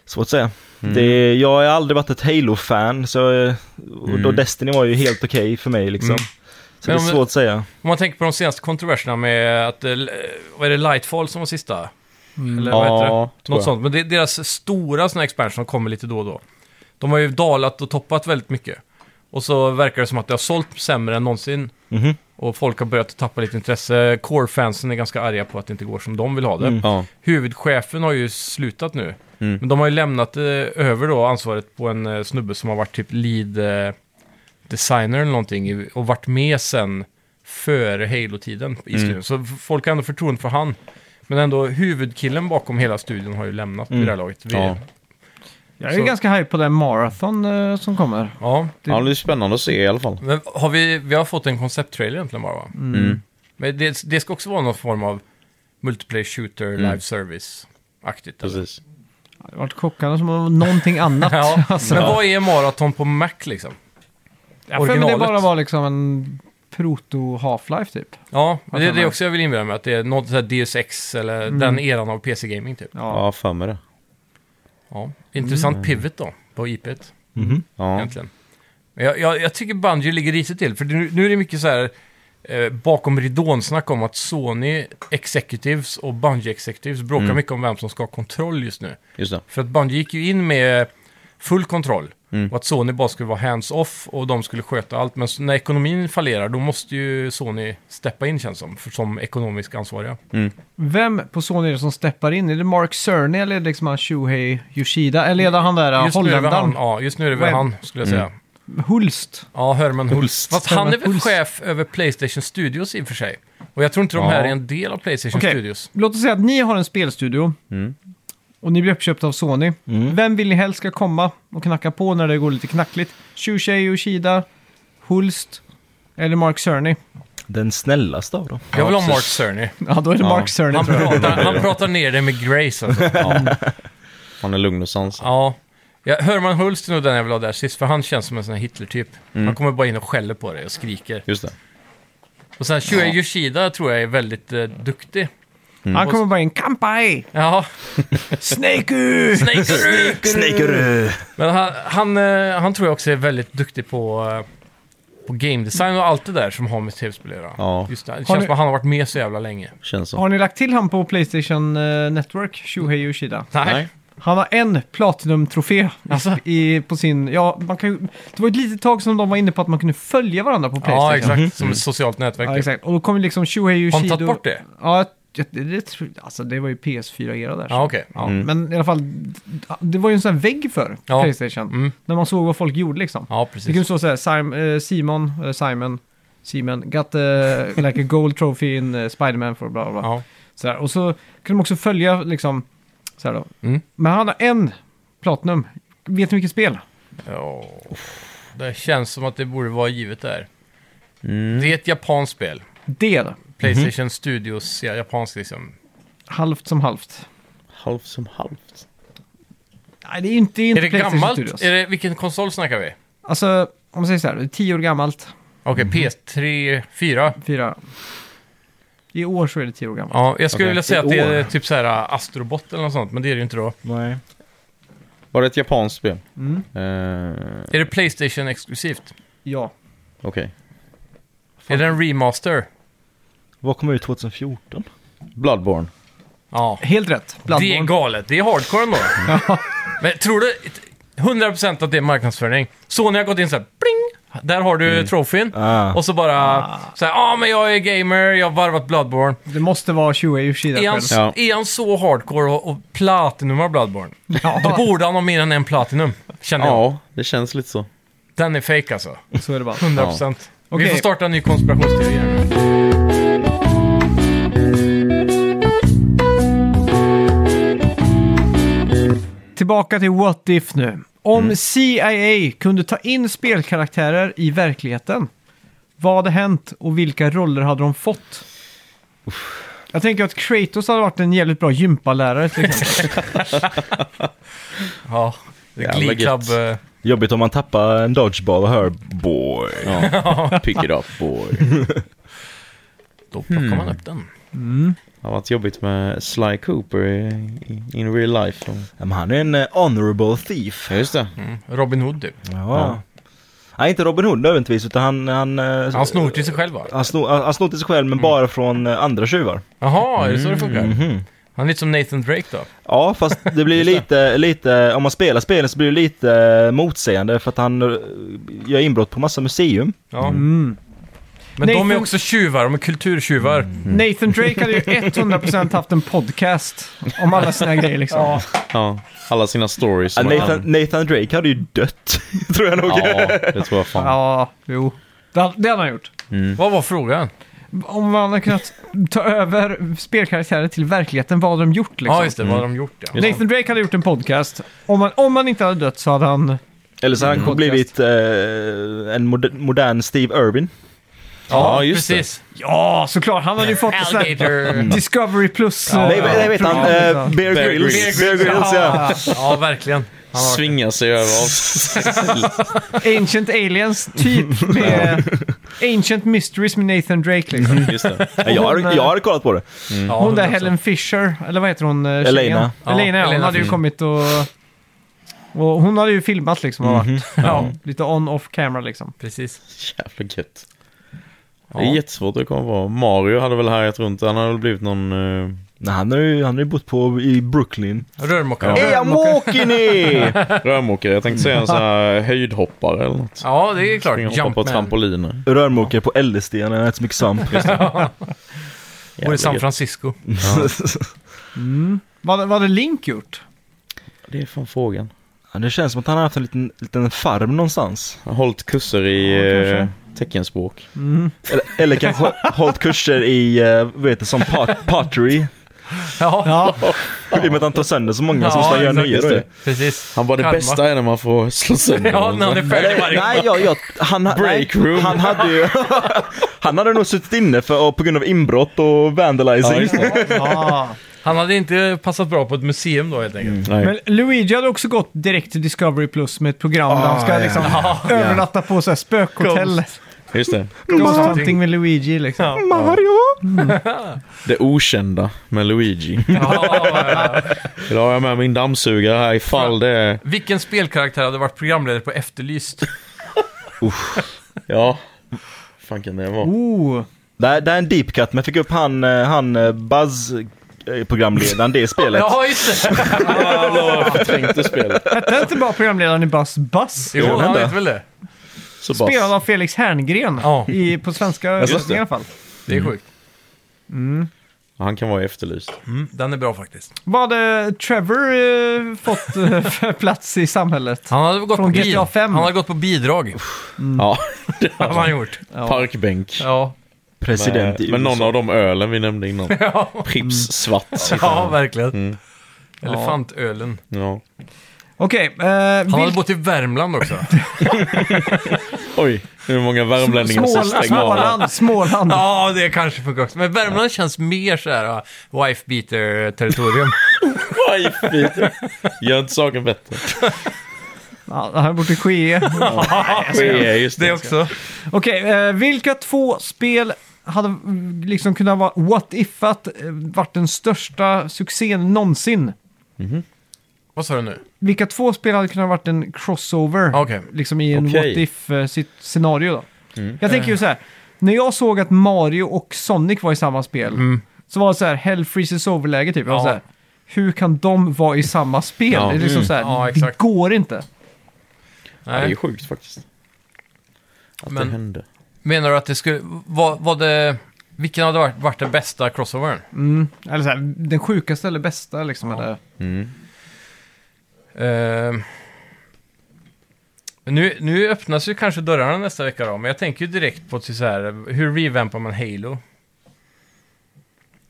Svårt att säga.
Mm.
Det, jag har aldrig varit ett Halo-fan, så eh, och då Destiny var ju helt okej för mig liksom. Så
Mm. Men
det är
om-
svårt att säga.
Om man tänker på de senaste kontroverserna med att, eh, vad är det, Lightfall som var sista?
Mm.
Eller vad
Ja,
heter
tror
det? Något
jag.
sånt. Men det, deras stora sådana expansion som kommer lite då och då. De har ju dalat och toppat väldigt mycket. Och så verkar det som att det har sålt sämre än någonsin.
Mhm.
Och folk har börjat tappa lite intresse. Core-fansen är ganska arga på att det inte går som de vill ha det.
Ja.
Huvudchefen har ju slutat nu.
Mm.
Men de har ju lämnat eh, över då ansvaret på en eh, snubbe som har varit typ lead eh, designer eller någonting i- och varit med sen före Halo-tiden i
Mm.
studion. Så f- folk har ändå förtroende för han. Men ändå huvudkillen bakom hela studion har ju lämnat vid det här laget. Vi, ja.
Mm. Ja.
Jag är
Så-
ganska hype på den marathon eh, som kommer.
ja, men det är spännande att se i alla fall.
Men har vi, vi har fått en koncepttrailer egentligen bara va?
Mm.
Men det, det ska också vara någon form av multiplayer shooter, live service-aktigt. eller?
Mm. Precis.
Det har varit chockande som om någonting annat.
Ja,
alltså.
men vad är maraton på Mac liksom?
Jag för mig det
originalet?
bara var liksom en proto-half-life typ.
Ja, men det
för
är
Mm. mig.
det också jag vill inbjuda mig. Att det är något sånt här Deus Ex eller den eran av PC-gaming typ.
Ja.
Ja, för mig det.
Mm.
Ja. Intressant pivot då, på IP
Ja.
egentligen. Men jag, jag, jag tycker Bungie ligger risigt till, för nu, nu är det mycket så här eh, bakom ridån-snack om att Sony Executives och Bungie Executives bråkar
Mm.
mycket om vem som ska ha kontroll just nu.
Just det.
För att Bungie gick ju in med full kontroll.
Mm.
Och att Sony bara skulle vara hands-off och de skulle sköta allt. Men så när ekonomin fallerar, då måste ju Sony steppa in känns det som. För, som ekonomiskt ansvariga.
Vem på Sony är det som steppar in? Är det Mark Cerny eller är det liksom han Shuhei Yoshida? Eller är det han där
Just nu är det väl han,
holländaren?
ja, just nu är det väl
Webb.
han skulle jag säga.
Mm.
Hulst?
Ja, Herman Hulst. Fast han är
Herman
väl
Hulst.
chef över Playstation Studios i och för sig. Och jag tror inte de här
Ja.
är en del av Playstation
Okej.
Studios.
Låt oss säga att ni har en spelstudio.
Mm.
Och ni blir uppköpta av Sony.
Mm.
Vem vill ni helst ska komma och knacka på när det går lite knackligt? Shushei Yoshida, Hulst eller Mark Cerny?
Den snällaste av dem.
Jag vill ha Mark
precis.
Cerny.
Ja, då är det
Ja.
Mark Cerny
Han
tror jag.
pratar, han pratar ner det med Grace alltså.
Ja. Han är lugn och sansad.
Ja. ja. Herman Hulst är nog den jag vill ha där sist, för han känns som en sån här Hitler-typ.
Mm.
Han kommer bara in och skäller på dig och skriker.
Just det.
Och sen Shuei Yoshida tror jag är väldigt eh, duktig.
Han kommer bara in, kampai!
Ja,
Snakeu!
Snake Root!
Snakerö!
Men han, han, eh, han tror jag också är väldigt duktig på, eh, på game design och allt det där som har med tv-spel att göra.
Ja.
Just det. det
Har
känns
ni-
som att han har varit med så jävla länge.
Känns så.
Har ni lagt till han på Playstation eh, Network, Shuhei Yoshida?
Nej.
Han har en Platinum-trofé
Alltså.
i, på sin... Ja, man kan, ju- det var ett litet tag som de var inne på att man kunde följa varandra på Playstation. Mhm.
Ja, exakt. Som ett socialt nätverk.
Ja,
typ.
exakt. Och då kom ju liksom Shuhei Yoshido...
Har de tagit bort det?
Ja, jag- det, det, tror- alltså, det var ju PS4-era där. så.
Ja, okej.
Ja, Men i alla fall, det var ju en sån här vägg för
Ja.
Playstation.
Mm.
När man såg vad folk gjorde liksom.
Ja,
Det kunde
precis.
stå så här, Sim, eh, Simon, eh, Simon, Simon, got eh, like a gold trophy in eh, Spider-Man for bla bla bla.
Ja.
Så här. Och så kunde de också följa liksom, så här då.
Mm.
Men han har en Platinum. Vet ni vilket spel?
Ja. Det känns som att det borde vara givet där. Det är ett japanskt spel.
Det.
Playstation
Mhm.
Studios, ja, japanskt liksom.
Halvt som halvt.
Halvt som halvt.
Nej, det är inte, det är inte
Är det
Playstation
gammalt?
Studios.
Är det, vilken konsol snackar vi?
Alltså, om man säger så här, det är tio år gammalt,
Okej,
Mhm.
PS3, 4.
fyra. I år så är det tio år gammalt.
Ja, jag skulle
Okej.
vilja säga att
I
det är
år.
typ så här Astrobot eller något sånt, men det är det ju inte då.
Nej.
Var det ett japanskt spel?
Mm.
Eh,
Är det Playstation exklusivt?
Ja.
Okej.
Är det en remaster?
Vad kom ut 2014?
Bloodborne.
Ja.
Helt rätt.
Det är
Bloodborne.
galet. Det är hardcore ändå. Men tror du 100% att det är marknadsföring? Sony har gått in så här, pling! Där har du trofén.
Ah.
Och så bara så här, ja ah, men jag är gamer, jag har varvat Bloodborne.
Det måste vara Shuei Yoshida
Är han,
själv.
Ja.
är han så hardcore och, och platinumar Bloodborne? Då
Ja,
borde han ha mer än en platinum, känner jag.
Ja, det känns lite så.
Den är fake alltså.
så är det bara.
100%.
Okej.
Vi får starta en ny konspirationsteori här nu.
Tillbaka till What If nu. Om
Mm.
CIA kunde ta in spelkaraktärer i verkligheten, vad hade hänt och vilka roller hade de fått? Jag tänker att Kratos hade varit en jävligt bra gympalärare till exempel.
Ja.
Jävla
Glee
gött.
Club. eh,
Jobbigt om man tappar en dodgeball och hör boy.
Ja. Pick it up boy.
Då plockar man upp den.
Det har varit jobbigt med Sly Cooper i, i, in real life.
Ja, men han är en eh, honorable thief.
Ja, just det.
Robin Hood typ.
Ja. Nej, inte Robin Hood nödvändigtvis, utan han... Han, eh,
Han snor till sig själv va?
han, snor, han han snor till sig själv, men bara från eh, andra tjuvar.
Jaha, är det så det funkar? Han är lite som Nathan Drake då.
Ja, fast det blir ju lite, lite, om man spelar spelet så blir det lite eh, motsägande för att han eh, gör inbrott på massa museum.
Ja.
Mm.
Men de är
Nathan- Mhm.
också tjuvar, de är kulturtjuvar.
Nathan Drake hade ju 100% haft en podcast om alla sina grejer liksom.
Ja.
Ja. Alla sina stories.
Ja,
som man
Nathan,
kan-
Nathan Drake hade ju dött, tror jag nog.
Ja, det tror jag fan.
Ja, jo. Det hade det hade han gjort.
Vad var frågan?
Om man hade kunnat ta över spelkaraktärer till verkligheten, vad hade de gjort
Ja,
liksom?
just det. Vad har de gjort? Ja.
Nathan Drake hade gjort en podcast. Om han, om han inte hade dött så hade han...
Eller så hade han
Mm.
blivit eh, en moder- modern Steve Irwin.
Ja, just det.
precis.
Ja, såklart. Han hade ju fått ett sånt här
Alligator.
Discovery Plus... eh,
nej, nej, vet han.
program,
eh,
liksom. Ah,
Bear
Bear
Grylls.
Grylls.
Bear Grylls, ja.
Ja, verkligen.
Mm.
Han har varit-
Svinga sig över oss.
Ancient Aliens, typ med... Ancient Mysteries med Nathan Drake liksom.
Just det.
Ja, Jag har, jag har kollat på det.
Ja,
Hon där
100%.
Helen Fisher, eller vad heter hon? eh, tjejen?
Elena.
Elena, ja,
Ja,
hon
Elena
hade ju
Fisher.
kommit och Och hon hade ju filmat liksom och varit
Mhm. Ja,
lite on-off camera liksom.
precis.
Jävla gött. Det
Ja.
är jättesvårt att komma på. Mario hade väl härjat runt. Han hade väl blivit någon... eh,
Nej, han har ju, han har ju bott på, i Brooklyn.
Rörmokare.
Är jag Mokini?
Rörmokare, jag tänkte säga en sån här höjdhoppare eller något.
Ja, det är klart.
Springa och hoppa på
Jumpman.
trampoliner.
Rörmokare på LSD när han äter så mycket svamp.
Bor i
Jävla
San
gött.
Francisco.
Mm.
Vad, vad hade Link gjort?
Det är fan frågan.
ja, det känns som att han har haft en liten, liten farm någonstans.
Han har hållit kurser i
Ja, kanske.
eh, teckenspråk.
Eller, eller kanske hållit kurser i, eh, vad heter det, som pot- pottery.
Ja,
Ja,
I och med att han tar sönder så många som
Ja,
ska göra
exakt,
nya.
just
då ju.
det.
precis.
Han bara, det
Kalmar.
bästa är när man får slå sönder
Ja, när han är
varandra.
färdig varje gång.
Nej, jag, jag, han,
Break
nej,
room.
han hade ju... han hade nog suttit inne för, på grund av inbrott och vandalizing.
ja.
Han hade inte passat bra på ett museum då helt enkelt.
Nej.
Men Luigi hade också gått direkt till Discovery Plus med ett program där han ska liksom övernatta på så här spökhotell.
Just det.
Ghost
Ghost
hunting med Luigi liksom.
Ja.
Mario!
Det okända med Luigi.
Ja, ja, ja.
Idag har jag med min dammsugare här ifall det är...
Vilken spelkaraktär hade varit programledare på Efterlyst?
Ja. fan kan det vara?
Oh,
Det här det här är en deep cut, men jag fick upp han, eh, han eh, Buzz eh, programledaren, det spelet.
Ja, just det!
Tänkte spelet.
hette han inte bara programledaren i Buzz Buzz?
Jo, han
hände.
vet väl det.
Så
Spelad
bara...
av Felix Herngren
Ja.
i, på svenska översättning i alla fall.
Det är sjukt.
Han kan vara efterlyst.
Mm, den är bra faktiskt.
Vad hade Trevor eh, fått eh, för plats i samhället?
Han hade gått,
Från
på, bid-
GTA fem.
han hade gått på bidrag.
Ja.
hade han gjort.
Parkbänk.
Ja,
President i
med, med någon
USA.
av de ölen vi nämnde innan. Pripps svart.
ja verkligen.
Ja.
Mm. Elefantölen.
Ja.
Okej, eh,
Han hade
vilk-
bott i Värmland också.
Oj, hur många värmlänningar som
Smål-
stänger av den.
Småland. Småland.
ja, det kanske funkar också. Men Värmland känns mer så här uh, wife beater-territorium.
Wifi. Gör inte saken bättre.
Ja, han har bott i Skee.
Ske, just
det
det.
också.
Okej, eh, vilka två spel hade mm, liksom kunnat vara what if att eh, varit den största succén någonsin?
Vad sa du nu?
Vilka två spel hade kunnat varit en crossover?
Okej.
Liksom i en
Okej. Mm.
what if eh, sitt scenario då. Jag tänker ju så här. När jag såg att Mario och Sonic var i samma spel. Så var det så här, Hell freezes over-läge typ. Jag var
Mm. Ja.
så här, hur kan de vara i samma spel?
Ja.
Det är liksom
Mm.
så här,
Ja,
det
exakt.
går inte.
Det är
Nej.
ju sjukt faktiskt. Att
Men-
det hände.
Menar du att det skulle... Vad, vad det... Vilken hade varit, varit den bästa crossovern?
Eller så här, den sjukaste eller bästa liksom. Eller,
Ehm. nu, nu öppnas ju kanske dörrarna nästa vecka då, men jag tänker ju direkt på till så här, hur revampar man Halo?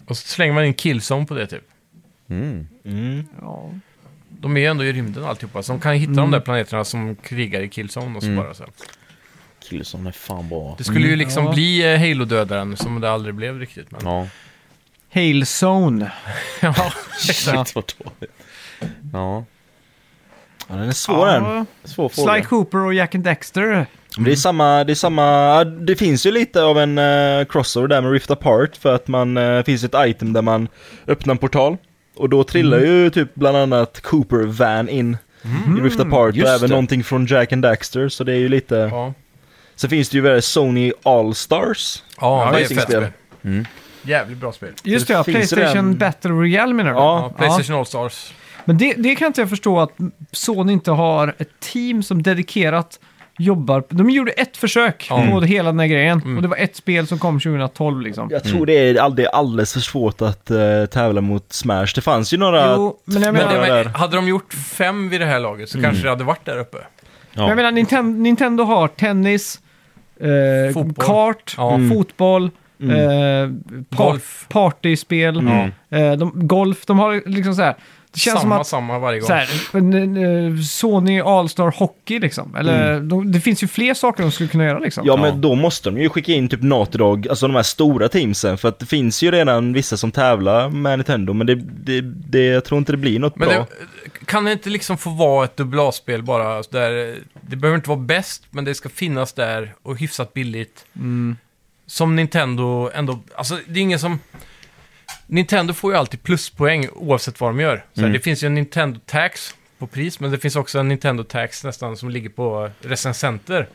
Och så slänger man in Killzone på det typ.
Mm.
Mm.
ja. Mm.
De är ju ändå i rymden alltihopa, så de kan hitta de där planeterna som krigar i Killzone och så
Mm.
bara så. här.
Killson är fan bra.
Det skulle ju liksom
Mm. ja.
bli eh, Halo-dödaren som det aldrig blev riktigt. Men...
Ja.
Hail Zone.
Ja.
Shit vad dåligt. Ja.
Ja, den är svår den.
Ja.
Svår fråga.
Sly Cooper och Jack and Dexter.
Men det är samma, det är samma, det finns ju lite av en eh, crossover där med Rift Apart för att man, eh, finns ett item där man öppnar en portal och då trillar ju typ bland annat Cooper Van in i Rift Apart och
just
även
det.
någonting från Jack and Daxter så det är ju lite,
ja.
sen finns det ju väl Sony All-Stars.
Ja, det är ett fett
racingspel.
spel.
Mm.
Jävligt bra spel.
Just det,
Det
ja,
finns ju
Playstation
den-
Battle Royale menar du?
Ja,
Ja, Playstation All-Stars.
Men det, det kan inte jag förstå att Sony inte har ett team som dedikerat jobbar. De gjorde ett försök
Ja. Mm.
på hela den här grejen och det var ett spel som kom 2012 liksom.
Jag tror det, är, all- det är alldeles för svårt att eh, tävla mot Smash. Det fanns ju några...
Jo, men jag
Men,
menar,
det-
men,
där. Mm.
hade de gjort fem vid det här laget så kanske det hade varit där uppe.
Ja.
jag menar Nintendo, Nintendo har tennis, eh,
Fotboll.
kart,
Ja.
fotboll, eh, par-
Golf. Mm.
partyspel, eh, de, golf. De har liksom så här. Det känns
samma,
som att
samma varje gång.
Så här, en, en, eh, Sony All-Star Hockey liksom. Eller, de, det finns ju fler saker de skulle kunna göra liksom.
Ja men då måste de ju skicka in typ Natidog, alltså de här stora teamsen för att det finns ju redan vissa som tävlar med Nintendo men det, det, det jag tror inte det blir något
Men
bra.
det, kan det inte liksom få vara ett dubbla-spel bara? Där, det behöver inte vara bäst, men det ska finnas där och hyfsat billigt. Som Nintendo ändå... Alltså, det är ingen som... Nintendo får ju alltid pluspoäng oavsett vad de gör. Så här, Det finns ju en Nintendo Tax på pris, men det finns också en Nintendo Tax nästan som ligger på recensenter.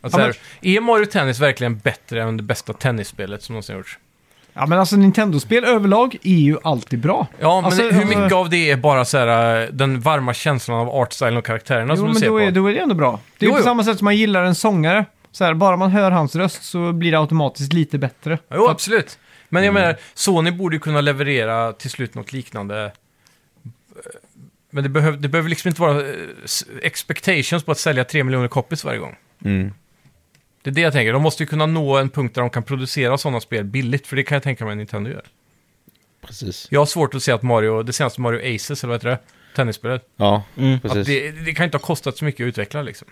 Alltså
Ja,
här, Är Mario Tennis verkligen bättre än det bästa tennisspelet som någonsin gjorts?
Ja, men alltså Nintendo-spel överlag är ju alltid bra.
Ja, men
Alltså,
hur
alltså-
mycket av det är bara så här, eh, den varma känslan av artstylen och karaktärerna
jo,
som du
men
ser
då
på?
är, då är det ändå bra. Det är ju
Jo,
på
jo.
samma sätt som man gillar en sångare. Så här, bara man hör hans röst så blir det automatiskt lite bättre.
Jo, absolut. Men
Mm.
jag menar, Sony borde ju kunna leverera till slut något liknande. Men det, behöv, det behöver liksom inte vara eh, s- expectations på att sälja 3 miljoner copies varje gång.
Mm.
Det är det jag tänker. De måste ju kunna nå en punkt där de kan producera sådana spel billigt, för det kan jag tänka mig att Nintendo gör.
Precis.
Jag har svårt att se att Mario, det senaste Mario Aces, eller vad heter det? Tennisspelet.
Ja,
Mm.
precis.
Att det, det kan inte ha kostat så mycket att utveckla liksom.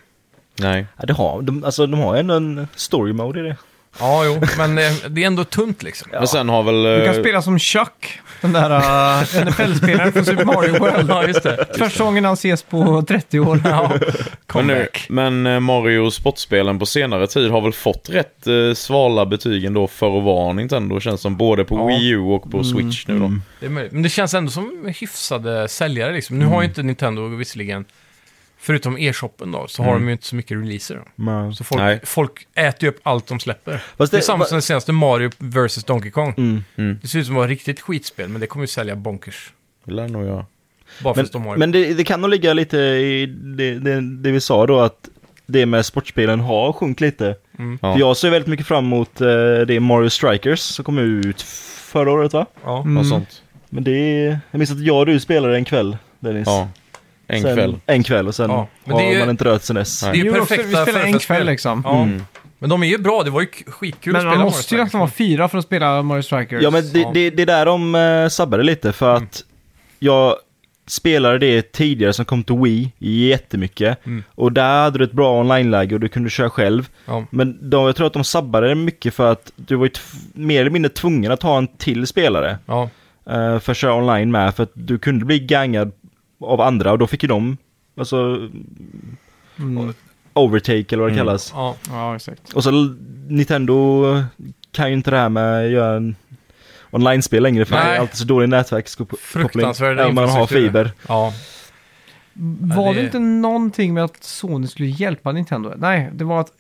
Nej.
Ja, det har, de, alltså, de har ju ändå en story mode i det.
Ja, jo, men eh, det är ändå tunt liksom.
Men sen har väl...
Du kan
eh,
spela som Chuck, den där uh, NFL-spelaren från Super Mario World.
Ja, just det.
Första gången han ses på 30 år.
Ja,
men, nu,
comeback.
men eh, Mario sportspelen på senare tid har väl fått rätt eh, svala betyg ändå för att vara Nintendo känns som. Både på
Ja. Mm.
Wii U och på Switch nu då.
Det är möjligt. Men det känns ändå som hyfsade säljare liksom. Nu har ju inte Nintendo visserligen, förutom e-shoppen då, så har de ju inte så mycket releaser. Då. Så
Nej.
folk, folk äter ju upp allt de släpper.
Fast
det,
det-
är samma
va-
som det senaste Mario vs Donkey Kong.
Mm.
Det ser ut som att vara riktigt skitspel, men det kommer ju sälja bonkers.
Det lär nog jag.
Bara för
Men,
att de har
men det, det kan nog ligga lite i det, det, det vi sa då att det med sportspelen har sjunkit lite.
Mm.
Ja.
För jag ser väldigt mycket fram emot eh, det Mario Strikers som kom ut förra året va?
ja.
Mm.
Något sånt.
Men det är, jag minns att jag och du spelade en kväll Dennis.
Ja. En
sen,
kväll.
En kväll och sen
Ja, men det är
har
ju-
man inte rört sen dess.
Nej.
Det är ju
Jo, också,
perfekta
vi spelar en
förfestspel.
kväll liksom.
Ja. Men de är ju bra, det var ju k- skitkul
Men
att
man
spela
måste ju
Mario
nästan vara fyra för att spela Mario Strikers.
Ja men det,
Ja.
det, det är där de eh, sabbade lite för att jag spelade det tidigare som kom till Wii jättemycket.
Mm.
Och där hade du ett bra online-läge och du kunde köra själv.
Ja.
Men de, jag tror att de sabbade det mycket för att du var ju tv- mer eller mindre tvungen att ha en till spelare
Ja.
eh, för att köra online med. För att du kunde bli gangad av andra och då fick ju de, alltså
Mm.
overtake eller vad det kallas.
Ja.
Ja, exakt.
Och så l- Nintendo kan ju inte det här med att göra en online-spel längre för det
Nej.
är alltid så dålig nätverkskoppling.
Fruktansvärd
Även om man har
infrastruktur.
fiber.
ja.
Var
det-
det inte någonting med att Sony skulle hjälpa Nintendo? Nej, det var att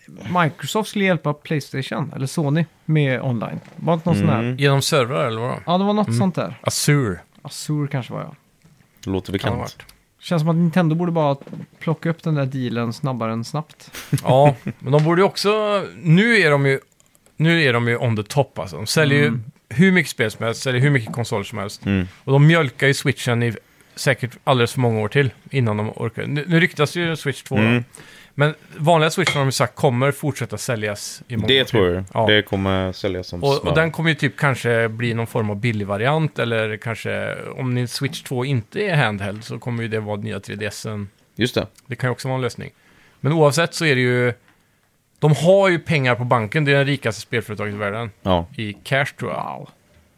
Microsoft skulle hjälpa Playstation, eller Sony, med online. Var det inte någon
Mm.
sån där?
Genom servrar eller vadå?
Ja, det var något sånt där.
Azure.
Azure kanske var jag.
kan
Låter
det ha
bekant.
varit.
Känns som att Nintendo borde bara plocka upp den där dealen snabbare än snabbt.
Ja, men de borde ju också... Nu är de ju, nu är de ju on the top alltså. De säljer ju hur mycket spel som helst, säljer hur mycket konsoler som helst.
Mm.
Och de mjölkar ju switchen i säkert alldeles för många år till innan de orkar. Nu, nu ryktas ju Switch 2
Mm.
då. Men vanliga Switch har de ju sagt kommer fortsätta säljas i många år
Det
till.
tror jag.
Ja.
Det kommer säljas som
Och,
smör.
och den kommer ju typ kanske bli någon form av billig variant eller kanske om ni Switch 2 inte är handheld så kommer ju det vara nya 3DSen.
Just det.
Det kan ju också vara en lösning. Men oavsett så är det ju... De har ju pengar på banken. Det är den rikaste spelföretaget i världen.
Ja.
I cash tror jag.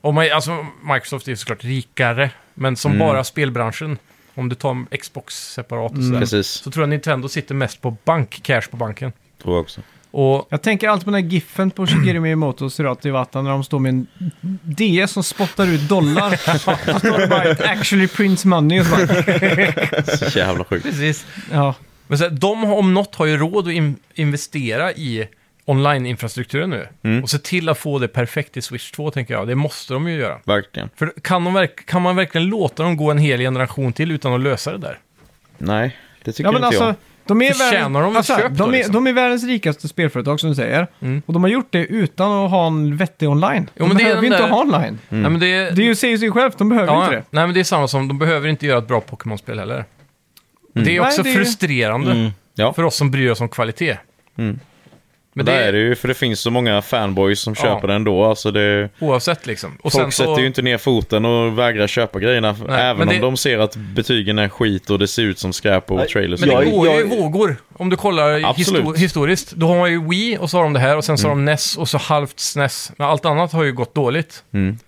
Och man, alltså, Microsoft är ju såklart rikare. Men som bara spelbranschen. Om du tar Xbox separat och
Mm.
sådär.
Precis.
Så tror jag Nintendo sitter mest på bank, cash på banken.
Tror jag också.
Och
Jag tänker alltid på den här giffen på Shigeru Miyamoto och i vatten när de står med en DS som spottar ut dollar. Så står det bara "It actually prints money och så bara,
Så jävla sjukt.
precis.
ja.
Men så här, de har- om något har ju råd att in, investera i online-infrastrukturen nu.
Mm.
Och se till att få det perfekt i Switch 2 tänker jag. Det måste de ju göra.
Verkligen.
För kan, de verk- kan man verkligen låta dem gå en hel generation till utan att lösa det där?
Nej, det tycker
Ja men
inte
alltså,
jag.
de är,
Förtjänar
världens-
de ett
alltså,
köp då,
de, är,
liksom? Mm.
de är världens rikaste spelföretag som du säger. Och de har gjort det utan att ha en vettig online.
Jo,
de
men det är
behöver
den
inte
där-
ha online.
Mm.
Nej, men det,
Det är ju, säger sig självt, de behöver
ja,
inte det.
Nej, men det är samma som, de behöver inte göra ett bra Pokémon-spel heller. Det är
Nej,
också
det är-
frustrerande
Mm. Ja. Mm.
för oss som bryr oss om kvalitet. Men det
Där är
är
det ju, för det finns så många fanboys som
Ja.
köper den då. Alltså det,
oavsett liksom. Och
folk sätter ju inte ner foten och vägrar köpa grejerna. även
men
om
det-
de ser att betygen är skit och det ser ut som skräp och
Nej,
trailers.
Men
och
det
Jag-
grejer.
går ju i
jag-
vågor. Om du kollar
Absolut.
histo- historiskt. Då har man ju Wii och så har de det här och sen så har de NES och så halvt SNES. Men allt annat har ju gått dåligt.
Mm.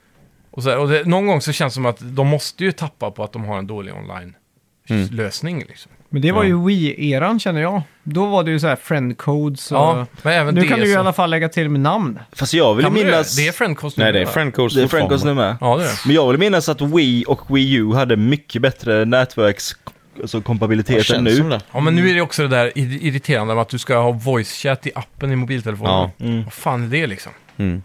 Och, så här, och det, någon gång så känns det som att de måste ju tappa på att de har en dålig
Mm.
online-lösning. Liksom.
Men det var ju Wii-eran känner jag. Då var det ju så här friend codes och...
Ja, men även
nu
det
kan du ju i
så-
alla fall lägga till med namn.
Fast jag vill
Kan man
minnas...
det? Det är friendcost
Nej, det är friendcodes
det är Francos nu med.
Ja, det är det.
Men jag vill minnas att Wii och Wii U hade mycket bättre nätverks alltså,
Det
kompabiliteten
känns
nu.
som det.
Ja, men nu är det också det där ir- irriterande med att du ska ha voice chat i appen i mobiltelefonen.
Ja.
Mm.
Vad fan är det liksom?
Mm.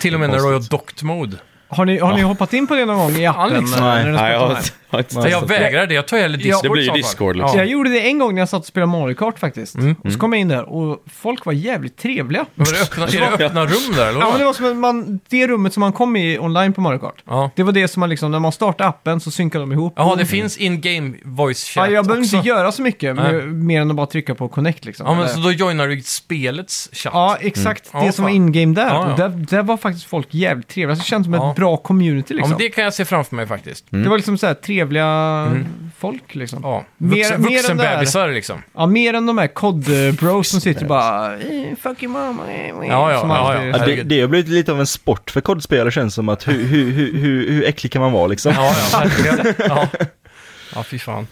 Till och med när du
Konstigt.
har docked mode.
Har ni, har ni hoppat in på det någon gång i appen?
Alex,
eh,
nej.
när ni
Nej, jag
spelar
har
online?
inte- jag har inte
Nej.
Nej,
testat
jag vägrar det. Jag tar hellre Discord.
Det blir ju
i så fall.
Discord,
Ja.
liksom.
Jag gjorde det en gång när jag satt och spelade Mario Kart faktiskt.
Mm.
Och så kom jag in där och folk var jävligt trevliga.
Men Var det öppna, är det öppna rum där eller?
Ja, men
vad?
det var som en- man, det rummet som man kom i online på Mario Kart.
Ja.
Det var det som man liksom, när man startade appen så synkade de ihop.
Jaha, det finns in-game voice
ja,
chat
jag behöver
också.
inte göra så mycket,
Nej.
men, mer än att bara trycka på connect liksom.
Ja, men
Eller-
så då joinar du spelets chatt.
ja exakt
Mm.
det
Ja,
som var
fan.
in-game där.
Ja, ja.
Och där. Där var faktiskt folk jävligt trevliga. Så det kändes som
Ja.
ett bra community
Ja,
liksom.
men
det...
det kan jag se framför mig faktiskt.
Mm.
var liksom så här trevliga
Mm.
folk liksom. Ja.
Ja.
Mer-
Vuxen,
mer än
vuxenbebisar liksom.
mer än de här COD-bros som sitter bara eh, “Fuck your mama”. eh, eh,
Ja, ja,
som
ja,
alltid-
ja.
Ja, det, det har blivit lite av en sport för kodspelare känns som att hur, hur, hur, hur, hur äcklig kan man vara liksom?
Ja, ja, verkligen. Ja, ja fy fan.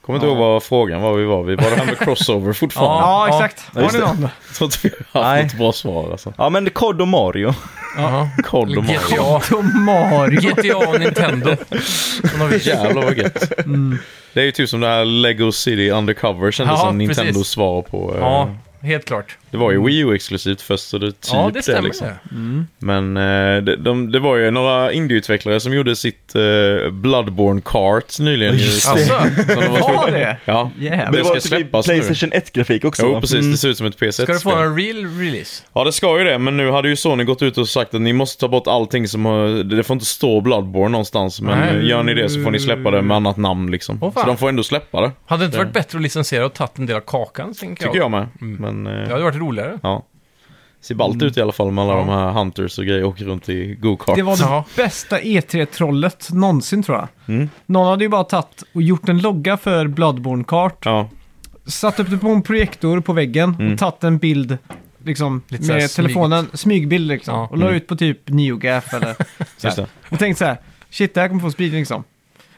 Kommer inte ihåg vad frågan var vi var vid. Var det här med crossover fortfarande?
Ja,
Ja.
exakt.
Ja,
Har
just
ni någon?
Jag tror inte vi har haft
Nej.
något bra svar alltså.
Ja men kod och Mario.
Ja.
Kod och Mario.
GTA,
Tom Mario.
GTA och Nintendo. Sån har vi.
Jävlar vad gött. Det är ju typ som det här Lego City Undercover kändes
Ja,
som Nintendos
precis.
svar på. eh,
Ja, helt klart.
Det var ju Wii U exklusivt först så det typ
Ja, det stämmer.
liksom. Men eh, de, de, det var ju några indieutvecklare som gjorde sitt eh, Bloodborne Kart nyligen. ju,
Just
som-
Alltså,
som de var tvungna-
Var det?
Ja,
Jävlar.
det typ
var
ska
till
släppas nu.
Playstation 1-grafik också
Jo,
va?
precis. Det ser ut som ett PS1-spel.
ska du få en real release?
Ja, det ska ju det, men nu hade ju Sony gått ut och sagt att ni måste ta bort allting som har... Det får inte stå Bloodborne någonstans, men eh,
Nej.
gör ni det så får ni släppa det med annat namn liksom.
Åh, fan.
så de får ändå släppa det,
Hade det inte varit bättre att licensiera och tagit en del av kakan? Tänker
tycker jag med. Men,
Det
eh,
hade varit roligare.
ja. Ser ballt ut i alla fall med alla
Ja.
de här hunters och grejer, åker runt i go-kart.
Det var det
Ja. Mm.
bästa E3-trollet någonsin tror jag. Någon hade ju bara tagit och gjort en logga för Bloodborne Kart,
Ja,
satt upp det på en projektor på väggen
Mm.
och tagit en bild liksom,
Lite så här
med
smyg.
telefonen, smygbild liksom.
Ja. Mm.
Och la ut på typ NeoGaf eller så
just
här.
det.
Och tänkte så här, shit det här kommer få spridning liksom.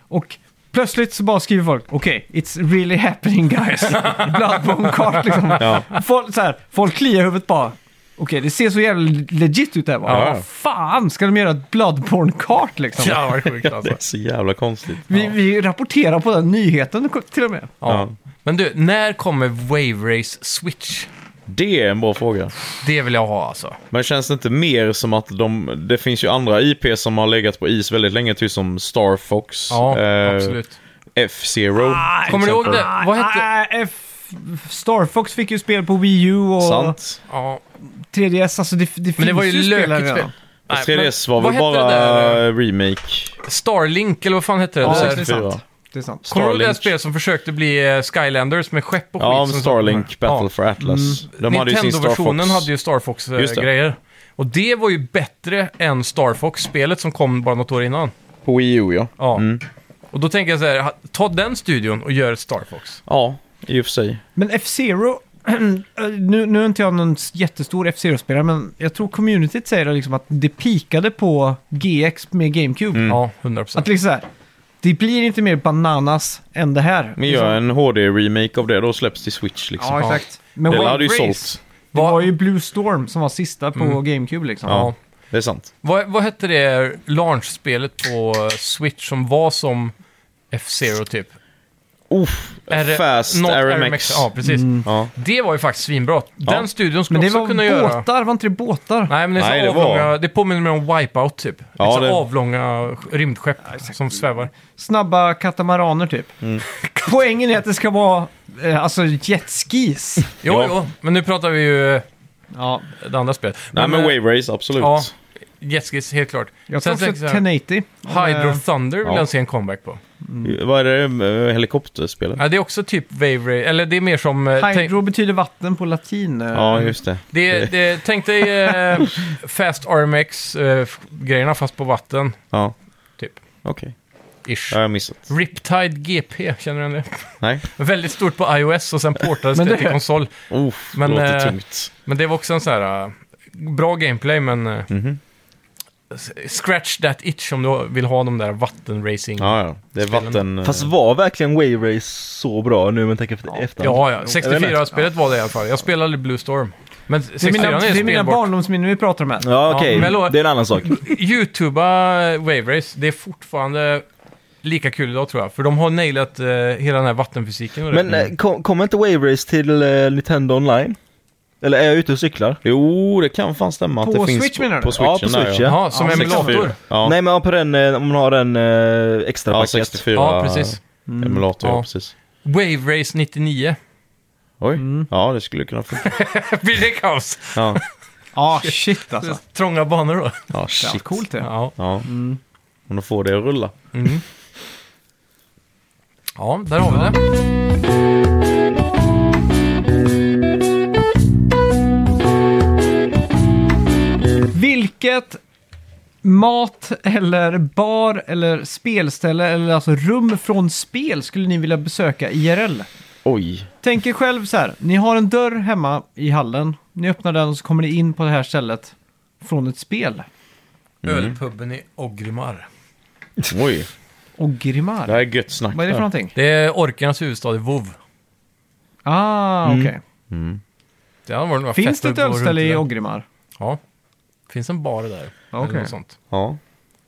Och plötsligt så bara skriver folk, okej, it's really happening guys. Bloodborne Kart liksom.
Ja.
Folk, så här, folk kliar i huvudet bara. Okej, det ser så jävla legit ut det här va?
Ja.
Vad fan ska de göra ett Bloodborne-kart liksom?
Ja, vad sjukt alltså.
Det är så jävla konstigt.
Vi, vi rapporterar på den nyheten till och med.
Ja. Men du, när kommer Wave Race Switch?
Det är en bra fråga.
Det vill jag ha alltså.
Men känns det inte mer som att de... Det finns ju andra IP som har legat på is väldigt länge, typ som Star Fox.
Ja,
eh,
absolut. Ah,
F-Zero.
Kommer du ihåg det? Vad hette...
Nej, Ah, eh, F- Star Fox fick ju spel på Wii U och
Sant.
Ja,
3DS. Alltså det, det
men
finns
det var ju
spel
lökigt
här redan.
spel. Nej, men
3DS var
vad
väl
hette det där? eh,
bara remake?
Starlink, eller vad fan hette det?
Ja,
det
det
där?
är
64.
sant. Det är sant.
Kommer du ihåg det här
Starlink.
spelet som försökte bli eh, Skylanders med skepp och
Ja,
skit? som-
Starlink Battle
Ja. Mm.
for Atlas. De hade ju sin Star
Nintendo-versionen
Fox.
hade ju Star
Just det.
Fox-grejer. Och det var ju bättre än Star Fox-spelet som kom bara något år innan.
På Wii U, ja.
Ja. Och då tänker jag så här, ha- ta den studion och gör ett Star Fox.
Ja, i och för sig.
Men F-Zero, eh, nu, nu är inte jag någon jättestor F-Zero-spelare, men jag tror communityt säger det liksom att det pikade på GX med GameCube.
Mm.
Ja, 100%.
Att liksom så här, det blir inte mer bananas än det här.
Men gör
Liksom-
en HD-remake av det, då släpps till Switch liksom.
Ja, exakt. Men
det
Wave
hade ju
Race,
sålt. Mm.
Det var ju Blue Storm som var sista på GameCube liksom.
Ja, det är sant.
Vad, vad hette det launch-spelet på eh, Switch som var som F-Zero typ?
Uff,
R-
Fast
något
RMX.
Ja, precis.
Ja.
Det var ju faktiskt svinbra. Den
Ja.
studion skulle
Men det
också
var
kunna
båtar,
göra...
var inte det båtar?
Nej, men det, är
Nej,
så
det var-
avlånga, det påminner mig om Wipeout typ.
Ja,
liksom
det-
avlånga rymdskepp som svävar.
Snabba katamaraner typ. Poängen är att det ska vara eh, alltså jetskis.
Jo,
Ja.
jo, men nu pratar vi ju eh,
ja,
det andra spelet.
Nej, men
eh,
Wave Race, absolut.
Ja,
Ja.
Jetskis, helt klart.
jag tar
Sen
också
tänker jag så
1080.
här, Hydro
Eh,
Thunder vill
Ja.
jag se en comeback på.
Vad är det? eh, Helikopterspelet?
Ja, det är också typ Wave Ray, eller det är mer som... eh, tänk-
Hydro betyder vatten på latin. eh.
Ja, just det.
det, det, tänk dig eh, Fast RMX-grejerna eh, fast på vatten,
Ja,
typ.
okej.
Ish.
Det har jag missat.
Riptide GP, känner du igen det?
Nej.
Väldigt stort på iOS och sen portades
Men
det
det-
till konsol.
Uff,
Men,
det låter
eh,
tungt.
Men det var också en sån här... eh, bra gameplay, men... eh,
Mhm.
s- Scratch that itch om du vill ha de där vattenracing...
Ja, ja. Det är
spelen.
vatten... eh,
Fast var verkligen Wave Race så bra nu men tänker efter efterhand?
Ja, ja.
Jag vet
64-spelet var det i alla fall. Jag spelade Blue Storm. Men
det är
64
mina, det är mina
spelbart.
barndomsminnen vi pratar om här.
Ja
Ja,
okej,
men Mm. lo-
det är en annan sak.
Youtuba Wave Race, det är fortfarande lika kul idag tror jag. För de har nailat eh, hela den här vattenfysiken och det.
Men eh, kom, kommer inte Wave Race till eh, Nintendo Online? Eller är jag ute och cyklar?
Jo, det kan fan stämma
På
att det finns
Switch menar du?
på
Ja, på
switchen. där,
Switch,
ja.
Jaha, som
Ja,
emulator.
64. Ja,
Nej men ja, på den, eh, om man har en eh, extra
ja
paket.
64.
Ja, precis.
Emulator, ja.
Mm. Ja.
precis.
Wave Race 99.
Oj, ja det skulle kunna funka.
Blir det kaos?
Ja,
Ja, shit alltså.
Trånga banor då.
ja
Ja,
shit.
coolt det.
Ja.
Ja. Om de får det att rulla.
Mm. Ja, där har vi det.
Vilket mat eller bar eller spelställe eller alltså rum från spel skulle ni vilja besöka IRL?
Oj.
Tänk er själv så här, ni har en dörr hemma i hallen. Ni öppnar den och så kommer ni in på det här stället från ett spel.
Ölpubben i Ogrimar.
Oj,
Och
det
Grimar.
här är gött snack.
Vad är det för
där.
någonting?
Det är orkarnas huvudstad i WoW.
Ah, okej.
Det hade varit några
Finns
fester
det ett
att gå runt
ölställe
i
i
där.
Ogrimar?
Ja. Finns en bar där.
Okej.
Eller något sånt.
Ja.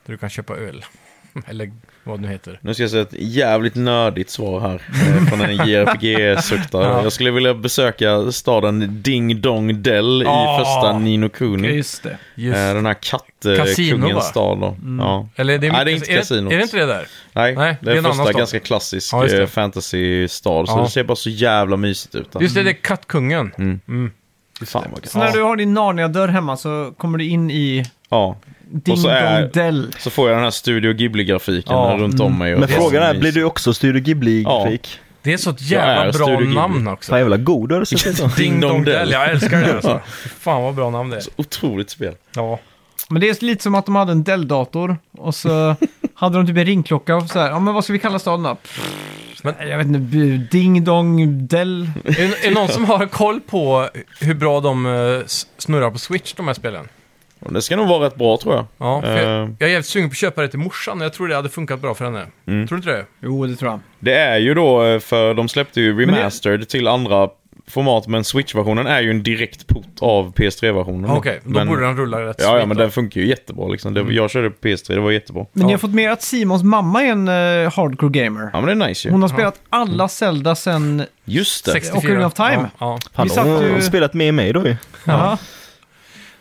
Där du kan köpa öl. Eller vad det nu heter.
Nu ska jag säga ett jävligt nördigt svar här eh, från en JRPG-suktare.
Ja.
Jag skulle vilja besöka staden Ding Dong Dell
Ah.
i första Nino Kuni.
Just det.
Just.
Eh, Den här
Casino, va? Mm.
kattkungens stad då. Ja.
Eller det är,
Nej, det är
mycket-
inte kasinot.
Är det inte det där? Nej,
Nej, det är,
det är
en
en annan
första
stad.
ganska klassisk
Ja, just det.
eh, fantasy-stad. Så
Ja.
det ser bara så jävla mysigt ut. där.
Just det, det är Kattkungen.
Mm. Fan vad gött.
Så när du har din Narnia-dörr hemma så kommer du in i
Ja.
Ding
så är-
Dong Dell.
Så får jag den här Studio Ghibli-grafiken
Ja.
här runt om mig. och
Men
det är så
frågan är,
mysigt.
blir du också Studio Ghibli-grafik?
Det är så ett
Jag
jävla bra
är Studio Ghibli.
namn också.
Fan jävla god du har sett ut.
Ding Dong Dell,
Ja.
jag älskar det alltså. Fan vad bra namn det är.
Otroligt spel.
Ja.
Men det är lite som att de hade en Dell-dator och så hade de typ en ringklocka och så här, ja men vad ska vi kalla staden då?
Men-
Men, jag vet inte, bu- Ding Dong Dell.
Är, är det någon som har koll på hur bra de eh, s- snurrar på Switch, de här spelen?
Och det ska nog vara rätt bra tror jag.
Ja, för
Eh.
jag, jag är jävligt sugen på att köpa det till morsan och jag tror det hade funkat bra för henne.
Mm.
Tror du inte det?
Jo, det tror jag.
Det är ju då, eh, för de släppte ju remastered till andra format, men Switch-versionen är ju en direkt port av PS3-versionen.
Ja, Okej, då
Men-
borde den Mm. rulla rätt
Ja, ja,
smidigt
men
då.
den funkar ju jättebra liksom. Det, Jag körde på PS3, det var jättebra.
Men ni har fått med att Simons mamma är en eh, hardcore gamer.
Ja, men det är nice ju.
Hon har spelat alla Zelda sen...
Just det.
64.
Ocarina of Time.
Ja,
Fan,
satt
hon
ju-
har spelat med mig då ju.
Ja.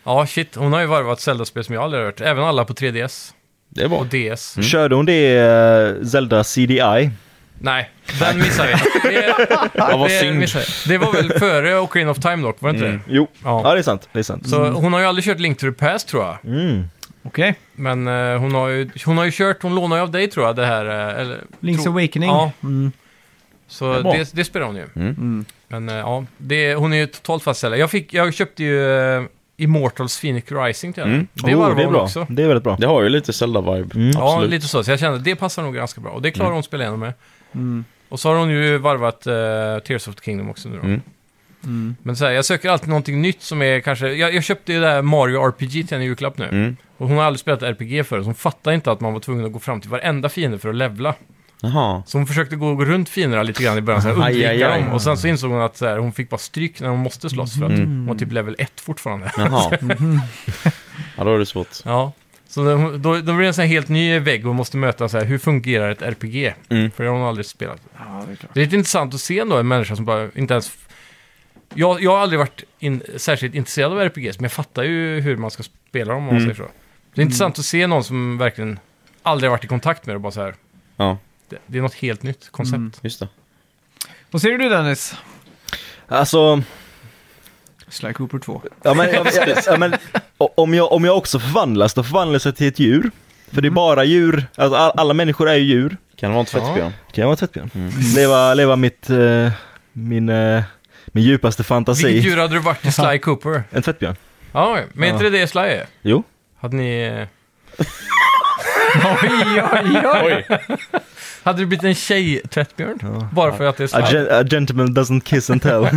ja. ja, shit. Hon har ju varvat Zelda-spel som jag aldrig har hört. Även alla på 3DS
Det är bra.
och DS.
Körde hon det eh, Zelda CDI?
Nej, den missar vi. Det,
Ja, vad
det,
synd. Mm.
missar vi. det var väl före Ocarina of Time dock, var det inte det?
Jo.
Ja.
Ja. det är sant. Det är sant.
Mm.
Så hon har ju aldrig kört Link to the Past tror jag.
Mm.
Okej.
Men eh, hon, har ju, hon har ju kört, hon lånar ju av dig tror jag det här. eh, Eller,
Link's
tro,
Awakening.
Ja.
Mm.
Så
bra.
det, det spelar hon ju.
Mm.
Men eh, ja, det, hon är ju totalt fastställd. Jag, fick, jag köpte ju eh, Immortals Phoenix Rising till henne.
Mm.
Det
Oh,
var
det är
hon
bra.
också.
Det är väldigt bra.
Det har ju lite Zelda-vibe.
Mm.
Ja,
Absolut.
lite så. Så jag kände att det passar nog ganska bra. Och det klarar hon att spela igenom med.
Mm.
Och så har hon ju varvat eh, Tears of the Kingdom också nu då.
Mm.
Mm.
Men så här, jag söker alltid någonting nytt som är kanske... Jag, jag köpte ju det här Mario RPG till henne i julklapp nu.
Mm.
Och hon har aldrig spelat RPG förut, så hon fattade inte att man var tvungen att gå fram till varenda fiende för att levla.
Jaha.
Så hon försökte gå gå runt fienderna lite grann i början, så här,
Aj,
undvika
aj, aj.
dem. Och sen så insåg hon att så här, hon fick bara stryk när hon måste slåss, för att
Mm.
hon var typ level 1 fortfarande.
Jaha.
Mm.
ja, då är det svårt.
Ja. Så då, då, då blir det en sån här helt ny vägg och hon måste möta så här, hur fungerar ett RPG?
Mm.
För det har hon aldrig spelat.
Ja, det är klart.
Det är lite intressant att se ändå en människa som bara inte ens... Jag, jag har aldrig varit in, särskilt intresserad av RPGs, men jag fattar ju hur man ska spela dem om man
Mm.
säger så. Det är intressant att se någon som verkligen aldrig har varit i kontakt med det och bara så här.
Ja,
Det, det är något helt nytt koncept.
just det.
Vad säger du Dennis?
Alltså,
Sly Cooper 2.
ja, men, ja, men- ja, men, o- om, jag, om jag också förvandlas, då förvandlas jag till ett djur. För det är bara djur, alltså, all, alla människor är ju djur.
Kan det vara en tvättbjörn?
Kan jag vara tvättbjörn? Leva, leva mitt, eh, min, eh, min djupaste
Vilket
fantasi.
djur hade du varit i Sly Cooper?
En tvättbjörn?
Ja, oj. men är inte det det Sly är?
Jo.
Hade ni...
Oj, oj, oj.
Oj!
Hade du blivit en tjej-tvättbjörn? Bara för att det är Sly?
A, gen- a gentleman doesn't kiss and tell.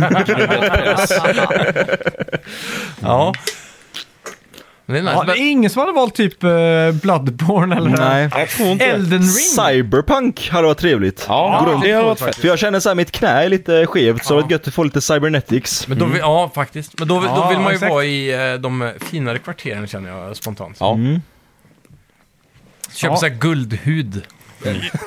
Ja. Men det är nice.
Ja, det är ingen som hade valt typ eh, Bloodborne eller
Nej.
Jag tror inte det.
Elden Ring.
Cyberpunk hade varit trevligt.
Ja,
Gå runt.
det hade varit fett.
För jag känner såhär, mitt knä är lite skevt, så
Ja.
det var gött att få lite cybernetics.
Men då vill, Ja, faktiskt. Men då, vill- då
Ja,
vill man ju
exakt.
vara i eh, de finare
Mm.
kvarteren känner jag spontant.
Ja.
Köpa
Ja.
så här guldhud.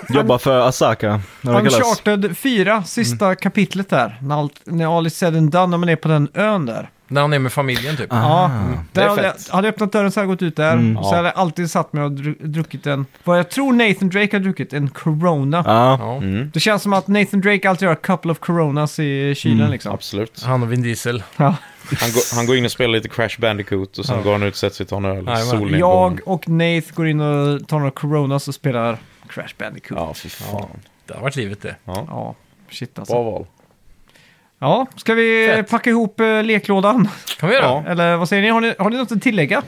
Jobbar för Asaka, när de kallas.
Uncharted 4, sista kapitlet där. När, allt, när all is said and done, när man är på den ön där.
När han är med familjen typ.
Ja,
det är
där hade, jag,
fett.
hade jag öppnat dörren så hade jag gått ut där.
Mm.
Och så hade jag alltid satt mig och dru- druckit en, vad jag tror Nathan Drake har druckit, en Corona.
Ja.
Ja.
Det känns som att Nathan Drake alltid har a couple of Coronas i kylen
Mm.
liksom.
Absolut.
Han och Vin Diesel.
Ja.
Han, går- han går in och spelar lite Crash Bandicoot och sen går han ut och sätter sig och tar en öl.
Jajamän.
Solnedgång.
Jag och Nate går in och tar några Coronas och spelar Crash Bandicoot. Ja,
Ja, fy
Ja.
fan.
Det har varit livet det.
shit alltså.
Bra val.
Ja, ska vi
Fett.
packa ihop eh, leklådan?
Kan vi göra? Ja.
Eller vad säger ni? Har ni, har ni något att tillägga?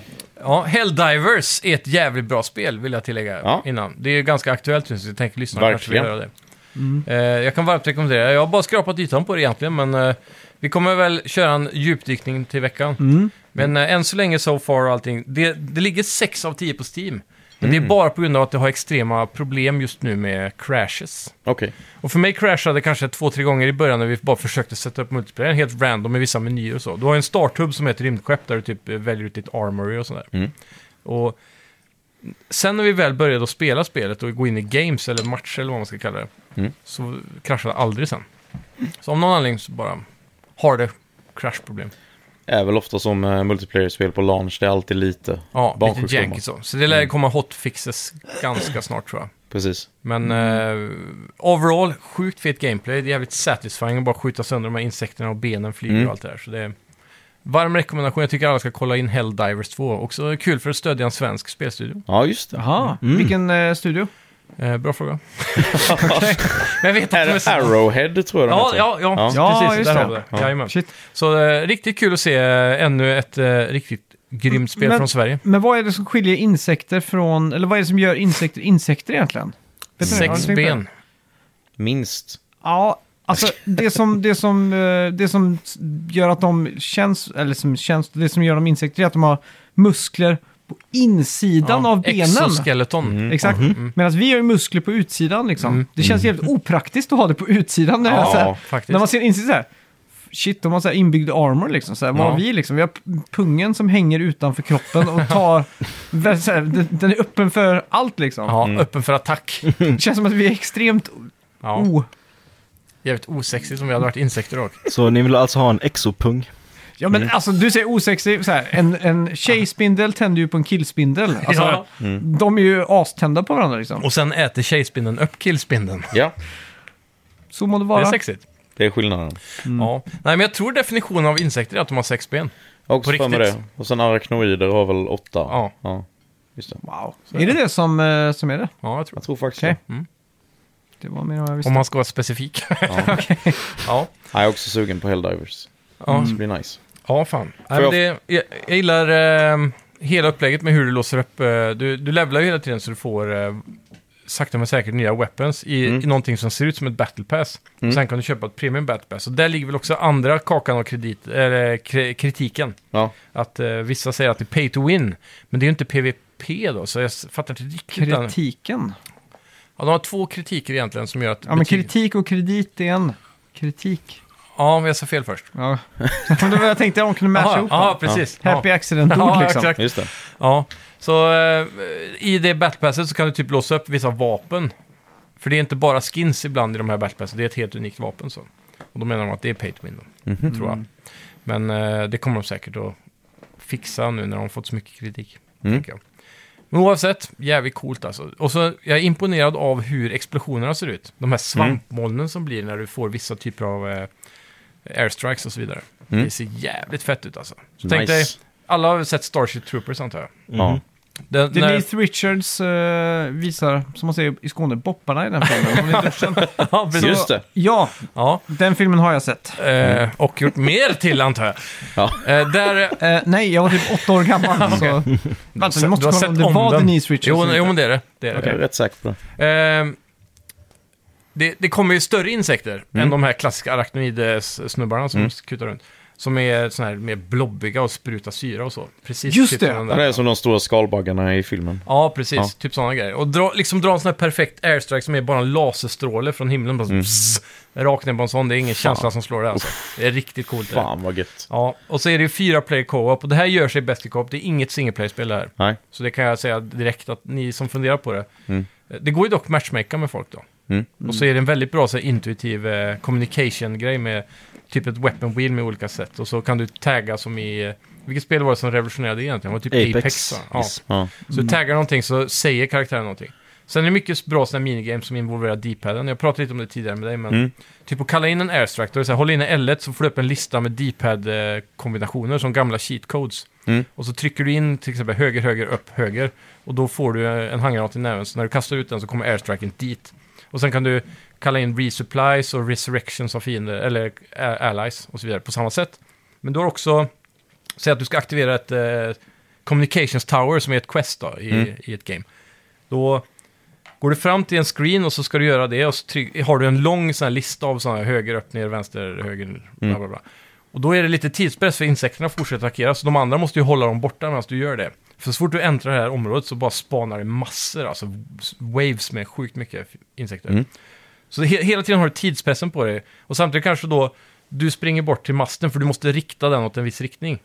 Helldivers är ett jävligt bra spel, vill jag tillägga
Ja.
innan. Det är ganska aktuellt nu, så jag tänker lyssna kanske vill
Verkligen.
göra det. Eh, jag kan varmt rekommendera. Jag har bara skrapat ytan på det egentligen, men eh, vi kommer väl köra en djupdykning till veckan. Men eh, än så länge, so far och allting, det, det ligger 6 av 10 på Steam. Men det är bara på grund av att det har extrema problem just nu med crashes.
Okej.
Och för mig crashade det kanske två, tre gånger i början när vi bara försökte sätta upp multiplayer helt random med vissa menyer och så. Du har en starthub som är ett rymdskepp där du typ eh, väljer ut ditt armory och sådär.
Mm.
Och sen när vi väl började att spela spelet och gå in i games eller matcher eller vad man ska kalla det,
Mm.
så kraschade det aldrig sen. Så om någon anledning så bara har det crashproblem.
Är väl ofta som eh, multiplayer-spel på launch, det är alltid lite.
Ja, lite
Barnsjukdomar.
janky så. Så det lär komma hotfixes ganska snart tror jag.
Precis.
Men
Mm.
eh, overall, sjukt fet gameplay. Det är jävligt satisfying att bara skjuta sönder de här insekterna och benen flyger
Mm.
och allt det där. Så det är varm rekommendation. Jag tycker alla ska kolla in Helldivers 2. Också kul för att stödja en svensk spelstudio.
Ja, just det.
Jaha, vilken eh, studio?
Eh, bra fråga. Men jag vet att
Är
de är
det
så...
Arrowhead tror jag den
Ja,
heter?
ja, ja,
Ja,
precis.
just
Där
det.
har vi det.
Ja.
Jajamän.
Shit.
Så eh, riktigt kul att se eh, ännu ett eh, riktigt grymt spel
Men-
från Sverige.
Men vad är det som skiljer insekter från, eller vad är det som gör insekter insekter egentligen? Vet ni det? Har ni
Sex
tänkt på det?
ben.
Minst.
Ja, alltså det som, det, som, eh, det som gör att de känns, eller som känns, det som gör dem insekter är att de har muskler på insidan av benen. Mm.
Exoskeleton.
Exakt. Medan vi har ju muskler på utsidan liksom.
Mm.
Det känns jävligt opraktiskt att ha det på utsidan. När, jag
Ja,
så här,
faktiskt.
när man ser insidan så här. Shit, de har så här inbyggd armor liksom. Så här, Vad
Ja.
har vi liksom? Vi har p- pungen som hänger utanför kroppen och tar... väl så här, den- den är öppen för allt liksom.
Ja, öppen för attack.
Det känns som att vi är extremt
Ja,
o...
jävligt osexigt om vi hade varit insekter dock.
Så ni vill alltså ha en exopung?
Ja men
Mm.
alltså du säger osexig, så här, en, en tjejspindel tänder ju på en killspindel. Alltså,
Ja. Mm.
De är ju astända på varandra liksom.
Och sen äter tjejspindeln upp killspindeln.
Ja,
Så må det
Det
vara.
är sexigt.
det är skillnaden.
Ja. Nej, men jag tror definitionen av insekter är att de har sex ben.
Jag har också
På
för mig
riktigt.
det. Och sen arachnoider har väl åtta.
Ja.
ja. Just det.
Wow. Är det det som, eh, som är det?
Ja, jag tror
Jag
det.
tror faktiskt
Okej.
det.
Det var mer än vad jag visste.
Om man ska vara specifik. Ja. ja.
Jag är också sugen på Helldivers.
Ja.
Det ska bli nice.
ja, fan. Nej,
Mm. Får
men det, jag, jag gillar eh, hela upplägget med hur du låser upp. Eh, du, du levlar ju hela tiden så du får eh, sakta men säkert nya weapons i,
Mm.
i någonting som ser ut som ett battle pass. Sen kan du köpa ett premium battle pass. Och där ligger väl också andra kakan av kredit, eller, kri- kritiken.
Ja.
Att eh, vissa säger att det är pay to win, men det är ju inte PVP då, så jag s- fattar inte riktigt. den-
Kritiken?
Ja, de har två kritiker egentligen som gör att...
Ja men
betyg-
kritik och kredit är en. Kritik.
Ja, men jag sa fel först.
Ja. Men det var jag tänkte om kunde matcha
Jaha,
ihop
ja,
dem.
precis.
Happy
ja.
accident-ord
Ja,
liksom.
exakt.
Just det.
Ja, så eh, i det battlepasset så kan du typ låsa upp vissa vapen. För det är inte bara skins ibland i de här battlepassen, det är ett helt unikt vapen. Så. Och då menar de att det är pay to win då,
Mhm.
tror jag. Men eh, det kommer de säkert att fixa nu när de fått så mycket kritik.
Mm.
Tänker jag. Men oavsett, jävligt coolt alltså. Och så, jag är imponerad av hur explosionerna ser ut.
Mm.
De här svampmolnen som blir när du får vissa typer av eh, airstrikes och så vidare.
Mm.
Det ser jävligt fett ut alltså. Så
nice.
tänk dig, alla har väl sett Starship Troopers antar jag.
Ja. Mm.
Den, när,
Denise Richards eh, visar, som man säger i Skåne, bopparna i den filmen. Om ni inte känner-
ja, precis.
Just det.
ja,
Ja,
den filmen har jag sett.
eh, och gjort mer till antar jag.
Ja.
Eh, där,
Eh, nej, jag var typ åtta år gammal. så. Vänta, vi måste kolla om det var Denise Richards.
Jo,
eller
jo,
inte.
men det är det. det, är det.
Jag är rätt säker på det.
Ehm, det, det kommer ju större insekter än
Mm.
de här klassiska arachnoid-snubbarna som kutar runt. Som är såna här mer blobbiga och sprutar syra och så. Precis
Just
typ
det.
som den
Ja,
där.
Det är som de stora skalbaggarna i filmen.
Ja, precis.
Ja.
Typ sådana grejer. Och dra, liksom dra en sån här perfekt airstrike som är bara en laserstråle från himlen. Bara mm. Rakt ner på en sån. Det är ingen känsla som slår det alltså. Det är riktigt coolt. det där.
Fan vad gött.
Ja, och så är det ju fyra player co-op och det här gör sig bäst i co-op. Det är inget single player-spel det här.
Nej.
Så det kan jag säga direkt att ni som funderar på det, Det går ju dock matchmaka med folk då.
Mm.
Och så är det en väldigt bra så här, intuitiv eh, communication-grej med typ ett weapon wheel med olika sätt. Och så kan du tagga som i... eh, Vilket spel var det som revolutionerade egentligen? Det var typ Apex.
Apex.
va?
Yes.
Ja.
Så du taggar någonting så säger karaktären någonting. Sen är det mycket bra sådana här minigames som involverar D-paden. Jag pratade lite om det tidigare med dig, men
Mm.
typ att kalla in en airstrike, då är det så här, håll in L1 så får du upp en lista med D-pad-kombinationer som gamla cheat codes.
Mm.
Och så trycker du in till exempel höger, höger, upp, höger. Och då får du eh, en handgranat i näven, så när du kastar ut den så kommer airstriken dit. Och sen kan du kalla in resupplies och resurrections av fiender, eller a- allies och så vidare på samma sätt. Men du har också, säg att du ska aktivera ett eh, communications tower som är ett quest då, i,
Mm.
i ett game. Då går du fram till en screen och så ska du göra det och så tryck, har du en lång sån här lista av sådana här höger, upp, ner, vänster, höger, bla bla bla. Och då är det lite tidspress för insekterna fortsätter attackera, så de andra måste ju hålla dem borta medan du gör det. För så fort du äntrar det här området så bara spanar det massor, alltså waves med sjukt mycket insekter.
Mm.
Så he hela tiden har du tidspressen på dig. Och samtidigt kanske då du springer bort till masten för du måste rikta den åt en viss riktning.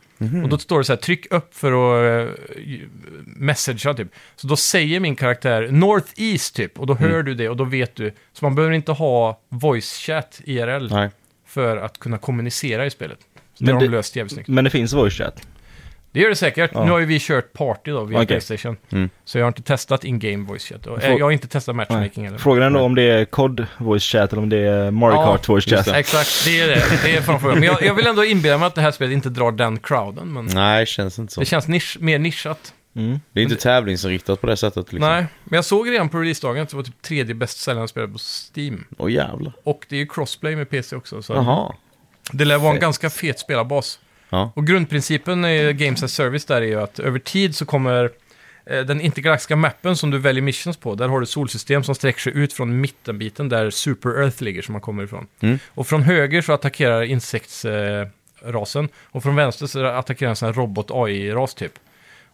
Och då står det så här, tryck upp för att eh, ju- messagea typ. Så då säger min karaktär North East typ, och då hör du det och då vet du. Så man behöver inte ha voice chat IRL
Nej.
för att kunna kommunicera i spelet. Så det
Men
har de
det-
löst jävligt snyggt.
Men det finns voice chat.
Det gör det säkert.
Ja.
Nu har ju vi kört party då via
Okej.
Playstation.
Mm.
Så jag har inte testat in-game voice chat. Och, eh,
Frå-
jag har inte testat matchmaking heller.
Frågan är ändå om det är COD voice chat eller om det är Mario
Ja,
Kart voice
just
chat.
det.
Exakt, det är det. Det är framför Men jag, jag vill ändå inbilla mig att det här spelet inte drar den crowden. Men
Nej, känns inte så.
det känns nisch, mer nischat.
Mm.
Det är inte tävlingsinriktat på det sättet liksom.
Nej, men jag såg redan på releasedagen att det var typ tredje bäst säljande spelet på Steam.
Åh jävlar. Mm.
Och det är ju crossplay med PC också. Så
Jaha.
det lär vara en
Fett.
ganska fet spelarbas.
Ja.
Och grundprincipen i Games as Service där är ju att över tid så kommer eh, den intergalaktiska mappen som du väljer missions på, där har du solsystem som sträcker sig ut från mittenbiten där Super Earth ligger som man kommer ifrån.
Mm.
Och från höger så attackerar insektsrasen eh, rasen. och från vänster så attackerar en sån här robot-AI-ras typ.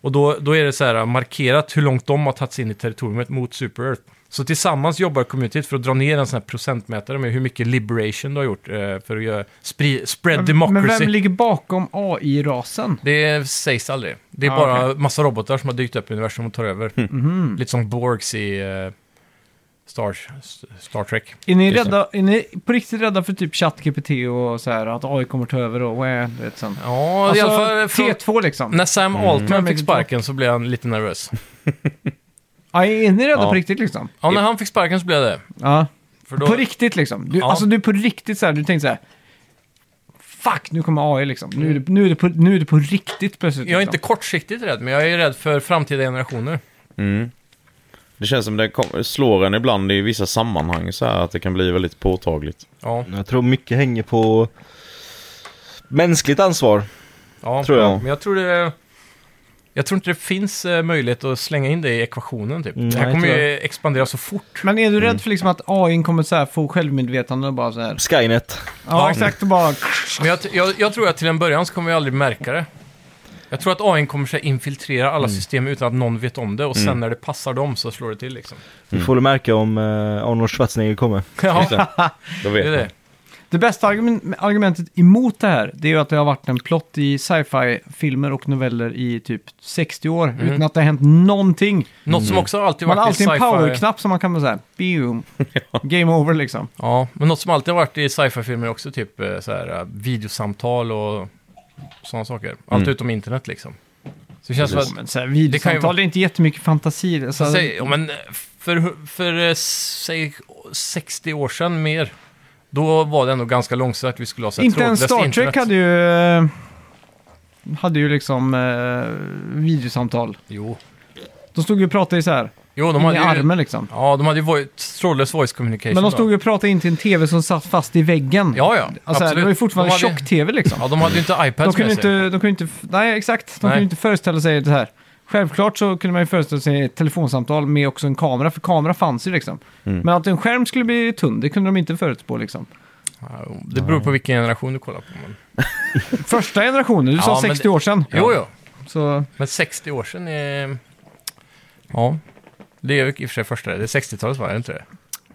Och då, då är det så här markerat hur långt de har tagit sig in i territoriet mot Super Earth. Så tillsammans jobbar communityt för att dra ner en sån här procentmätare med hur mycket liberation du har gjort eh, för att göra, spri, spread democracy.
Men vem ligger bakom AI-rasen?
Det sägs aldrig. Det är
Ah,
bara massa robotar som har dykt upp i universum och tar över.
Mm.
Lite som Borgs i eh, Star, Star Trek.
Är ni,
Just det.
rädda, är ni på riktigt rädda för typ ChatGPT och så här att AI kommer ta över och wah, du vet sen.
Ja,
Alltså,
i alla fall från,
T2 liksom.
när Sam Altman
Mm.
fick sparken så blev han lite nervös.
Ja, är ni rädda
Ja.
på riktigt liksom?
Ja, när han fick sparken så blev jag det.
Ja.
För då,
På riktigt liksom? Du,
Ja.
Alltså du är på riktigt så här, du tänkte så här. Fuck, nu kommer AI liksom. Nu är det, nu är det, på, nu är det på riktigt plötsligt.
jag är inte
liksom.
kortsiktigt rädd, men jag är rädd för framtida generationer.
Det känns som det kom- slår en ibland i vissa sammanhang så här att det kan bli väldigt påtagligt.
Ja,
Jag tror mycket hänger på mänskligt ansvar.
ja
Tror jag.
Men jag tror det... Jag tror inte det finns eh, möjlighet att slänga in det i ekvationen typ.
Mm,
det här
nej,
kommer
tror
ju expandera så fort.
Men är du rädd för liksom att AI kommer så här få självmedvetande och bara så här.
Skynet.
Ja,
Ja.
exakt och bara...
Men jag, jag, jag tror att till en början så kommer vi aldrig märka det. Jag tror att AI kommer så här infiltrera alla
Mm.
system utan att någon vet om det och sen när det passar dem så slår det till liksom.
Vi
Mm.
får väl märka om eh, Arnold Schwarzenegger kommer.
Ja, det
Då
är
vet man.
det.
Det bästa argumen- argumentet emot det här, det är ju att det har varit en plott i sci-fi-filmer och noveller i typ 60 år
Mm.
utan att det har hänt någonting.
Något som också alltid
Mm. Man har
varit i
alltid en
sci-fi...
powerknapp som man kan säga, boom, game over liksom.
Ja, men något som alltid har varit i sci-fi-filmer också, typ eh, så här, eh, videosamtal och sådana saker. Allt
Mm.
utom internet liksom. Så det känns som
Jo,
att...
men så här, videosamtal,
Det
det,
kan ju vara-
är inte jättemycket fantasi. Alltså, Så
Så
här,
säg, ja, men eh, för, för eh, säg 60 år sedan mer, då var det ändå ganska långsamt att vi skulle ha så här
inte ens
trådlöst
Star Trek
internet.
hade ju... eh, Hade ju liksom eh, videosamtal.
Jo,
De stod ju och pratade i så här,
jo de
i
hade ju...
armen liksom.
Ja, de hade ju vo- trådlös voice communication.
Men de
då.
stod ju och pratade in till en tv som satt fast i väggen.
Ja, ja.
alltså,
absolut.
det var ju fortfarande
de hade,
tjock-tv liksom.
Ja, de hade ju inte iPads
De kunde,
med
inte,
sig.
de kunde inte, nej exakt, de
Nej.
kunde inte föreställa sig det här. Självklart så kunde man ju föreställa sig ett telefonsamtal med också en kamera, för kamera fanns ju liksom.
Mm.
Men att en skärm skulle bli tunn, det kunde de inte förutspå liksom.
Ja, Det beror på vilken generation du kollar på. Men...
Första generationen, du
Ja,
sa
men
60 år sedan.
Jo, jo.
Så,
Men 60 år sedan är... Ja. Det är ju i och för sig första. Det är 60-talet va? Är det inte det?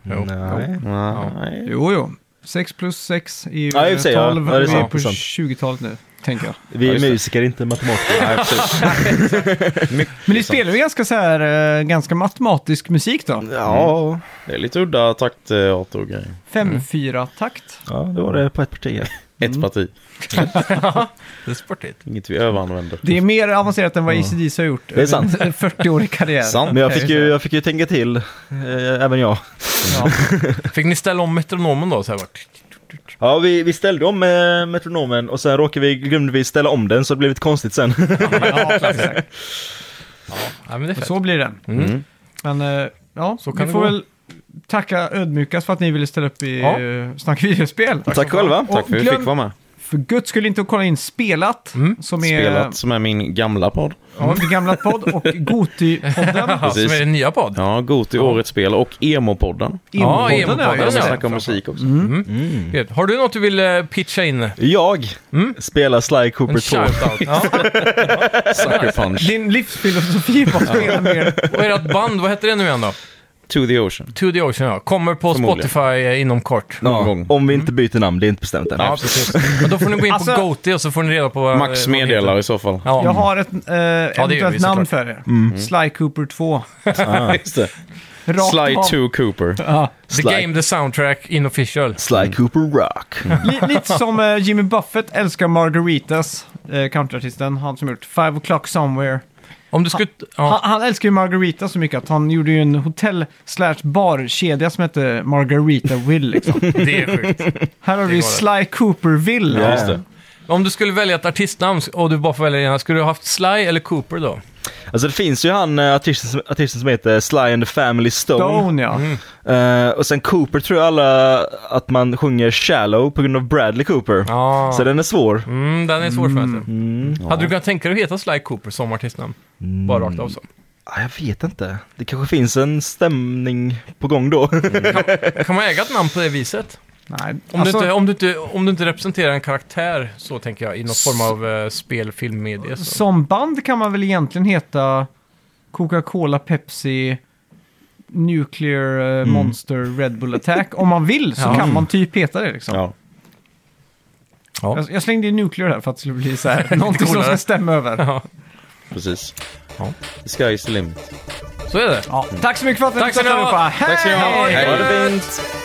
Jo.
Nej.
Nej.
jo jo. 6 plus 6 är ju
Ja, i och för sig, ja.
12,
Ja, det är
vi är
sant,
på
sant.
20-talet nu. tänker jag.
Vi
Ja,
är
just det.
musiker, inte matematiker.
Nej, precis.
Men ni spelar ju ganska, så här, eh, ganska matematisk musik då.
Mm. Ja,
Det är lite udda taktarter och grejer.
Mm.
5-4-takt.
ja, det var det på ett parti.
Ett parti.
Det är sportigt.
Inget vi överanvänder.
Det är mer avancerat än vad E ACDC har gjort.
Det är sant.
över en 40-årig karriär.
Sant.
Men jag fick ju, jag fick ju tänka till, eh, även jag.
Ja.
Fick ni ställa om metronomen då? Så här, vart?
Ja, vi, vi ställde om eh, metronomen och sen råkade vi, glömde vi ställa om den så det blev lite konstigt sen.
Ja, exakt.
Ja, men det är fett.
så blir det.
Mm.
Men eh, ja,
Så kan
vi
det
får
gå.
väl tacka ödmjukast för att ni ville ställa upp i
Ja.
ja. Snack videospel.
Tack själva.
Och
Tack för att vi
glöm-
fick vara med.
För guds skull inte att kolla in Spelat,
Mm.
som är
Spelat som är min gamla podd.
Ja, det gamla podd och Goti-podden.
Ja, som
Precis.
är den nya podd.
Ja, god till årets spel och emo-podden.
Emo-podden
Ja,
är
emo-podden,
Där
ju-
vi
ja.
snackar om musik också.
Gud, Har du något du vill eh, pitcha in?
Jag spelar Sly
Mm. En
Cooper 2.
shoutout. Ja.
Sucker punch.
Din livsfilosofi var att spela mer.
Och ert band, vad heter det nu igen då?
To the ocean.
To the Ocean, ja. Kommer på
Förmodligen.
Spotify eh, inom kort.
Någon gång.
Om vi inte byter namn, det är inte bestämt än.
Ja, precis. Men då får ni gå in
Alltså-
på Goti och så får ni reda på vad
Max
vad ni heter.
meddelar i så fall.
Ja.
Jag har ett äh, eventuellt
vi
namn
såklart. Mm.
för er. Sly Cooper 2.
Just det.
Rakt
Sly
av.
2 Cooper.
Ja.
The
Slack.
Game, The Soundtrack, Inofficial.
Mm.
Sly Cooper Rock.
Li- lite som eh, Jimmy Buffett älskar Margaritas, uh, countryartisten, han som gjort Five O'Clock Somewhere.
Om du skulle...
Han,
Ja.
han älskar ju Margarita så mycket att han gjorde ju en hotell slash barkedja som hette Margaritaville. Liksom.
Det är sjukt.
Här har vi
går
Sly Cooperville.
Ja.
Just det.
Om du skulle välja ett artistnamn och du bara får välja ena, skulle du ha haft Sly eller Cooper då?
Alltså det finns ju han eh, artisten, som- artisten som heter Sly and the Family Stone.
Stone ja.
Mm.
Eh, och sen Cooper tror jag alla att man sjunger Shallow på grund av Bradley Cooper.
Ja.
Så den är svår. Mm.
Mm, den är svårsmält.
Mm.
Hade du kunnat tänka dig att heta Sly Cooper som artistnamn? Bara rakt av så.
Ah, jag vet inte. Det kanske finns en stämning på gång då.
Kan man äga ett namn på det viset?
Nej,
Om,
alltså,
du, inte, om, du, inte, om du inte representerar en karaktär, så tänker jag, i någon form av eh, spel, filmmedia. Så.
Som band kan man väl egentligen heta Coca-Cola, Pepsi, Nuclear eh, Monster, Red Bull Attack. Om man vill så
Ja.
kan man typ heta det liksom.
Ja.
Ja.
Jag, jag slängde in Nuclear här för att det skulle bli så här, någonting som
Coolare.
ska stämma över.
Ja,
Precis.
Ja.
The sky is the limit.
så är det.
Ja. Tack så mycket för att ni
Tack ska ni ha.
allihopa. Hej!
Tack ska ni ha. Hej.
Ha det fint!